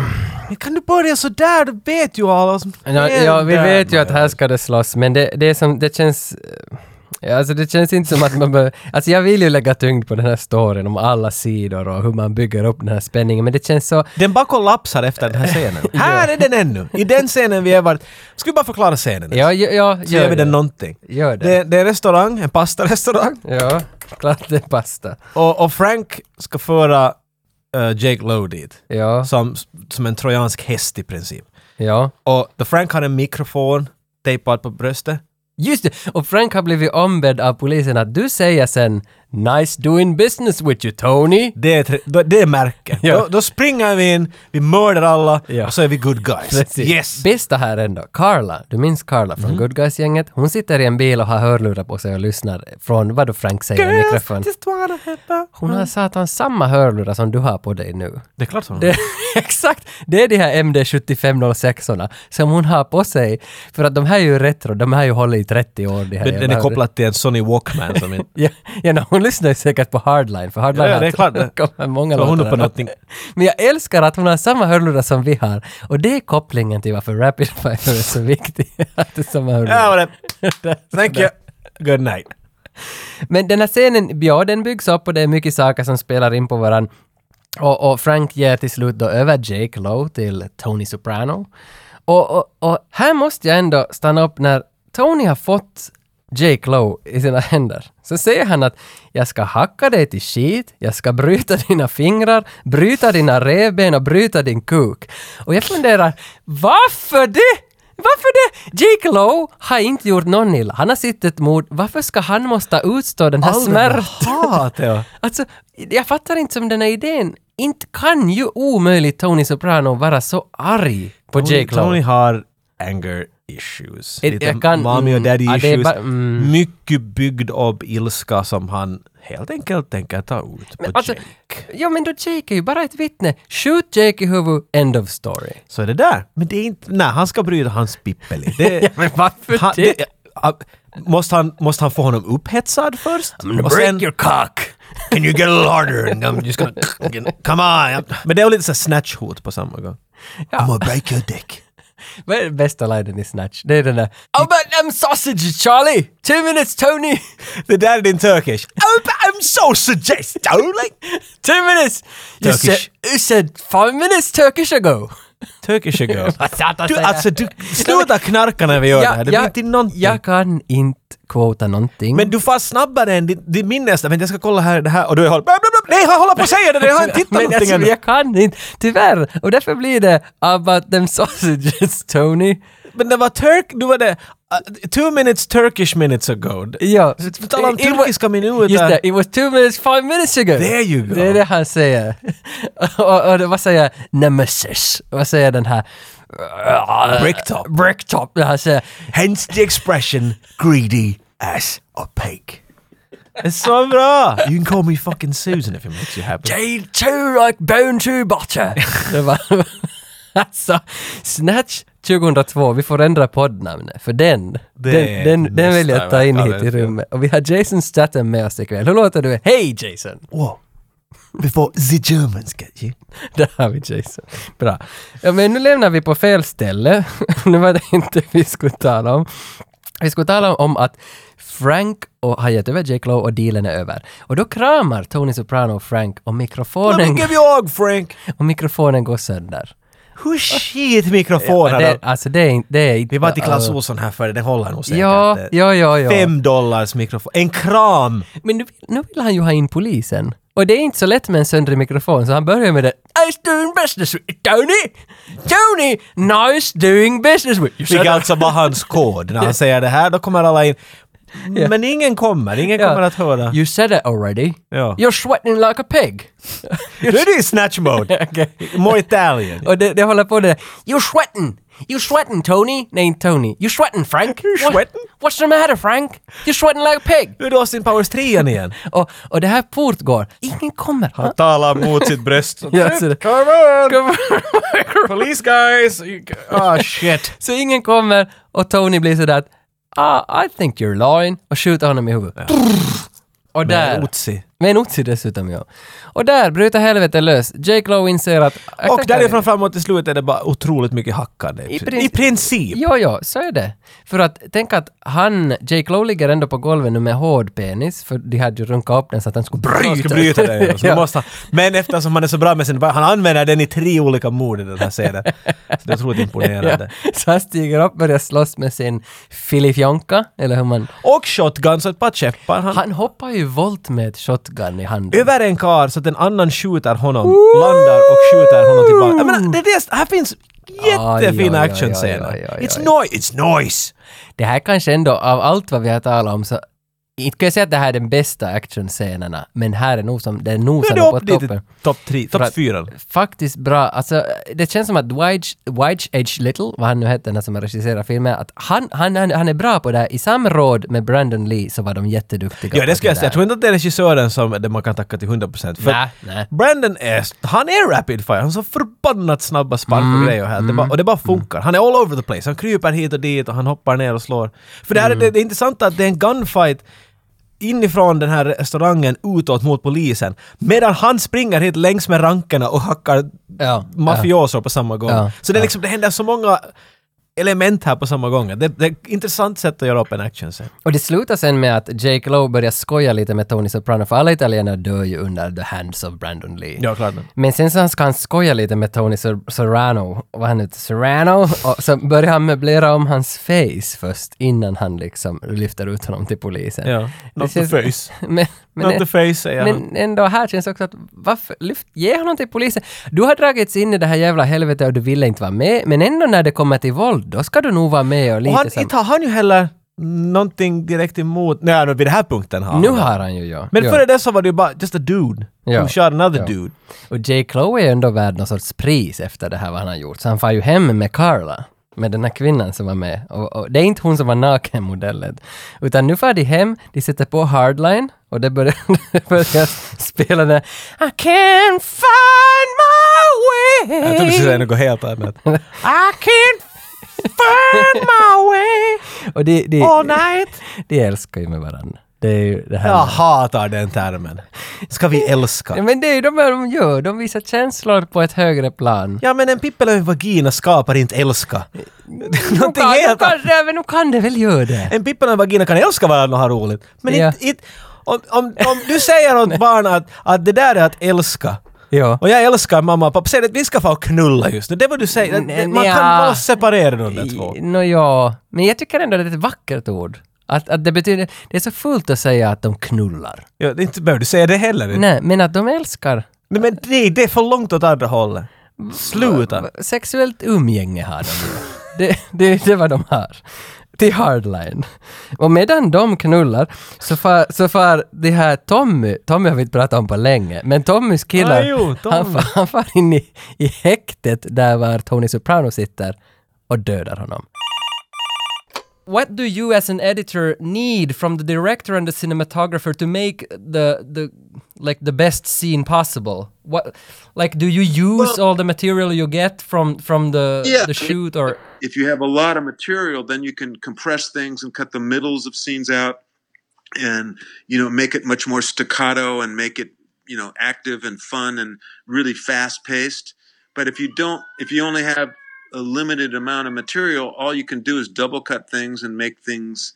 [SPEAKER 2] Men Kan du börja sådär? Du vet ju alla som
[SPEAKER 1] ja, ja, vi
[SPEAKER 2] händer.
[SPEAKER 1] vet ju att här ska det slåss, men det, det, är som, det känns... eh, Ja, alltså det känns inte som att man behöver... Alltså jag vill ju lägga tyngd på den här storyn om alla sidor och hur man bygger upp den här spänningen, men det känns så...
[SPEAKER 2] Den bara kollapsar efter den
[SPEAKER 1] *laughs*
[SPEAKER 2] här scenen. här är den ännu! I den scenen vi har varit... Ska vi bara förklara scenen?
[SPEAKER 1] Ja, ja, ja
[SPEAKER 2] Så gör vi den
[SPEAKER 1] det.
[SPEAKER 2] någonting.
[SPEAKER 1] Gör det.
[SPEAKER 2] Det, det är en restaurang, en pastarestaurang.
[SPEAKER 1] Ja, klart det är pasta.
[SPEAKER 2] Och, och Frank ska föra eh, Jake Lowe dit.
[SPEAKER 1] Ja,
[SPEAKER 2] Som, som en trojansk häst i princip.
[SPEAKER 1] ja.
[SPEAKER 2] Och the Frank har en mikrofon tejpad på bröstet.
[SPEAKER 1] Just det! Och Frank har blivit ombedd av polisen att du säger sen “Nice doing business with you Tony”.
[SPEAKER 2] Det är, tre, då- det är märke.
[SPEAKER 1] Ja.
[SPEAKER 2] Då, då springer vi in, vi mördar alla
[SPEAKER 1] Ja.
[SPEAKER 2] och så är vi good guys. Yes!
[SPEAKER 1] Bästa här ändå, Carla, du minns Carla från Good Guys-gänget? Hon sitter i en bil och har hörlurar på sig och lyssnar från vad då Frank säger i mikrofon.
[SPEAKER 2] just wanna have
[SPEAKER 1] Hon har satan samma hörlurar som du har på dig nu.
[SPEAKER 2] Det är klart
[SPEAKER 1] *laughs*
[SPEAKER 2] som
[SPEAKER 1] Det, exakt! Det är de här MD7506orna som hon har på sig. För att de här är ju retro, de här har ju hållit i 30 år. De här
[SPEAKER 2] Men den
[SPEAKER 1] jävla-
[SPEAKER 2] är kopplad till en Sony Walkman som *laughs* inte...
[SPEAKER 1] Ja, ja no, hon lyssnar ju säkert på Hardline, för Hardline
[SPEAKER 2] Ja, ja, det är klart det.
[SPEAKER 1] *laughs* kommer många
[SPEAKER 2] Så hon
[SPEAKER 1] låtar
[SPEAKER 2] är på
[SPEAKER 1] där.
[SPEAKER 2] någonting.
[SPEAKER 1] Men jag älskar att hon har samma hörlurar som vi har. Och det är kopplingen till varför Rapid Fire är så viktig. *laughs* att det är samma
[SPEAKER 2] Ja,
[SPEAKER 1] hörlurar.
[SPEAKER 2] var *laughs* det. Thank you. Good night.
[SPEAKER 1] Men den här scenen, ja den byggs upp och det är mycket saker som spelar in på varann. Och, och Frank ger till slut då över Jake Lowe till Tony Soprano. Och, och, och här måste jag ändå stanna upp när Tony har fått Jake Lowe i sina *laughs* händer. Så säger han att jag ska hacka dig till skit, jag ska bryta *laughs* dina fingrar, bryta dina revben och bryta din kuk. Och jag funderar, varför det? Varför det? Jake Lowe har inte gjort någon illa. Han har sitt ett mord. Varför ska han måste utstå den här smärtan?
[SPEAKER 2] Hat, ja.
[SPEAKER 1] Alltså, jag fattar inte som den här idén. Inte kan ju omöjligt Tony Soprano vara så arg på Jake Lowe.
[SPEAKER 2] Tony har anger issues.
[SPEAKER 1] It-
[SPEAKER 2] Lite
[SPEAKER 1] jag kan-
[SPEAKER 2] mommy och
[SPEAKER 1] mm,
[SPEAKER 2] daddy
[SPEAKER 1] ja, det är
[SPEAKER 2] issues.
[SPEAKER 1] bara- mm.
[SPEAKER 2] Mycket byggd upp ilska som han helt enkelt tänker ta ut på
[SPEAKER 1] alltså,
[SPEAKER 2] Jake.
[SPEAKER 1] ja men då Jake är ju bara ett vittne. Skjut Jake i huvudet, end of story.
[SPEAKER 2] Så är det där. Men det är inte... Nej, han ska bryta hans pippeli.
[SPEAKER 1] *laughs*
[SPEAKER 2] Det,
[SPEAKER 1] men varför
[SPEAKER 2] han, det, ja, måste, han, måste han få honom upphetsad först? Och sen-
[SPEAKER 1] cock!
[SPEAKER 4] Can you get a little
[SPEAKER 2] *laughs*
[SPEAKER 4] harder? And I'm just gonna come on. I'm,
[SPEAKER 2] Men det är lite så här snatch-hot på samma gång.
[SPEAKER 4] I'm gonna break your dick.
[SPEAKER 1] Vad är den bästa linen i Snatch? Det är den där Oh but I'm sausage Charlie! Two minutes Tony!
[SPEAKER 2] Det där är din Turkish.
[SPEAKER 4] Oh, but I'm so suggestive.
[SPEAKER 1] Two minutes! You
[SPEAKER 2] Turkish.
[SPEAKER 1] said, you said five minutes Turkish ago!
[SPEAKER 2] Turkish ago.
[SPEAKER 1] *laughs* Vad satan
[SPEAKER 2] Du,
[SPEAKER 1] säger jag?
[SPEAKER 2] alltså du, sluta knarka när vi gör det här. Det blir inte någonting.
[SPEAKER 1] jag kan inte quota någonting.
[SPEAKER 2] Men du far snabbare än ditt, ditt minne. Men jag ska kolla här det här och du håller... Bla, bla, bla. Nej, jag håller på att säga det! Jag har inte tittat
[SPEAKER 1] Men
[SPEAKER 2] någonting
[SPEAKER 1] alltså,
[SPEAKER 2] ännu.
[SPEAKER 1] jag kan inte, tyvärr. Och därför blir det about them sausages, *laughs* Tony.
[SPEAKER 2] Men det var Turk... Du var det... Uh, two minutes Turkish minutes ago.
[SPEAKER 1] Ja.
[SPEAKER 2] Vi talar om
[SPEAKER 1] It was-
[SPEAKER 2] turkiska minuter.
[SPEAKER 1] Just det, it was two minutes, five minutes ago.
[SPEAKER 2] There you go.
[SPEAKER 1] Det är det han säger. *laughs* och, och det- vad säger Nemesis? Vad säger den här?
[SPEAKER 4] Bricktop.
[SPEAKER 1] Bricktop. Han säger
[SPEAKER 4] Hence the expression greedy ass opaque.
[SPEAKER 2] Det är så bra! You can call me fucking Susan if it makes you happy.
[SPEAKER 1] They too like bone to butter. *laughs* det var, alltså, Snatch 2002, vi får ändra poddnamnet, för den, den,
[SPEAKER 2] är
[SPEAKER 1] den, den vill jag
[SPEAKER 2] nästa
[SPEAKER 1] ta in
[SPEAKER 2] vecka,
[SPEAKER 1] hit
[SPEAKER 2] det
[SPEAKER 1] i
[SPEAKER 2] är fel.
[SPEAKER 1] rummet. Och vi har Jason Statham med oss ikväll. Hur låter du? Hej Jason! *laughs*
[SPEAKER 4] Whoa. Before the Germans get you.
[SPEAKER 1] Där har vi Jason. Bra. Ja, men nu lämnar vi på fel ställe. *laughs* nu var det inte vi skulle tala om. Vi skulle tala om att Frank och, har gett över Jake Lowe och dealen är över. Och då kramar Tony Soprano Frank och
[SPEAKER 2] Let
[SPEAKER 1] mikrofonen,
[SPEAKER 2] me give you a hug, Frank!
[SPEAKER 1] och mikrofonen går sönder.
[SPEAKER 2] Hur skit
[SPEAKER 1] Ja,
[SPEAKER 2] mikrofoner
[SPEAKER 1] det, alltså det är, inte- det är inte...
[SPEAKER 2] Vi var till Clas Ohlson här före, det håller nog säkert. Eh,
[SPEAKER 1] Ja, ja, ja, ja.
[SPEAKER 2] Fem dollars mikrofon. En kram!
[SPEAKER 1] Men nu, vill- nu vill han ju ha in polisen. Och det är inte så lätt med en söndrig mikrofon, så han börjar med det. Nice doing business with Tony! Tony! Nice doing business with you!
[SPEAKER 2] Vilket alltså var hans kod. *laughs* När han säger det här, då kommer alla in. Men ingen kommer, ingen
[SPEAKER 1] Ja.
[SPEAKER 2] kommer att höra.
[SPEAKER 1] You said it already.
[SPEAKER 2] Ja.
[SPEAKER 1] You're sweating like a pig.
[SPEAKER 2] Nu är det ju
[SPEAKER 1] *laughs*
[SPEAKER 2] snatch mode! More Italian.
[SPEAKER 1] Och det, det håller på det. You're sweating! You're sweating Tony! Nej, inte Tony. You're sweating Frank!
[SPEAKER 2] You're
[SPEAKER 1] What-
[SPEAKER 2] sweating?
[SPEAKER 1] What's the matter Frank? You're sweating like a pig!
[SPEAKER 2] Nu är det Austin Powers 3 igen.
[SPEAKER 1] Och, och det här fortgår. Ingen kommer. *laughs* Han
[SPEAKER 2] Talar mot sitt *laughs* bröst.
[SPEAKER 1] Ja, så det-
[SPEAKER 2] Come on!
[SPEAKER 1] kommer.
[SPEAKER 2] Police guys! Ah shit.
[SPEAKER 1] Så ingen kommer och Tony blir sådär att ah, I think you're lying och skjuter honom i huvudet. Och där,
[SPEAKER 2] Otzi.
[SPEAKER 1] med en otsi dessutom ja. Och där bryter helvetet lös. Jake Lowe inser att...
[SPEAKER 2] Och därifrån framåt till slutet är det bara otroligt mycket hackande.
[SPEAKER 1] I
[SPEAKER 2] I
[SPEAKER 1] princip.
[SPEAKER 2] princip. I princip.
[SPEAKER 1] Jo, jo, så är det. För att tänk att han, Jake Lowe ligger ändå på golvet nu med hård penis, för de hade ju runkat upp den så att han skulle bryta.
[SPEAKER 2] Han ska
[SPEAKER 1] *laughs*
[SPEAKER 2] bryta den. ja. Så
[SPEAKER 1] Ja.
[SPEAKER 2] då måste han, men eftersom han är så bra med sin... Han använder den i tre olika mord i den här scenen. Så det är otroligt imponerande.
[SPEAKER 1] *laughs* Så han stiger upp och börjar slåss med sin filifjonka, eller hur man...
[SPEAKER 2] Och shotguns och ett par käppar. Han,
[SPEAKER 1] Han hoppar ju volt med ett shotgun i handen.
[SPEAKER 2] över en kar så att en annan skjuter honom, landar och skjuter honom tillbaka. Jag menar, det är det, här finns
[SPEAKER 1] Aj, aj,
[SPEAKER 2] jättefina
[SPEAKER 1] aj,
[SPEAKER 2] actionscener.
[SPEAKER 1] aj, aj, aj,
[SPEAKER 2] It's
[SPEAKER 1] aj.
[SPEAKER 2] noise! It's noise!
[SPEAKER 1] Det här kanske ändå, av allt vad vi har talat om, så inte kan jag säga att det här är den bästa actionscenerna, men här är nog som, det är
[SPEAKER 2] Nu är
[SPEAKER 1] nosarna
[SPEAKER 2] det
[SPEAKER 1] på
[SPEAKER 2] upp dit i
[SPEAKER 1] toppen.
[SPEAKER 2] topp tre,
[SPEAKER 1] För att-
[SPEAKER 2] topp fyra.
[SPEAKER 1] Faktiskt bra, alltså det känns som att Dwight, Dwight H. Little, vad han nu hette, den här som har regisserat filmen, att han, han, han, han är bra på det här. I samråd med Brandon Lee så var de jätteduktiga
[SPEAKER 2] Ja,
[SPEAKER 1] på
[SPEAKER 2] det ska jag säga. Jag
[SPEAKER 1] där.
[SPEAKER 2] tror inte att det är regissören som det man kan tacka till 100%. För
[SPEAKER 1] Nej, nej.
[SPEAKER 2] Brandon är, han är rapid fire, han har så förbannat snabba spark och
[SPEAKER 1] Mm,
[SPEAKER 2] grejer här. Det bara, och det bara funkar. Han är all over the place. Han kryper hit och dit och han hoppar ner och slår. För det här
[SPEAKER 1] Mm.
[SPEAKER 2] är det, det är intressanta att det är en gunfight inifrån den här restaurangen utåt mot polisen. Medan han springer hit längs med rankerna och hackar
[SPEAKER 1] Ja,
[SPEAKER 2] mafioser på samma gång.
[SPEAKER 1] Ja,
[SPEAKER 2] Så det, är liksom, det händer så många element här på samma gång. Det, det är ett intressant sätt att göra upp en actionscen.
[SPEAKER 1] Och det slutar sen med att Jake Lowe börjar skoja lite med Tony Soprano, för alla italienare dör ju under the hands of Brandon Lee.
[SPEAKER 2] Ja, klart det.
[SPEAKER 1] Men sen så ska han skoja lite med Tony Sor- Serrano, vad han heter, Serrano, och så börjar han möblera om hans face först innan han liksom lyfter ut honom till polisen.
[SPEAKER 2] Ja.
[SPEAKER 1] Det
[SPEAKER 2] Not the
[SPEAKER 1] känns-
[SPEAKER 2] face.
[SPEAKER 1] Men, men,
[SPEAKER 2] Not the face, säger han.
[SPEAKER 1] men ändå här känns också att varför, lyft, ge honom till polisen. Du har dragits in i det här jävla helvetet och du ville inte vara med, men ändå när det kommer till våld, då ska du nog vara med och lite
[SPEAKER 2] Och han,
[SPEAKER 1] som,
[SPEAKER 2] inte har han ju heller någonting direkt emot... Nej, men vid den här punkten har han
[SPEAKER 1] Nu
[SPEAKER 2] det.
[SPEAKER 1] har han ju ja.
[SPEAKER 2] Men
[SPEAKER 1] ja.
[SPEAKER 2] före det så var det ju bara just a dude
[SPEAKER 1] Ja.
[SPEAKER 2] who shot another
[SPEAKER 1] Ja.
[SPEAKER 2] dude.
[SPEAKER 1] Och J. Chloe är ändå värd någon sorts pris efter det här vad han har gjort, så han far ju hem med Carla, med den här kvinnan som var med. Och, och det är inte hon som var nakenmodellen, utan nu far de hem, de sätter på hardline och det börjar, *laughs* det börjar spela den här I can't find my way.
[SPEAKER 2] Jag trodde du skulle säga något helt *laughs* annat.
[SPEAKER 1] I can't
[SPEAKER 2] Find my way
[SPEAKER 1] Och de, de,
[SPEAKER 2] all night.
[SPEAKER 1] de älskar ju med varandra. Det är ju det här.
[SPEAKER 2] Jag hatar den termen. Ska vi
[SPEAKER 1] Ja,
[SPEAKER 2] älska?
[SPEAKER 1] Men det är ju de här de gör, de visar känslor på ett högre plan.
[SPEAKER 2] Ja men en pippel och en vagina skapar inte älska.
[SPEAKER 1] Nu
[SPEAKER 2] *laughs* Någonting
[SPEAKER 1] kan, nu
[SPEAKER 2] helt
[SPEAKER 1] kan,
[SPEAKER 2] annat.
[SPEAKER 1] nej, men nu kan det väl göra det.
[SPEAKER 2] En pippel och en vagina kan älska varandra och ha roligt. Men
[SPEAKER 1] Ja.
[SPEAKER 2] inte... inte- Om, om, om du säger åt barn att, att det där är att älska.
[SPEAKER 1] Ja.
[SPEAKER 2] Och jag älskar mamma och pappa. Säg att vi ska få knulla just nu. Det var du säger.
[SPEAKER 1] Mm,
[SPEAKER 2] Man
[SPEAKER 1] nja.
[SPEAKER 2] kan bara separera de där två.
[SPEAKER 1] Nå ja, men jag tycker ändå det är ett vackert ord. Att, att det betyder, det är så fult att säga att de knullar.
[SPEAKER 2] Ja, det är inte behöver du säga det heller. Nej.
[SPEAKER 1] Nej, men att de älskar.
[SPEAKER 2] Men det, det är för långt åt andra hållet. Sluta.
[SPEAKER 1] Sexuellt umgänge har de
[SPEAKER 2] *laughs*
[SPEAKER 1] ju. det, det, det är vad de har. Till hardline. Och medan de knullar så far, så far det här Tommy, Tommy har vi inte pratat om på länge, men Tommys killar,
[SPEAKER 2] Ah, jo, Tommy.
[SPEAKER 1] han, far, han far in i, i häktet där var Tony Soprano sitter och dödar honom. what do you as an editor need from the director and the cinematographer to make the the like the best scene possible what like do you use all the material you get from from the
[SPEAKER 3] Yeah.
[SPEAKER 1] the shoot or
[SPEAKER 3] if you have a lot of material, then you can compress things and cut the middles of scenes out and, you know, make it much more staccato and make it, you know, active and fun and really fast paced. But if you don't, if you only have a limited amount of material, all you can do is double cut things and make things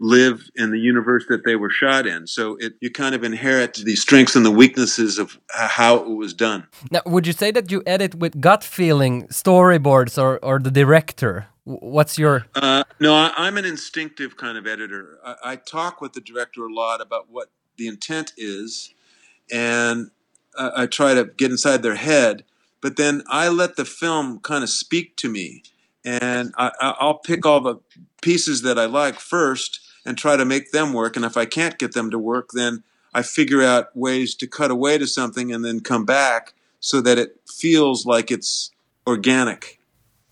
[SPEAKER 3] live in the universe that they were shot in. So it, you kind of inherit the strengths and the weaknesses of h- how it was done.
[SPEAKER 1] now would you say that you edit with gut feeling storyboards or or the director W- what's your
[SPEAKER 3] Uh, no, I, I'm an instinctive kind of editor. I, I talk with the director a lot about what the intent is, and I, I try to get inside their head. But then I let the film kind of speak to me, and I, I- I'll pick all the pieces that I like first and try to make them work. And if I can't get them to work, then I figure out ways to cut away to something and then come back so that it feels like it's organic.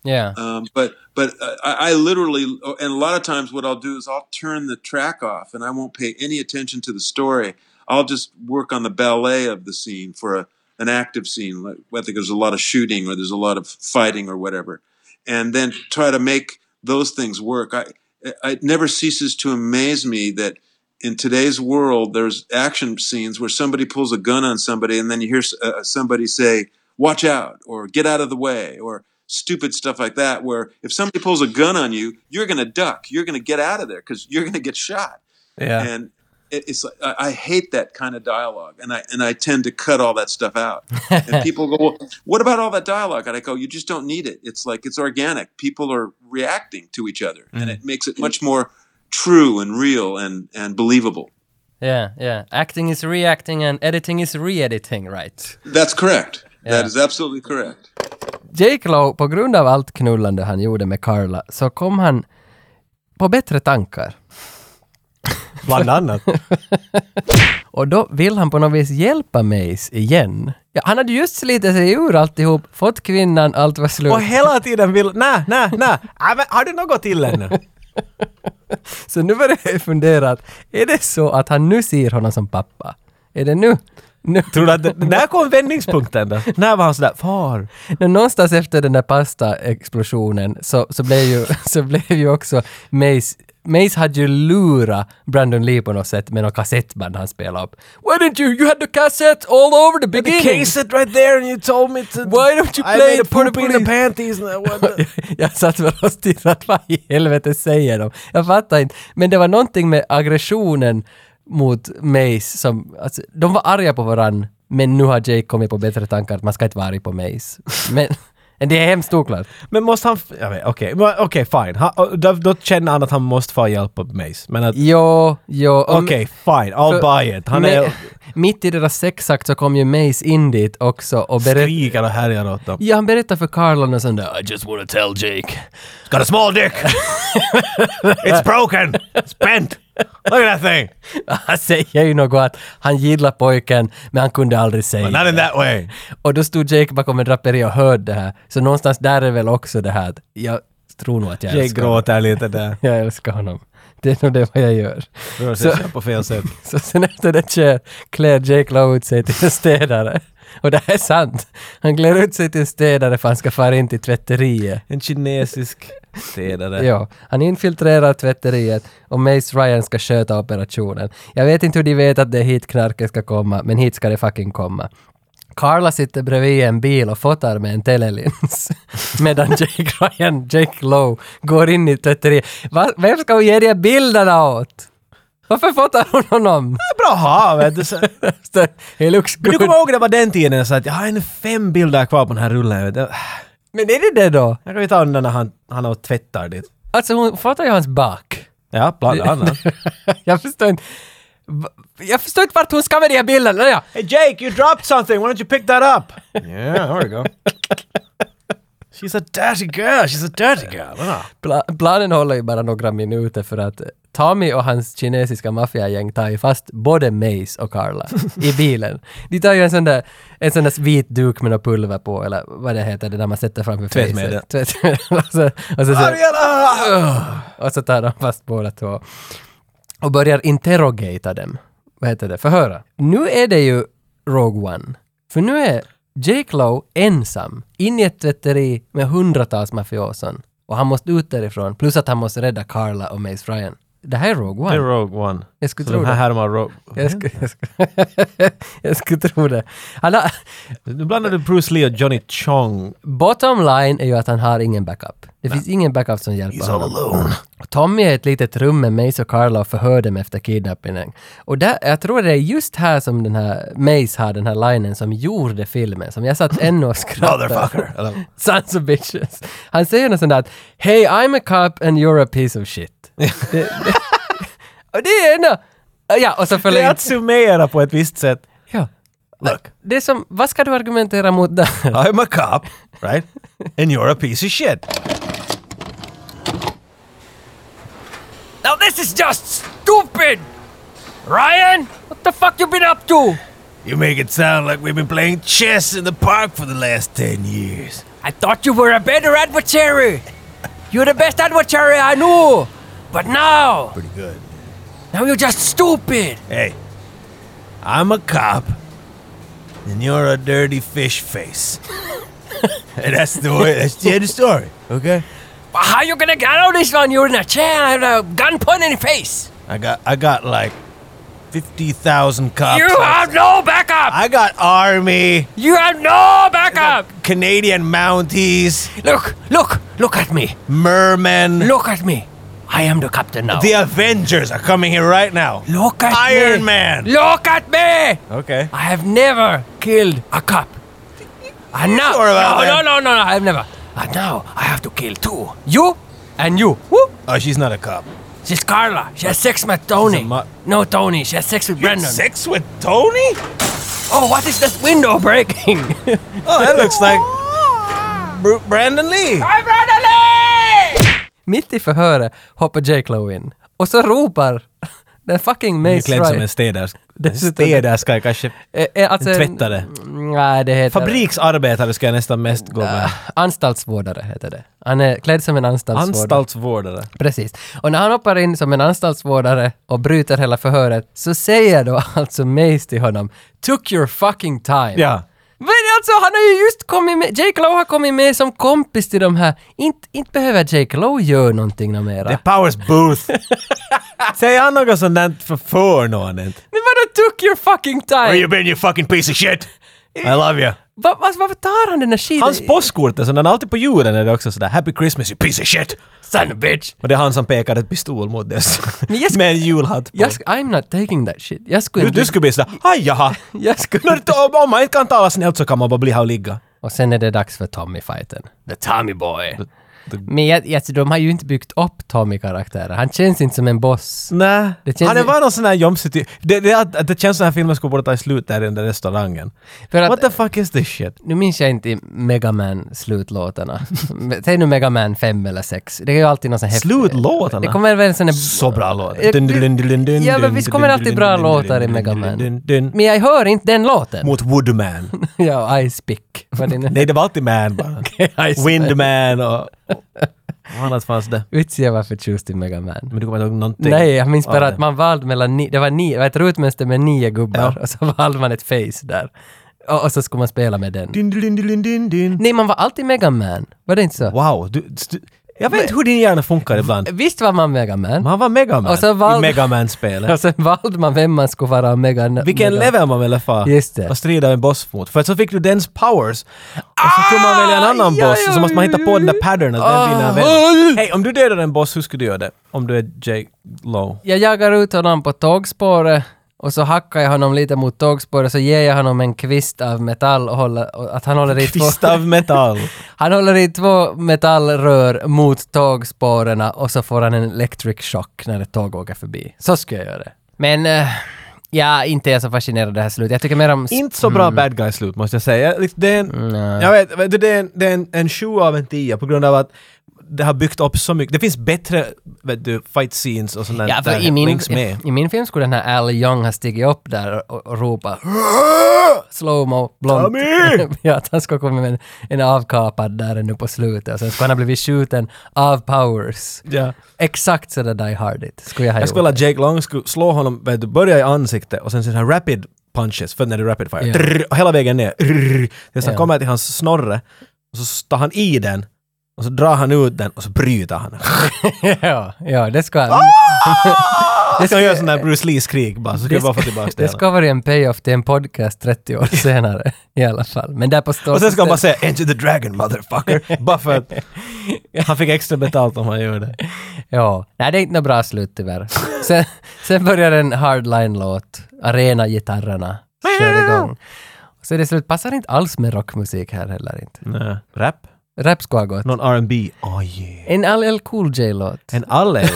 [SPEAKER 1] yeah
[SPEAKER 3] Um, but but uh, I, I literally, and a lot of times, what I'll do is I'll turn the track off, and I won't pay any attention to the story. I'll just work on the ballet of the scene for a, an active scene, like whether there's a lot of shooting or there's a lot of fighting or whatever, and then try to make those things work. I I- it never ceases to amaze me that in today's world there's action scenes where somebody pulls a gun on somebody, and then you hear s- uh, somebody say, "Watch out!" or "Get out of the way!" or stupid stuff like that where if somebody pulls a gun on you you're going to duck you're going to get out of there because you're going to get shot
[SPEAKER 2] Yeah.
[SPEAKER 3] and it, it's like, I, I hate that kind of dialogue and i and i tend to cut all that stuff out and people go well, what about all that dialogue and i go you just don't need it it's like it's organic people are reacting to each other and it makes it much more true and real and and believable
[SPEAKER 1] yeah yeah acting is reacting and editing is re-editing right
[SPEAKER 3] that's correct that
[SPEAKER 1] Yeah.
[SPEAKER 3] is absolutely correct
[SPEAKER 1] Jake Lowe, på grund av allt knullande han gjorde med Carla, så kom han på bättre tankar.
[SPEAKER 2] Bland annat.
[SPEAKER 1] Och då vill han på något vis hjälpa Mace igen. Ja, han hade just slitit sig ur alltihop, fått kvinnan, allt var slut.
[SPEAKER 2] Och hela tiden vill... Nä, nä, nä. Äh, men Har du något till ännu?
[SPEAKER 1] Så nu börjar jag fundera, att, är det så att han nu ser honom som pappa? Är det nu? nu.
[SPEAKER 2] Tror du att... det- När kom vändningspunkten då? När var han sådär “Far”?
[SPEAKER 1] Nå, Någonstans efter den där pasta-explosionen så, så, blev ju, *laughs* så blev ju också Mace Mace hade ju lurat Brandon Lee på något sätt med något kassettband han spelade upp. Why didn't you? You had the cassette all over the
[SPEAKER 2] The
[SPEAKER 1] beginning!
[SPEAKER 2] case it right there and you told me to...
[SPEAKER 1] Why don't you play
[SPEAKER 2] I made a
[SPEAKER 1] it for the
[SPEAKER 2] poop in the
[SPEAKER 1] police?"
[SPEAKER 2] panties *laughs* and I wonder-
[SPEAKER 1] *laughs* jag satt väl och stirrade, vad i helvete säger de? Jag fattar inte. Men det var någonting med aggressionen mot Mace som, alltså, de var arga på varann, men nu har Jake kommit på bättre tankar att man ska inte vara arg på Mace. *laughs* Men, men det är hemskt oklart.
[SPEAKER 2] Men måste han... Jag vet, okej. Men Okej, fine. Han, då, då känner han att han måste få hjälp av Mace. Men att...
[SPEAKER 1] Jo, jo. om-
[SPEAKER 2] Okej, fine. I'll
[SPEAKER 1] för-
[SPEAKER 2] buy it. Han
[SPEAKER 1] men- eh,
[SPEAKER 2] är...
[SPEAKER 1] Mitt i deras sexakt så kom ju Mace in dit också och berättade
[SPEAKER 2] Skriker och härjar åt dem.
[SPEAKER 1] Ja, han berättade för Carlon och sånt där. I just wanna tell Jake. *laughs*
[SPEAKER 4] It's got a small
[SPEAKER 2] *laughs*
[SPEAKER 4] dick. it's broken. It's bent. Look at that thing.
[SPEAKER 1] Han säger ju något att han gillar pojken, men han kunde aldrig säga.
[SPEAKER 4] Not in that way.
[SPEAKER 1] Och då stod Jake bakom en draperi och hörde det här. Så någonstans där är väl också det här att jag tror nog att jag
[SPEAKER 2] Jake
[SPEAKER 1] älskar honom.
[SPEAKER 2] gråter lite *laughs* där.
[SPEAKER 1] Jag älskar honom. Det är nog det vad jag gör.
[SPEAKER 2] Rör
[SPEAKER 1] Så,
[SPEAKER 2] sig på fel sätt.
[SPEAKER 1] så sen efter det kör, klär Jake Lowe ut sig till en städare. Och det här är sant. Han klär ut sig till en städare för han ska fara in till tvätteriet.
[SPEAKER 2] En kinesisk städare.
[SPEAKER 1] *laughs* Ja, han infiltrerar tvätteriet och Mace Ryan ska sköta operationen. Jag vet inte hur de vet att det är hit knarket ska komma, men hit ska det fucking komma. Carla sitter bredvid en bil och fotar med en telelins *laughs* medan Jake Ryan, Jake Lowe, går in i tvätteriet. Va? Vem ska hon ge de här bilderna åt? Varför fotar hon honom? *laughs*
[SPEAKER 2] Bra hav! vet du. Så-
[SPEAKER 1] He looks
[SPEAKER 2] Men du
[SPEAKER 1] good.
[SPEAKER 2] kommer ihåg det var den tiden så att jag har en fem bilder kvar på den här rullen. vet du.
[SPEAKER 1] Men är det det då?
[SPEAKER 2] Jag kan ju ta den där när han, han har tvättar dit.
[SPEAKER 1] Alltså hon fotar ju hans
[SPEAKER 2] *laughs*
[SPEAKER 1] bak.
[SPEAKER 2] Ja, bland *laughs* annat.
[SPEAKER 1] Jag förstår inte. Va- Jag förstår inte vart hon ska med de här bilderna. Ja.
[SPEAKER 2] Hey Jake, you dropped something! Why don't you pick that up? Yeah, there we go. *laughs* She's a dirty girl, she's a dirty girl. Ah.
[SPEAKER 1] Pla- planen håller ju bara några minuter för att Tommy och hans kinesiska maffiagäng tar ju fast både Mace och Carla i bilen. De tar ju en sån där, en sån där vit duk med något pulver på, eller vad det heter, det där man sätter framför
[SPEAKER 2] Tvättmedel.
[SPEAKER 1] facet. Tvättmedel. *laughs* och, så, och, så, så,
[SPEAKER 2] Ariella!
[SPEAKER 1] och så tar de fast båda två. Och börjar interrogata dem. Vad heter det? Förhöra. Nu är det ju Rogue One. För nu är Jake Lowe ensam in i ett tvätteri med hundratals mafioson. Och han måste ut därifrån. Plus att han måste rädda Carla och Mace Ryan. Det här är Rogue
[SPEAKER 2] Det är
[SPEAKER 1] One.
[SPEAKER 2] Rogue One.
[SPEAKER 1] Jag skulle
[SPEAKER 2] Så
[SPEAKER 1] tro
[SPEAKER 2] de här
[SPEAKER 1] det.
[SPEAKER 2] härmar Rogue...
[SPEAKER 1] Jag skulle, jag, skulle, *laughs* jag skulle tro det. Han har,
[SPEAKER 2] Nu blandar du Bruce Lee och Johnny Chong.
[SPEAKER 1] bottom line är ju att han har ingen backup. Det finns ingen backup som hjälper honom.
[SPEAKER 2] alone.
[SPEAKER 1] Tommy är i ett litet rum med Mace och Carla och förhör dem efter kidnappningen. Och där, jag tror det är just här som den här Mace har den här linen som gjorde filmen, som jag
[SPEAKER 2] *laughs*
[SPEAKER 1] satt ännu och skrattade.
[SPEAKER 2] Motherfucker! Eller-
[SPEAKER 1] Sons of bitches. Han säger något sånt där att “Hey, I'm a cop and you're a piece of shit”.
[SPEAKER 2] *laughs*
[SPEAKER 1] det, det, *laughs* och det är ändå... Ja, och så
[SPEAKER 2] Det är
[SPEAKER 1] förlängd...
[SPEAKER 2] att summera på ett visst sätt.
[SPEAKER 1] Ja.
[SPEAKER 2] Look,
[SPEAKER 1] Det är som, vad ska du argumentera mot där?
[SPEAKER 2] I'm a cop, right? And you're a piece of shit.
[SPEAKER 1] Now this is just stupid! Ryan, what the fuck you been up to?
[SPEAKER 2] You make it sound like we've been playing chess in the park for the last 10 years.
[SPEAKER 1] I thought you were a better adversary. You're the best adversary I knew. But now,
[SPEAKER 2] Pretty good.
[SPEAKER 1] now you're just stupid.
[SPEAKER 2] Hey, I'm a cop, and you're a dirty fish face. *laughs* and that's the way, that's the end of the story, okay?
[SPEAKER 1] How you gonna get out of this one? You're in a chair and a gun put in your face.
[SPEAKER 2] I got, I got like 50,000 cops.
[SPEAKER 1] You have no backup.
[SPEAKER 2] I got army,
[SPEAKER 1] You have no backup.
[SPEAKER 2] Canadian Mounties,
[SPEAKER 1] Look, look, look at me.
[SPEAKER 2] mermen.
[SPEAKER 1] Look at me. I am the captain now.
[SPEAKER 2] The Avengers are coming here right now.
[SPEAKER 1] look at me.
[SPEAKER 2] Iron Man.
[SPEAKER 1] Look at me.
[SPEAKER 2] Okay.
[SPEAKER 1] I have never killed a cop. And now,
[SPEAKER 2] Sure about
[SPEAKER 1] no, no,
[SPEAKER 2] that.
[SPEAKER 1] no, no, no, I've never. And now I have to kill two. You and you. Woo.
[SPEAKER 2] Oh, she's not a cop.
[SPEAKER 1] She's Carla. She has sex with Tony.
[SPEAKER 2] She's a mu-
[SPEAKER 1] no, Tony. She has sex with Brandon.
[SPEAKER 2] Sex with Tony?
[SPEAKER 1] Oh, what is this window *laughs* breaking?
[SPEAKER 2] Oh, that looks like Bru- Brandon Lee.
[SPEAKER 1] Mitt i förhöret hoppar Jake Lowe in och så ropar *laughs* den fucking
[SPEAKER 2] Han är
[SPEAKER 1] Mace
[SPEAKER 2] klädd som en
[SPEAKER 1] Ryan.
[SPEAKER 2] städers- en
[SPEAKER 1] Dessutom-
[SPEAKER 2] städerska kanske.
[SPEAKER 1] Eh, eh, Alltså,
[SPEAKER 2] en tvättare.
[SPEAKER 1] Nej, det heter...
[SPEAKER 2] Fabriksarbetare ska jag nästan mest gå med.
[SPEAKER 1] Anstaltsvårdare heter det. Han är klädd som en anstaltsvårdare.
[SPEAKER 2] Anstaltsvårdare.
[SPEAKER 1] Precis. Och när han hoppar in som en anstaltsvårdare och bryter hela förhöret så säger då *laughs* alltså Mace till honom “Took your fucking time”.
[SPEAKER 2] Ja.
[SPEAKER 1] Men alltså han har ju just kommit med, Jake Lowe har kommit med som kompis till de här. Inte, inte behöver Jake Lowe göra någonting nå mera.
[SPEAKER 2] Det är Powers *laughs* Booth. Säger han något sånt där för förnående?
[SPEAKER 1] Men vadå took your fucking time?
[SPEAKER 2] been you fucking piece of shit? I love you.
[SPEAKER 1] Va, va, varför tar han den där skiten?
[SPEAKER 2] Hans postkort är sån där, alltid på julen är det också sådär “Happy Christmas you piece of shit”.
[SPEAKER 1] Son of a bitch!
[SPEAKER 2] Och det är han som pekar ett pistol mot dess.
[SPEAKER 1] Men
[SPEAKER 2] *laughs*
[SPEAKER 1] jag sk-
[SPEAKER 2] med en julhatt på.
[SPEAKER 1] Jag sk- I'm not taking that shit. Jag skulle
[SPEAKER 2] Du, du skulle bli sådär “Aj jaha”.
[SPEAKER 1] Jag skulle
[SPEAKER 2] När- om- Om man inte kan tala snällt så kan man bara bli här och ligga.
[SPEAKER 1] Och sen är det dags för Tommy-fighten. The Tommy boy! Men jag, jag, de har ju inte byggt upp Tommy-karaktärer. Han känns inte som en boss.
[SPEAKER 2] Nej.
[SPEAKER 1] Det känns
[SPEAKER 2] han är
[SPEAKER 1] ju-
[SPEAKER 2] bara någon sån här jomsig ty- det, det, är att- att det känns som den här filmen skulle borde ta slut där i den där restaurangen.
[SPEAKER 1] För att,
[SPEAKER 2] What the fuck is this shit?
[SPEAKER 1] nu minns jag inte Mega Man-slutlåtarna. *laughs* Säg nu Mega Man 5 eller 6. Det är ju alltid någon sån här...
[SPEAKER 2] Slutlåtarna?
[SPEAKER 1] Det kommer väl en sån här...
[SPEAKER 2] Så bra låt.
[SPEAKER 1] Ja, Ja, men visst kommer det alltid bra låtar i Mega Man. Men jag hör inte den låten. *laughs*
[SPEAKER 2] Mot Woodman.
[SPEAKER 1] ja, Ice Pick. Vad det nu
[SPEAKER 2] Nej, det var alltid
[SPEAKER 1] *laughs*
[SPEAKER 2] Man bara.
[SPEAKER 1] Ice
[SPEAKER 2] Windman och... och Vad annat fanns det?
[SPEAKER 1] Vitsi jag var förtjust i Mega Man.
[SPEAKER 2] Men du kommer inte ihåg någonting?
[SPEAKER 1] Nej, jag minns bara
[SPEAKER 2] Ja,
[SPEAKER 1] att man valde mellan nio, det var nio, det var ett rutmönster med nio gubbar
[SPEAKER 2] Ja.
[SPEAKER 1] och så valde man ett face där. Och, och så skulle man spela med den.
[SPEAKER 2] Din, din, din, din, din.
[SPEAKER 1] Nej, man var alltid Mega Man. Var det inte så?
[SPEAKER 2] Wow, du, du, jag vet inte hur din hjärna funkar ibland.
[SPEAKER 1] Visst var man Mega Man?
[SPEAKER 2] Men han var Megaman
[SPEAKER 1] Och så var-
[SPEAKER 2] i
[SPEAKER 1] *laughs*
[SPEAKER 2] Megaman-spelet.
[SPEAKER 1] Och sen valde man vem man skulle vara Mega
[SPEAKER 2] Vilken
[SPEAKER 1] Mega-
[SPEAKER 2] level man ville få
[SPEAKER 1] Just det.
[SPEAKER 2] och strida en boss mot. För att så fick du dens powers och så kunde man välja en annan
[SPEAKER 1] ja,
[SPEAKER 2] boss och så måste man
[SPEAKER 1] ja,
[SPEAKER 2] hitta på den där pattern att
[SPEAKER 1] Ah.
[SPEAKER 2] vem vinner vem. Hej, om du dödar en boss, hur skulle du göra det? Om du är Jake Low.
[SPEAKER 1] Jag jagar ut honom på tågspåret och så hackar jag honom lite mot tågspåret så ger jag honom en kvist av metall och håller, och att han håller i två...
[SPEAKER 2] Kvist av metall.
[SPEAKER 1] *laughs* Han håller i två metallrör mot tågspåren och så får han en electric shock när ett tåg åker förbi. Så ska jag göra det. Men eh, Ja, inte är jag så fascinerad av det här slutet. Jag tycker mer om... sp-
[SPEAKER 2] *laughs* Inte så bra bad guy-slut måste jag säga. Liksom, Det är en,
[SPEAKER 1] Mm.
[SPEAKER 2] jag vet, vet du, det är en, det är en, en sju av en tia på grund av att det har byggt upp så mycket. Det finns bättre vet du, fight scenes och sånt där.
[SPEAKER 1] Ja, för
[SPEAKER 2] där
[SPEAKER 1] i, min,
[SPEAKER 2] links med.
[SPEAKER 1] i min film skulle den här Al Young ha stigit upp där och, och ropa slowmo blont.
[SPEAKER 2] Tommy!
[SPEAKER 1] *laughs* ja, att han skulle komma med en, en avkapad där nu på slutet. Och sen skulle han ha blivit skjuten av Powers.
[SPEAKER 2] Ja.
[SPEAKER 1] Exakt sådär Die Hardigt skulle jag ha
[SPEAKER 2] Jag
[SPEAKER 1] gjort.
[SPEAKER 2] skulle vilja att Jake Long skulle slå honom, vet du, börja i ansiktet och sen sån här rapid punches, för när det är rapid fire.
[SPEAKER 1] Ja.
[SPEAKER 2] Drrr, och hela vägen ner. Drrr, tills han
[SPEAKER 1] Ja.
[SPEAKER 2] kommer till hans snorre och så tar han i den och så drar han ut den och så
[SPEAKER 1] *laughs*
[SPEAKER 2] bryter han.
[SPEAKER 1] *laughs* ja, ja, det skulle
[SPEAKER 2] Ah!
[SPEAKER 1] han.
[SPEAKER 2] Det ska göra sån där Bruce Lee-skrik bara, så ska jag bara få tillbaka
[SPEAKER 1] Det
[SPEAKER 2] det.
[SPEAKER 1] ska vara en payoff till en podcast 30
[SPEAKER 2] *laughs*
[SPEAKER 1] år senare i alla fall. Men där på
[SPEAKER 2] Och sen ska han bara säga “Enter the dragon motherfucker”
[SPEAKER 1] *laughs*
[SPEAKER 2] bara för att han fick extra betalt om han gjorde det.
[SPEAKER 1] Ja, nej det är inte något bra slut
[SPEAKER 2] *laughs*
[SPEAKER 1] tyvärr. Sen, sen börjar en hardline-låt, arenagitarrerna kör igång. Så det slut passar inte alls med rockmusik här heller inte.
[SPEAKER 2] Nej. Rap?
[SPEAKER 1] Rap skulle ha gått.
[SPEAKER 2] Någon R&B? Oh yeah.
[SPEAKER 1] En LL Cool J-låt.
[SPEAKER 2] En alle?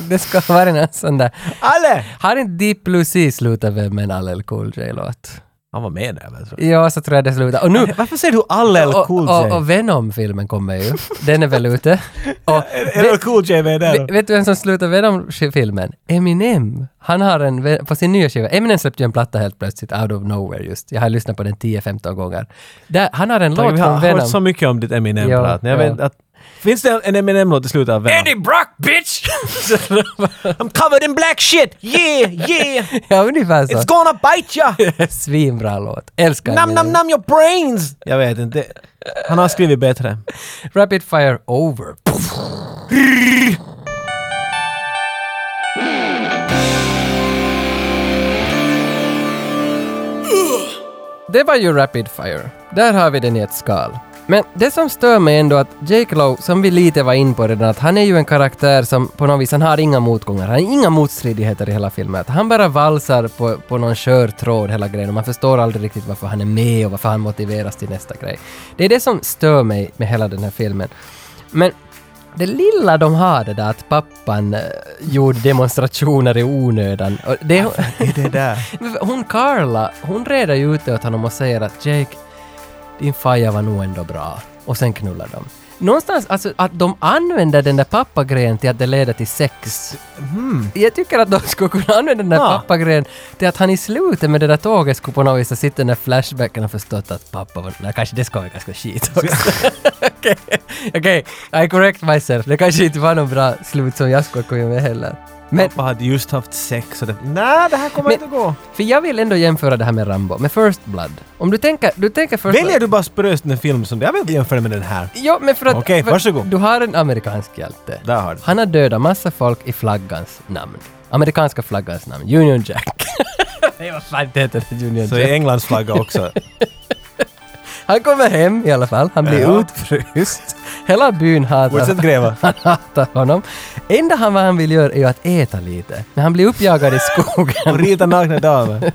[SPEAKER 1] *laughs* det ska vara en sån där.
[SPEAKER 2] alle!
[SPEAKER 1] Har inte Deep Blue Sea slutat väl med en LL Cool J-låt?
[SPEAKER 2] Han var med där väl? tror jag.
[SPEAKER 1] Ja, så tror jag det slutar. Och nu,
[SPEAKER 2] Varför säger du alle eller
[SPEAKER 1] och,
[SPEAKER 2] Cool
[SPEAKER 1] och,
[SPEAKER 2] J?
[SPEAKER 1] och Venom-filmen kommer ju. Den är väl ute. Och
[SPEAKER 2] *laughs* Eller Cool J med där?
[SPEAKER 1] Ve- Vet du vem som slutar Venom-filmen? Eminem. Han har en, ve- på sin nya skiva, Eminem släppte ju en platta helt plötsligt, out of nowhere just. Jag har lyssnat på den 10-15 gånger. Där, han har en låt
[SPEAKER 2] Vi har
[SPEAKER 1] från
[SPEAKER 2] hört
[SPEAKER 1] Venom.
[SPEAKER 2] så mycket om ditt Eminem-prat.
[SPEAKER 1] Ja,
[SPEAKER 2] Jag vet
[SPEAKER 1] ja.
[SPEAKER 2] att... Finns det en Eminem-låt i slutet av Venom?
[SPEAKER 1] Brock
[SPEAKER 2] *laughs*
[SPEAKER 1] bitch!
[SPEAKER 2] I'm covered in black shit! Yeah, yeah!
[SPEAKER 1] ja, ungefär så.
[SPEAKER 2] It's gonna bite *laughs* ya!
[SPEAKER 1] Svinbra låt. Älskar
[SPEAKER 2] Nam
[SPEAKER 1] Eminem.
[SPEAKER 2] nam nam your brains! Jag vet inte. Han har skrivit bättre.
[SPEAKER 1] Rapid fire over. Puff. Det var ju Rapid Fire. Där har vi den i ett skal. Men det som stör mig ändå att Jake Lowe, som vi lite var in på redan, att han är ju en karaktär som på något vis, han har inga motgångar, han har inga motstridigheter i hela filmen. Att han bara valsar på, på någon skör tråd hela grejen och man förstår aldrig riktigt varför han är med och varför han motiveras till nästa grej. Det är det som stör mig med hela den här filmen. Men det lilla de har det där att pappan eh, gjorde demonstrationer i onödan. Och det,
[SPEAKER 2] Är det där?
[SPEAKER 1] men *laughs* Hon Carla, hon reder ju ut det åt honom och säger att Jake, din faja var nog ändå bra. Och sen knullar de. Någonstans, alltså att de använder den där pappagrejen till att det leder till sex. Jag tycker att de skulle kunna använda den där
[SPEAKER 2] Ja.
[SPEAKER 1] pappagrejen till att han i slutet med det där tåget skulle på något vis ha sett den där flashbacken och förstått att pappa var... Nej, kanske det ska vara ganska skit också. Okej, okej. I correct myself. Det kanske inte var någon bra slut som jag skulle kunna med heller. Men
[SPEAKER 2] Pappa hade just haft sex och det... Nej, det här kommer
[SPEAKER 1] Men-
[SPEAKER 2] inte gå.
[SPEAKER 1] för jag vill ändå jämföra det här med Rambo, med First Blood. Om du tänker, du tänker First
[SPEAKER 2] Väljer
[SPEAKER 1] Blood...
[SPEAKER 2] du bara spöst en film som det? Jag vill inte jämföra med den här.
[SPEAKER 1] Ja, men för att...
[SPEAKER 2] Okej,
[SPEAKER 1] för-
[SPEAKER 2] varsågod.
[SPEAKER 1] Du har en amerikansk hjälte.
[SPEAKER 2] Där har du.
[SPEAKER 1] Han har dödat massa folk i flaggans namn. Amerikanska flaggans namn. Union
[SPEAKER 2] *laughs*
[SPEAKER 1] Jack. Nej, vad fan det heter det? Union
[SPEAKER 2] Så
[SPEAKER 1] Jack.
[SPEAKER 2] är Englands flagga också.
[SPEAKER 1] Han kommer hem i alla fall. Han blir
[SPEAKER 2] Ja.
[SPEAKER 1] utfryst. Hela byn hatar
[SPEAKER 2] Fortsätt *laughs* gräva.
[SPEAKER 1] *laughs* Han hatar honom. Enda han, vad han vill göra är ju att äta lite. Men han blir uppjagad i
[SPEAKER 2] *laughs* Och
[SPEAKER 1] skogen.
[SPEAKER 2] rita nakna damer.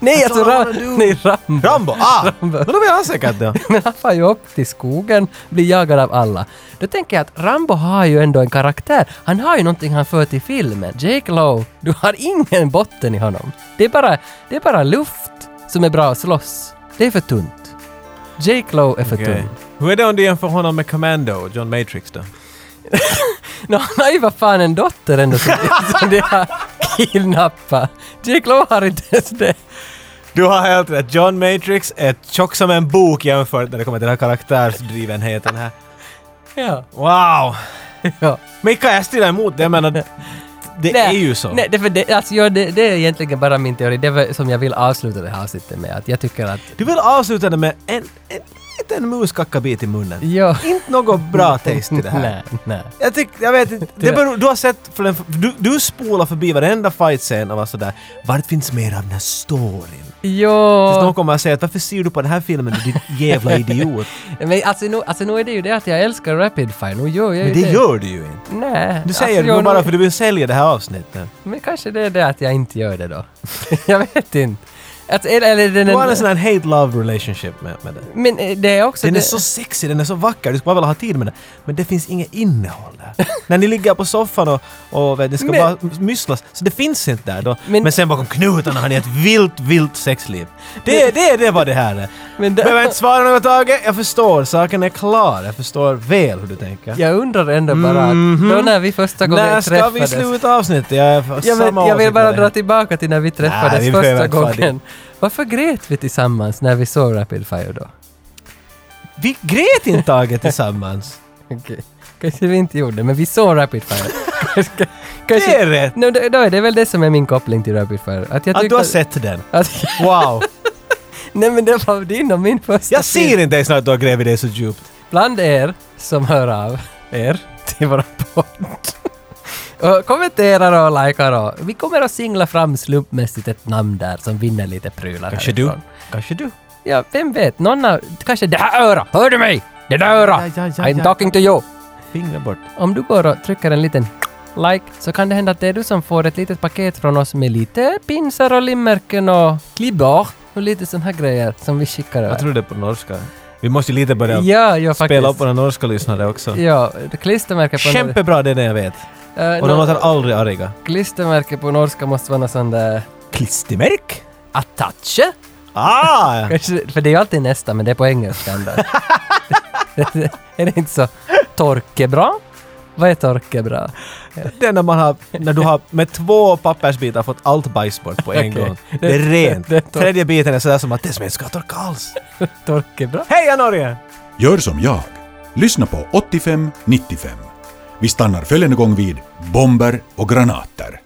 [SPEAKER 1] Nej, alltså
[SPEAKER 2] That's all I
[SPEAKER 1] Ram-
[SPEAKER 2] wanna do.
[SPEAKER 1] nej, Rambo.
[SPEAKER 2] Rambo! Ah! Men då vill han säkert då.
[SPEAKER 1] *laughs* Men han far ju upp till skogen, blir jagad av alla. Då tänker jag att Rambo har ju ändå en karaktär. Han har ju någonting han för till filmen. Jake Lowe, du har ingen botten i honom. Det är bara, det är bara luft som är bra att slåss. Det är för tunt. Jake Lowe är för
[SPEAKER 2] *laughs* Okej.
[SPEAKER 1] tunn.
[SPEAKER 2] Hur är det om du jämför honom med Commando, John Matrix då?
[SPEAKER 1] Nå, han har ju vad fan en dotter ändå som, *laughs* som de har kidnappat. Jake Lowe har inte ens det.
[SPEAKER 2] Du har helt rätt. John Matrix är tjock som en bok jämfört när det kommer till den här karaktärsdrivenheten här.
[SPEAKER 1] Ja,
[SPEAKER 2] Wow!
[SPEAKER 1] ja.
[SPEAKER 2] Mika, jag strider emot det. Jag menar, det är ju så.
[SPEAKER 1] Nej, det, för det, alltså, ja, det, det är egentligen bara min teori. Det var som jag vill avsluta det här avsnittet med. Att jag tycker att...
[SPEAKER 2] Du vill avsluta det med en, en liten muskackabit i munnen.
[SPEAKER 1] Ja.
[SPEAKER 2] Inte något bra taste i det här.
[SPEAKER 1] Nej, nej.
[SPEAKER 2] Jag tycker, jag vet inte. Det beror, du har sett, för den, du, du spolar förbi varenda fight-scen och var sådär. Vart finns mer av den här storyn? Tills
[SPEAKER 1] Jo,
[SPEAKER 2] någon kommer att säga att varför ser du på den här filmen, du din
[SPEAKER 1] *laughs*
[SPEAKER 2] jävla idiot?
[SPEAKER 1] men alltså nu, alltså nu är det ju det att jag älskar Rapid Fire, nu gör jag ju
[SPEAKER 2] Men det gör du ju inte.
[SPEAKER 1] Nej. Alltså,
[SPEAKER 2] Du säger det
[SPEAKER 1] jag,
[SPEAKER 2] nog bara
[SPEAKER 1] nu-
[SPEAKER 2] för du vill sälja det här avsnittet.
[SPEAKER 1] *laughs* Men kanske det är det att jag inte gör det då. jag vet inte. Att, eller, eller den,
[SPEAKER 2] Du har en sån här hate-love relationship med, med den.
[SPEAKER 1] men eh, det är också...
[SPEAKER 2] Den
[SPEAKER 1] det,
[SPEAKER 2] är så sexig, den är så vacker, du skulle bara vilja ha tid med den. Men det finns inget innehåll
[SPEAKER 1] *laughs*
[SPEAKER 2] där. När ni ligger på soffan och, och vet, det ska
[SPEAKER 1] Men-
[SPEAKER 2] bara mysslas, så det finns inte där då.
[SPEAKER 1] Men-
[SPEAKER 2] Men, sen bakom knutarna har ni ett vilt, vilt sexliv. Det, är- det, är- det är vad det här är.
[SPEAKER 1] Men det-
[SPEAKER 2] Behöver jag inte svara något Tage, jag förstår, saken är klar. Jag förstår väl hur du tänker.
[SPEAKER 1] jag undrar ändå bara att då när vi första gången
[SPEAKER 2] Mhm. När ska vi
[SPEAKER 1] träffades...
[SPEAKER 2] sluta avsnittet? Jag, är för
[SPEAKER 1] Jag, vet,
[SPEAKER 2] samma
[SPEAKER 1] jag vill
[SPEAKER 2] åsikt
[SPEAKER 1] bara
[SPEAKER 2] med dig.
[SPEAKER 1] dra tillbaka till när vi träffades
[SPEAKER 2] Nej, vi behöver
[SPEAKER 1] första
[SPEAKER 2] inte vara
[SPEAKER 1] gången. Varför grät vi tillsammans när vi såg Rapid Fire då?
[SPEAKER 2] Vi grät inte
[SPEAKER 1] *laughs*
[SPEAKER 2] Tage tillsammans.
[SPEAKER 1] Okej. Kanske vi inte gjorde, men vi såg Rapid
[SPEAKER 2] *laughs*
[SPEAKER 1] Fire. Kanske- kanske-
[SPEAKER 2] Det är rätt.
[SPEAKER 1] No, då, då är det väl det som är min koppling till Rapid Fire. Att jag
[SPEAKER 2] Att
[SPEAKER 1] tyckte
[SPEAKER 2] du har sett den.
[SPEAKER 1] Att, *laughs*
[SPEAKER 2] Wow.
[SPEAKER 1] nej men det var din och min första
[SPEAKER 2] Jag
[SPEAKER 1] film.
[SPEAKER 2] ser inte ens att du har grävt det så djupt.
[SPEAKER 1] bland er som hör av *laughs* er till våra podd. Och kommenterar och likar och vi kommer att singla fram slumpmässigt ett namn där som vinner lite prylar
[SPEAKER 2] Kanske du?
[SPEAKER 1] härifrån.
[SPEAKER 2] Kanske du?
[SPEAKER 1] Ja, vem vet, någon av, kanske det här örat, hör du mig? Det där örat!
[SPEAKER 2] Ja, ja, ja,
[SPEAKER 1] I'm
[SPEAKER 2] ja.
[SPEAKER 1] talking to you!
[SPEAKER 2] Fingrar bort.
[SPEAKER 1] Om du går och trycker en liten like så kan det hända att det är du som får ett litet paket från oss med lite pinsar och limmärken och klibbor och lite sån här grejer som vi skickar
[SPEAKER 2] Jag
[SPEAKER 1] över.
[SPEAKER 2] tror det är på norska. Vi måste ju lite börja
[SPEAKER 1] Ja, ja faktiskt.
[SPEAKER 2] spela upp våra norska lyssnare också.
[SPEAKER 1] Ja, det klistermärke på...
[SPEAKER 2] Kämpebra det är det jag vet.
[SPEAKER 1] Eh, nå-
[SPEAKER 2] Och de låter aldrig arga.
[SPEAKER 1] Klistermärke på norska måste vara något sånt där...
[SPEAKER 2] Klistermärk?
[SPEAKER 1] Attache?
[SPEAKER 2] Ah!
[SPEAKER 1] Kanske, för det är ju alltid nästa, men det är på engelska
[SPEAKER 2] *laughs*
[SPEAKER 1] ändå. *laughs* är det inte så? Torkebra? Vad är torkebra?
[SPEAKER 2] Det är när man har, när du har med två pappersbitar fått allt bajs bort på en
[SPEAKER 1] Okej.
[SPEAKER 2] gång. Det är rent.
[SPEAKER 1] det är torrt.
[SPEAKER 2] Tredje biten är sådär som att det som inte ska torka alls.
[SPEAKER 1] Torkebra?
[SPEAKER 2] Heja Norge!
[SPEAKER 5] Gör som jag. Lyssna på 85-95. Vi stannar följande gång vid bomber och granater.